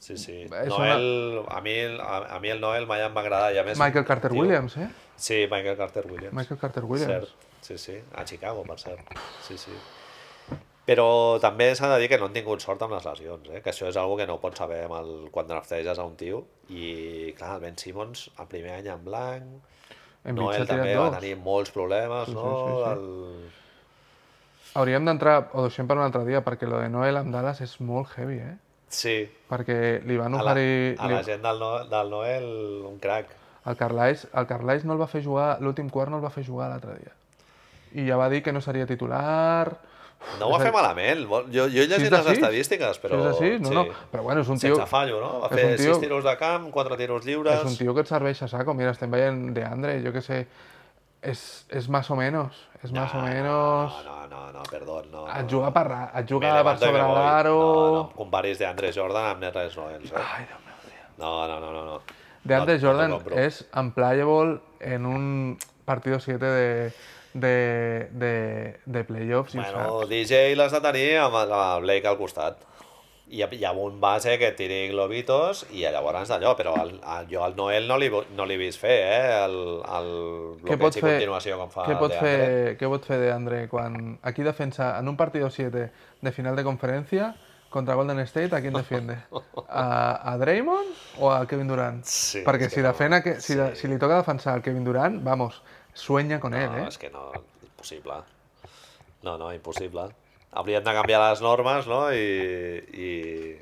Speaker 2: Sí, sí.
Speaker 1: És
Speaker 2: Noel, a, mi, el- a, a mi el Noel mai em va agradar. I a més,
Speaker 1: Michael Carter
Speaker 2: tio,
Speaker 1: Williams, eh?
Speaker 2: Sí, Michael Carter Williams.
Speaker 1: Michael Carter Williams.
Speaker 2: Cert, sí, sí, a Chicago, per cert. Sí, sí. Però també s'ha de dir que no han tingut sort amb les lesions, eh? que això és algo que no pots saber amb el, quan drafteges a un tio. I clar, el Ben Simmons, el primer any en blanc,
Speaker 1: Embiid
Speaker 2: Noel
Speaker 1: s'ha tirat
Speaker 2: també va
Speaker 1: dos.
Speaker 2: tenir molts problemes,
Speaker 1: Sí, sí,
Speaker 2: no?
Speaker 1: sí,
Speaker 2: El...
Speaker 1: Hauríem d'entrar, o deixem per un altre dia, perquè lo de Noel amb Dallas és molt heavy, eh?
Speaker 2: Sí,
Speaker 1: Perquè li van
Speaker 2: a la,
Speaker 1: oferir...
Speaker 2: a
Speaker 1: li-
Speaker 2: la gent del, no, del Noel, un crac.
Speaker 1: El Carlisle, el Carlisle no el va fer jugar, l'últim quart no el va fer jugar l'altre dia. I ja va dir que no seria titular...
Speaker 2: No ho va fer malament, vol- jo, jo he llegit les
Speaker 1: sis?
Speaker 2: estadístiques, però...
Speaker 1: Però... És així? No, no. Però bueno, és un tio,
Speaker 2: Sense fallo, no? Va
Speaker 1: és
Speaker 2: fer
Speaker 1: un tio-
Speaker 2: 6 tiros de camp, 4 tiros lliures...
Speaker 1: és un tio que et serveix a saco. Mira, estem veient de Andre, jo què sé... És, és más o menos, és más o menos...
Speaker 2: No, no, no, no perdón, no.
Speaker 1: Et
Speaker 2: no.
Speaker 1: juga per, ra- et
Speaker 2: Me
Speaker 1: juga per
Speaker 2: levanto y me
Speaker 1: sobre
Speaker 2: voy.
Speaker 1: l'aro...
Speaker 2: No, no, comparis de Andrés Jordan amb Nerres Noel, eh?
Speaker 1: Ai, Déu meu, tio.
Speaker 2: No, no, no, no. no.
Speaker 1: De Andre
Speaker 2: No, no
Speaker 1: Jordan
Speaker 2: lo compro.
Speaker 1: es unplayable en un partido 7 de, de, de, de playoffs. i ho
Speaker 2: Bueno,
Speaker 1: saps.
Speaker 2: DJ l'has de tenir amb el amb el Blake al costat. I hi ha un base que tiri globitos i llavors d'allò, però el, el, jo al Noel no li, vo- no l'he vist fer, eh? El, el
Speaker 1: Què
Speaker 2: bloqueig
Speaker 1: pot
Speaker 2: i
Speaker 1: fer,
Speaker 2: continuació com fa
Speaker 1: què pot
Speaker 2: de
Speaker 1: fer,
Speaker 2: Andre.
Speaker 1: què pot fer de Andre quan aquí defensa en un partido 7 de final de conferencia contra Golden State, a quién
Speaker 2: [LAUGHS]
Speaker 1: defiende? A, a Draymond o a Kevin Durant?
Speaker 2: Sí,
Speaker 1: Porque
Speaker 2: és
Speaker 1: si,
Speaker 2: que no.
Speaker 1: defena que, si, de- si li toca defensar al Kevin Durant, vamos, sueña con él,
Speaker 2: No,
Speaker 1: eh?
Speaker 2: és que no, impossible. No, no, impossible. Haurien de canviar les normes, no?, i, i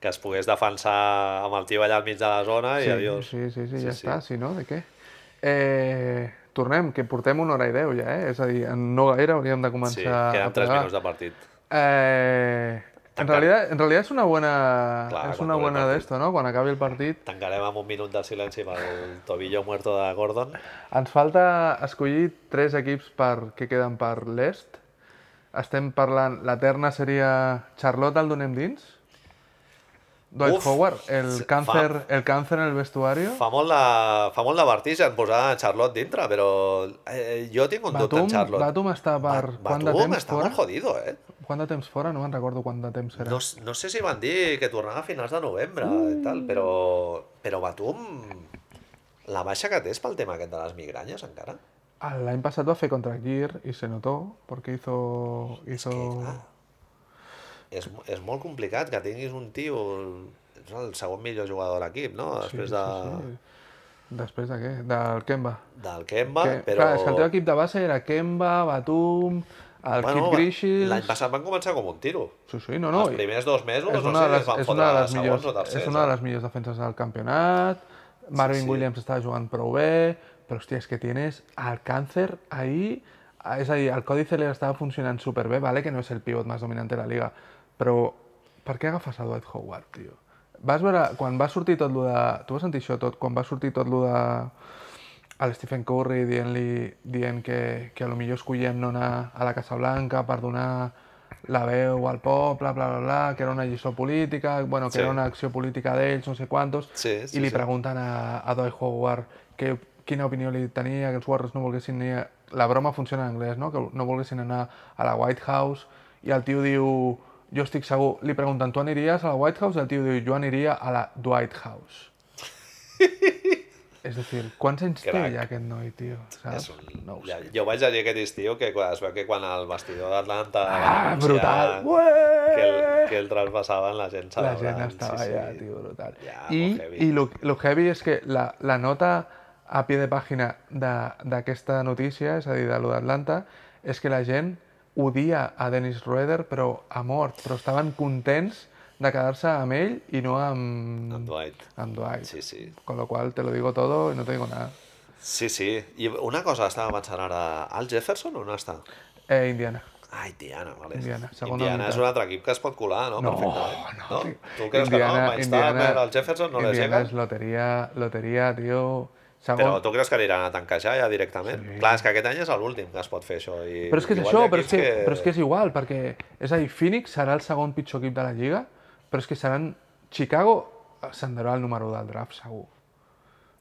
Speaker 2: que es pogués defensar amb el tio allà al mig de la zona i adiós.
Speaker 1: Sí, sí, sí, ja està, si no, de què? Eh, tornem, que portem una hora i deu ja, eh? És a dir, en no gaire hauríem de començar
Speaker 2: Sí, queden
Speaker 1: a
Speaker 2: 3
Speaker 1: plegar.
Speaker 2: minuts de partit.
Speaker 1: Eh, En realidad, en realidad es una buena,
Speaker 2: Clar,
Speaker 1: es
Speaker 2: quan
Speaker 1: una
Speaker 2: acabi el
Speaker 1: buena
Speaker 2: partit.
Speaker 1: d'esto, no? Quan acabi el partit
Speaker 2: Tancarem amb un minut de silenci pel tobillo muerto de Gordon.
Speaker 1: Ens falta escollir tres equips per, que queden per l'est. Estem parlant... La terna seria Charlotte, el donem dins? Dwight
Speaker 2: Uf,
Speaker 1: Howard, el
Speaker 2: se-
Speaker 1: càncer, el càncer en el vestuari?
Speaker 2: Fa molt de, fa molt de vertigen posar Charlotte dintre, però eh, jo tinc un dubte
Speaker 1: Batum,
Speaker 2: en Charlotte.
Speaker 1: Batum està per...
Speaker 2: Ba-
Speaker 1: quant de
Speaker 2: Batum
Speaker 1: temps
Speaker 2: està
Speaker 1: fora?
Speaker 2: molt jodido, eh?
Speaker 1: Quant de temps fora? No me'n recordo quant de temps era.
Speaker 2: No, s- no sé si van dir que tornava a finals de novembre i tal,
Speaker 1: Mm.
Speaker 2: però, però Batum... La baixa que té és pel tema aquest de les migranyes, encara.
Speaker 1: Ah, L'any passat va fer contra Gear i se notó, porque hizo... hizo...
Speaker 2: clar. És, mo- és molt complicat que tinguis un tio... És el segon millor jugador de l'equip, no? Després de,
Speaker 1: sí. Després de què? Del Kemba.
Speaker 2: del Kemba,
Speaker 1: Que,
Speaker 2: però...
Speaker 1: Clar, és que el teu equip de base era Kemba, Batum, el
Speaker 2: Bueno,
Speaker 1: Kid Grishis...
Speaker 2: L'any passat van començar com un tiro.
Speaker 1: Sí, sí, no, no.
Speaker 2: Els primers dos mesos,
Speaker 1: és
Speaker 2: no
Speaker 1: una,
Speaker 2: sé,
Speaker 1: de les,
Speaker 2: van
Speaker 1: és
Speaker 2: fotre
Speaker 1: una de les
Speaker 2: segons
Speaker 1: millors,
Speaker 2: o tercers. eh?
Speaker 1: és una de les millors defenses del campionat, Marvin
Speaker 2: sí.
Speaker 1: Williams està jugant prou bé, però hòstia, és que tienes el càncer ahí, ah, és a dir, el Còdice li estava funcionant superbé, vale, que no és el pivot més dominant de la liga, però per què agafes a Dwight Howard, tio? Vas veure, quan va sortir tot lo de... Tu vas sentir això tot? Quan va sortir tot lo de... El Stephen Curry dient-li dient que, que a lo millor escollem no anar a la Casa Blanca per donar la veu al poble, bla, bla, bla, que era una lliçó política, bueno, que
Speaker 2: Sí.
Speaker 1: era una acció política d'ells, no sé quantos,
Speaker 2: Sí, sí,
Speaker 1: i li
Speaker 2: sí.
Speaker 1: pregunten a, a Dwight Howard que, quina opinió li tenia, que els Warriors no volguessin ni... a- La broma funciona en anglès, no? Que no volguessin anar a la White House, i el tio diu, jo estic segur, li pregunten, tu aniries a la White House? I el tio diu, jo aniria a la Dwight House. És a dir, quants anys té
Speaker 2: Crac.
Speaker 1: ja aquest noi, tio? Saps?
Speaker 2: És un...
Speaker 1: No ho
Speaker 2: ja,
Speaker 1: sé.
Speaker 2: jo vaig llegir aquest estiu que quan, es veu que quan el vestidor d'Atlanta va
Speaker 1: Ah,
Speaker 2: anunciar
Speaker 1: brutal!
Speaker 2: que el,
Speaker 1: Ué!
Speaker 2: que el traspassaven la gent
Speaker 1: La
Speaker 2: celebrant,
Speaker 1: gent estava
Speaker 2: sí, sí.
Speaker 1: allà, tio, brutal.
Speaker 2: Ja,
Speaker 1: I,
Speaker 2: molt heavy.
Speaker 1: i lo, lo heavy és que la, la nota a pie de pàgina de- d'aquesta notícia, és a dir, de lo d'Atlanta, és que la gent odia a Dennis Roeder, però a mort, però estaven contents de quedar-se amb ell i no amb...
Speaker 2: En Dwight.
Speaker 1: Amb Dwight.
Speaker 2: Sí, sí.
Speaker 1: Con lo cual te lo digo todo y no te digo nada.
Speaker 2: Sí, sí. I una cosa estava pensant ara... Al Jefferson on està?
Speaker 1: Eh, Indiana.
Speaker 2: Ah, Indiana, vale.
Speaker 1: Indiana, segona
Speaker 2: Indiana és
Speaker 1: unitat.
Speaker 2: un altre equip que es pot colar, no?
Speaker 1: No,
Speaker 2: Perfectament.
Speaker 1: no,
Speaker 2: no?
Speaker 1: tio.
Speaker 2: Tu creus que no? Miles Turner, el Jefferson no les
Speaker 1: Indiana
Speaker 2: lleguen?
Speaker 1: és loteria, loteria, tio. Segon,
Speaker 2: Però tu creus que aniran a tancar ja, ja directament? Sí. Clar, és que aquest any és l'últim que es pot fer això. I
Speaker 1: Però és que és
Speaker 2: igual
Speaker 1: això,
Speaker 2: hi ha
Speaker 1: però és
Speaker 2: equips
Speaker 1: que, però és que és igual, perquè és a dir, Phoenix serà el segon pitjor equip de la Lliga, però és que seran... Chicago ascenderà al número del draft, segur.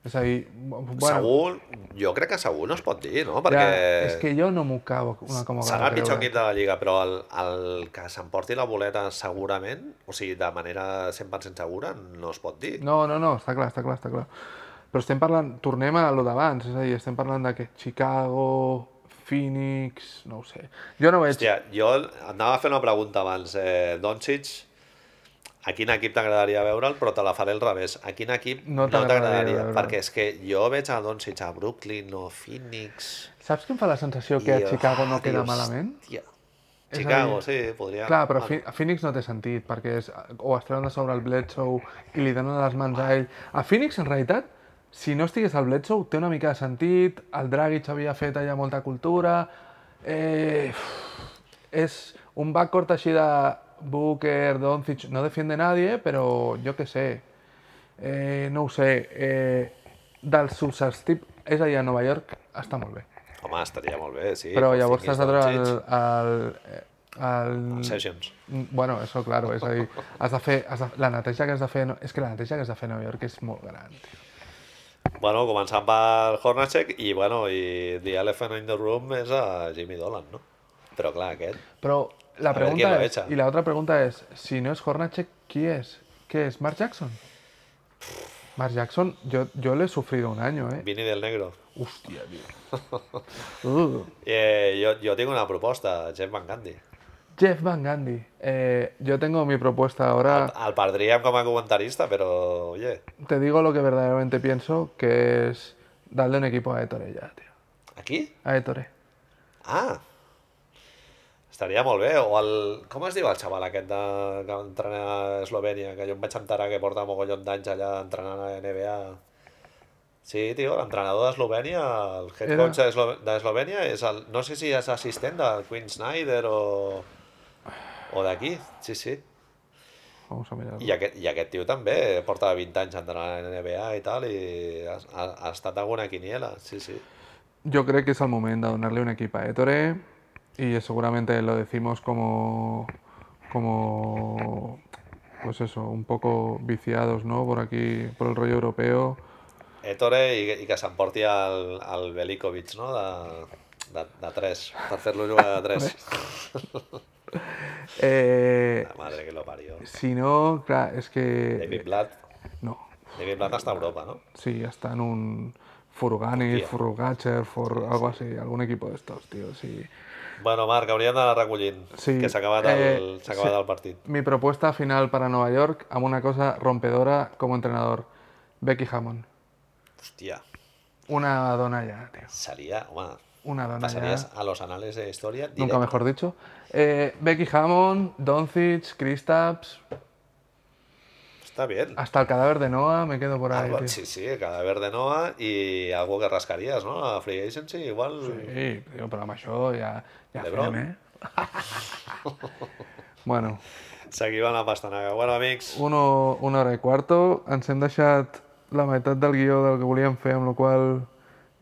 Speaker 1: És a dir... bu- Bueno,
Speaker 2: Segur, jo crec que segur no es pot dir, no? Perquè
Speaker 1: ja, és que jo no m'ho cavo una com a
Speaker 2: serà el pitjor equip de la Lliga, però el, el que s'emporti la boleta segurament, o sigui, de manera 100% segura, no es pot dir.
Speaker 1: No, no, no, està clar, està clar, està clar. Però estem parlant, tornem a lo d'abans, és a dir, estem parlant de que Chicago, Phoenix, no ho sé. Jo no veig...
Speaker 2: Hòstia, jo anava a fer una pregunta abans. Eh, Doncic, a quin equip t'agradaria veure'l? Però te la faré al revés. A quin equip
Speaker 1: No
Speaker 2: no
Speaker 1: t'agradaria
Speaker 2: t'agradaria?
Speaker 1: veure'l.
Speaker 2: perquè és que jo veig a Doncic a Brooklyn o Phoenix...
Speaker 1: Saps que em fa la sensació que a
Speaker 2: I,
Speaker 1: Chicago no
Speaker 2: ah,
Speaker 1: queda
Speaker 2: dius,
Speaker 1: malament?
Speaker 2: Hòstia.
Speaker 1: És a
Speaker 2: Chicago,
Speaker 1: dir-
Speaker 2: sí, podria...
Speaker 1: Clar, però
Speaker 2: Bueno,
Speaker 1: Phi- a Phoenix no té sentit, perquè és, o es treuen de sobre el Bledsoe i li donen les mans a ell. A Phoenix, en realitat, si no estigués al Bledsoe, té una mica de sentit, el Dragic havia fet allà molta cultura, eh, és un backcourt així de Booker, Doncic, no defiende nadie, però jo que sé, eh, no ho sé, eh, dels subsestip, és a dir, a Nova York està molt bé.
Speaker 2: Home, estaria molt bé, sí.
Speaker 1: Però
Speaker 2: que
Speaker 1: llavors t'has
Speaker 2: tinguis
Speaker 1: de treure
Speaker 2: Doncic.
Speaker 1: el, el, eh, el,
Speaker 2: Sessions.
Speaker 1: Mm, Bueno, eso claro, és a dir, has de fer, has de, la neteja que has de fer, no, és que la neteja que has de fer a Nova York és molt gran. tio.
Speaker 2: Bueno, començant per Hornacek i, bueno, i The Elephant in the Room és a Jimmy Dolan, no? Però clar, aquest...
Speaker 1: Però la
Speaker 2: A veure qui
Speaker 1: pregunta
Speaker 2: lo
Speaker 1: és,
Speaker 2: echa.
Speaker 1: i la otra pregunta és, si no és Hornacek, qui és? Què és, Mark Jackson? Mark Jackson, yo, yo le he sufrido un año, eh?
Speaker 2: Vini del Negro.
Speaker 1: Hòstia, tio. Uh.
Speaker 2: [LAUGHS] Eh, jo, jo tinc una proposta, Jeff Van Gundy.
Speaker 1: Jeff Van Gundy. Eh, yo tengo mi propuesta ahora.
Speaker 2: El perdríem com a comentarista, però, oye,
Speaker 1: Te digo lo que verdaderamente pienso, que es darle un equipo a Ettore ya, tío.
Speaker 2: aquí?
Speaker 1: A Ettore.
Speaker 2: Ah! Estaria molt bé. O el... Com es diu el xaval aquest de... que entrena a Eslovènia, que jo em vaig enterar que porta mogollon d'anys allà entrenant a NBA. Sí, tio, l'entrenador d'Eslovènia, el head
Speaker 1: Era-
Speaker 2: coach d'Eslo- d'Eslovènia, és el... no sé si és assistent del Queen Snyder o... o d'aquí, sí, sí.
Speaker 1: Vamos a mirar.
Speaker 2: I aquest, I aquest tio també porta 20 anys entrenant a la NBA i tal, i ha, ha, ha estat alguna quiniela, sí, sí.
Speaker 1: Yo creo que es el momento de donarle un equipo a Ettore y seguramente lo decimos como, como, pues eso, un poco viciados, ¿no? Por aquí, por el rollo europeo.
Speaker 2: Ettore i, i que s'emporti el, el Velikovic, no?, de, de, de 3, per fer-lo jugar de
Speaker 1: [LAUGHS]
Speaker 2: 3.
Speaker 1: Eh,
Speaker 2: La madre que lo parió.
Speaker 1: si no, claro, es que...
Speaker 2: David Blatt,
Speaker 1: No,
Speaker 2: David Blatt està a Europa, no?
Speaker 1: sí, hasta en un Furgani,
Speaker 2: Turquía.
Speaker 1: Furgacher, for, algo así, algún equipo de estos, tío, sí.
Speaker 2: Bueno, Marc, hauríem d'anar recollint,
Speaker 1: Sí,
Speaker 2: que s'ha acabat, el,
Speaker 1: eh,
Speaker 2: s'ha acabat el partit.
Speaker 1: Mi propuesta final para Nueva York, a una cosa rompedora como entrenador, Becky Hammond.
Speaker 2: Hòstia,
Speaker 1: Una dona ya, tío.
Speaker 2: seria, home,
Speaker 1: Una dona ya.
Speaker 2: passaries a los anales de història
Speaker 1: Nunca
Speaker 2: directe.
Speaker 1: mejor dicho. Eh, Becky Hammond, Doncic, Kristaps,
Speaker 2: Està bé.
Speaker 1: hasta el cadáver de Noah, me quedo por ahí.
Speaker 2: Algo,
Speaker 1: tío.
Speaker 2: sí, sí, cadáver de Noah i algo que rascaries, no? A Free Agency, igual...
Speaker 1: Sí, tío, pero más yo ya, ya
Speaker 2: LeBron.
Speaker 1: firme. [LAUGHS] bueno,
Speaker 2: Seguim amb la pastanaga. Bueno, amics,
Speaker 1: uno, una hora i quarto. Ens hem deixat la meitat del guió del que volíem fer, amb la qual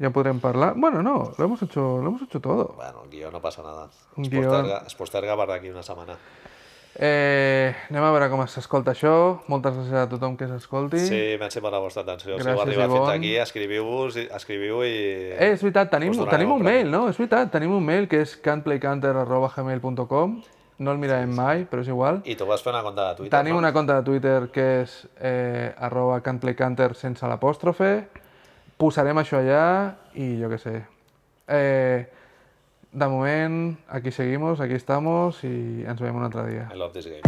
Speaker 1: ja podrem parlar. Bueno, no, lo hemos hecho, lo hemos hecho todo.
Speaker 2: bueno, el guió no passa nada.
Speaker 1: Un
Speaker 2: Es
Speaker 1: guió.
Speaker 2: posterga, es posterga per d'aquí una setmana.
Speaker 1: Eh, anem a veure com s'escolta això. Moltes gràcies a tothom que s'escolti.
Speaker 2: Sí, merci per la vostra atenció. si
Speaker 1: Gràcies,
Speaker 2: heu arribat fins
Speaker 1: Ivonne.
Speaker 2: aquí, escriviu-vos i- escriviu i...
Speaker 1: Eh, és veritat, tenim,
Speaker 2: Us donarem
Speaker 1: tenim
Speaker 2: un
Speaker 1: un
Speaker 2: premi.
Speaker 1: mail, no? És veritat, tenim un mail que és cantplaycanter.gmail.com No el mirarem mai, però és igual.
Speaker 2: I tu vas fer una conta de Twitter,
Speaker 1: Tenim
Speaker 2: no?
Speaker 1: una conta de Twitter que és eh, arroba cantplaycanter sense l'apòstrofe. Posarem això allà i jo què sé. Eh, de moment, aquí seguimos, aquí estamos i ens veiem un altre dia.
Speaker 2: I love this game.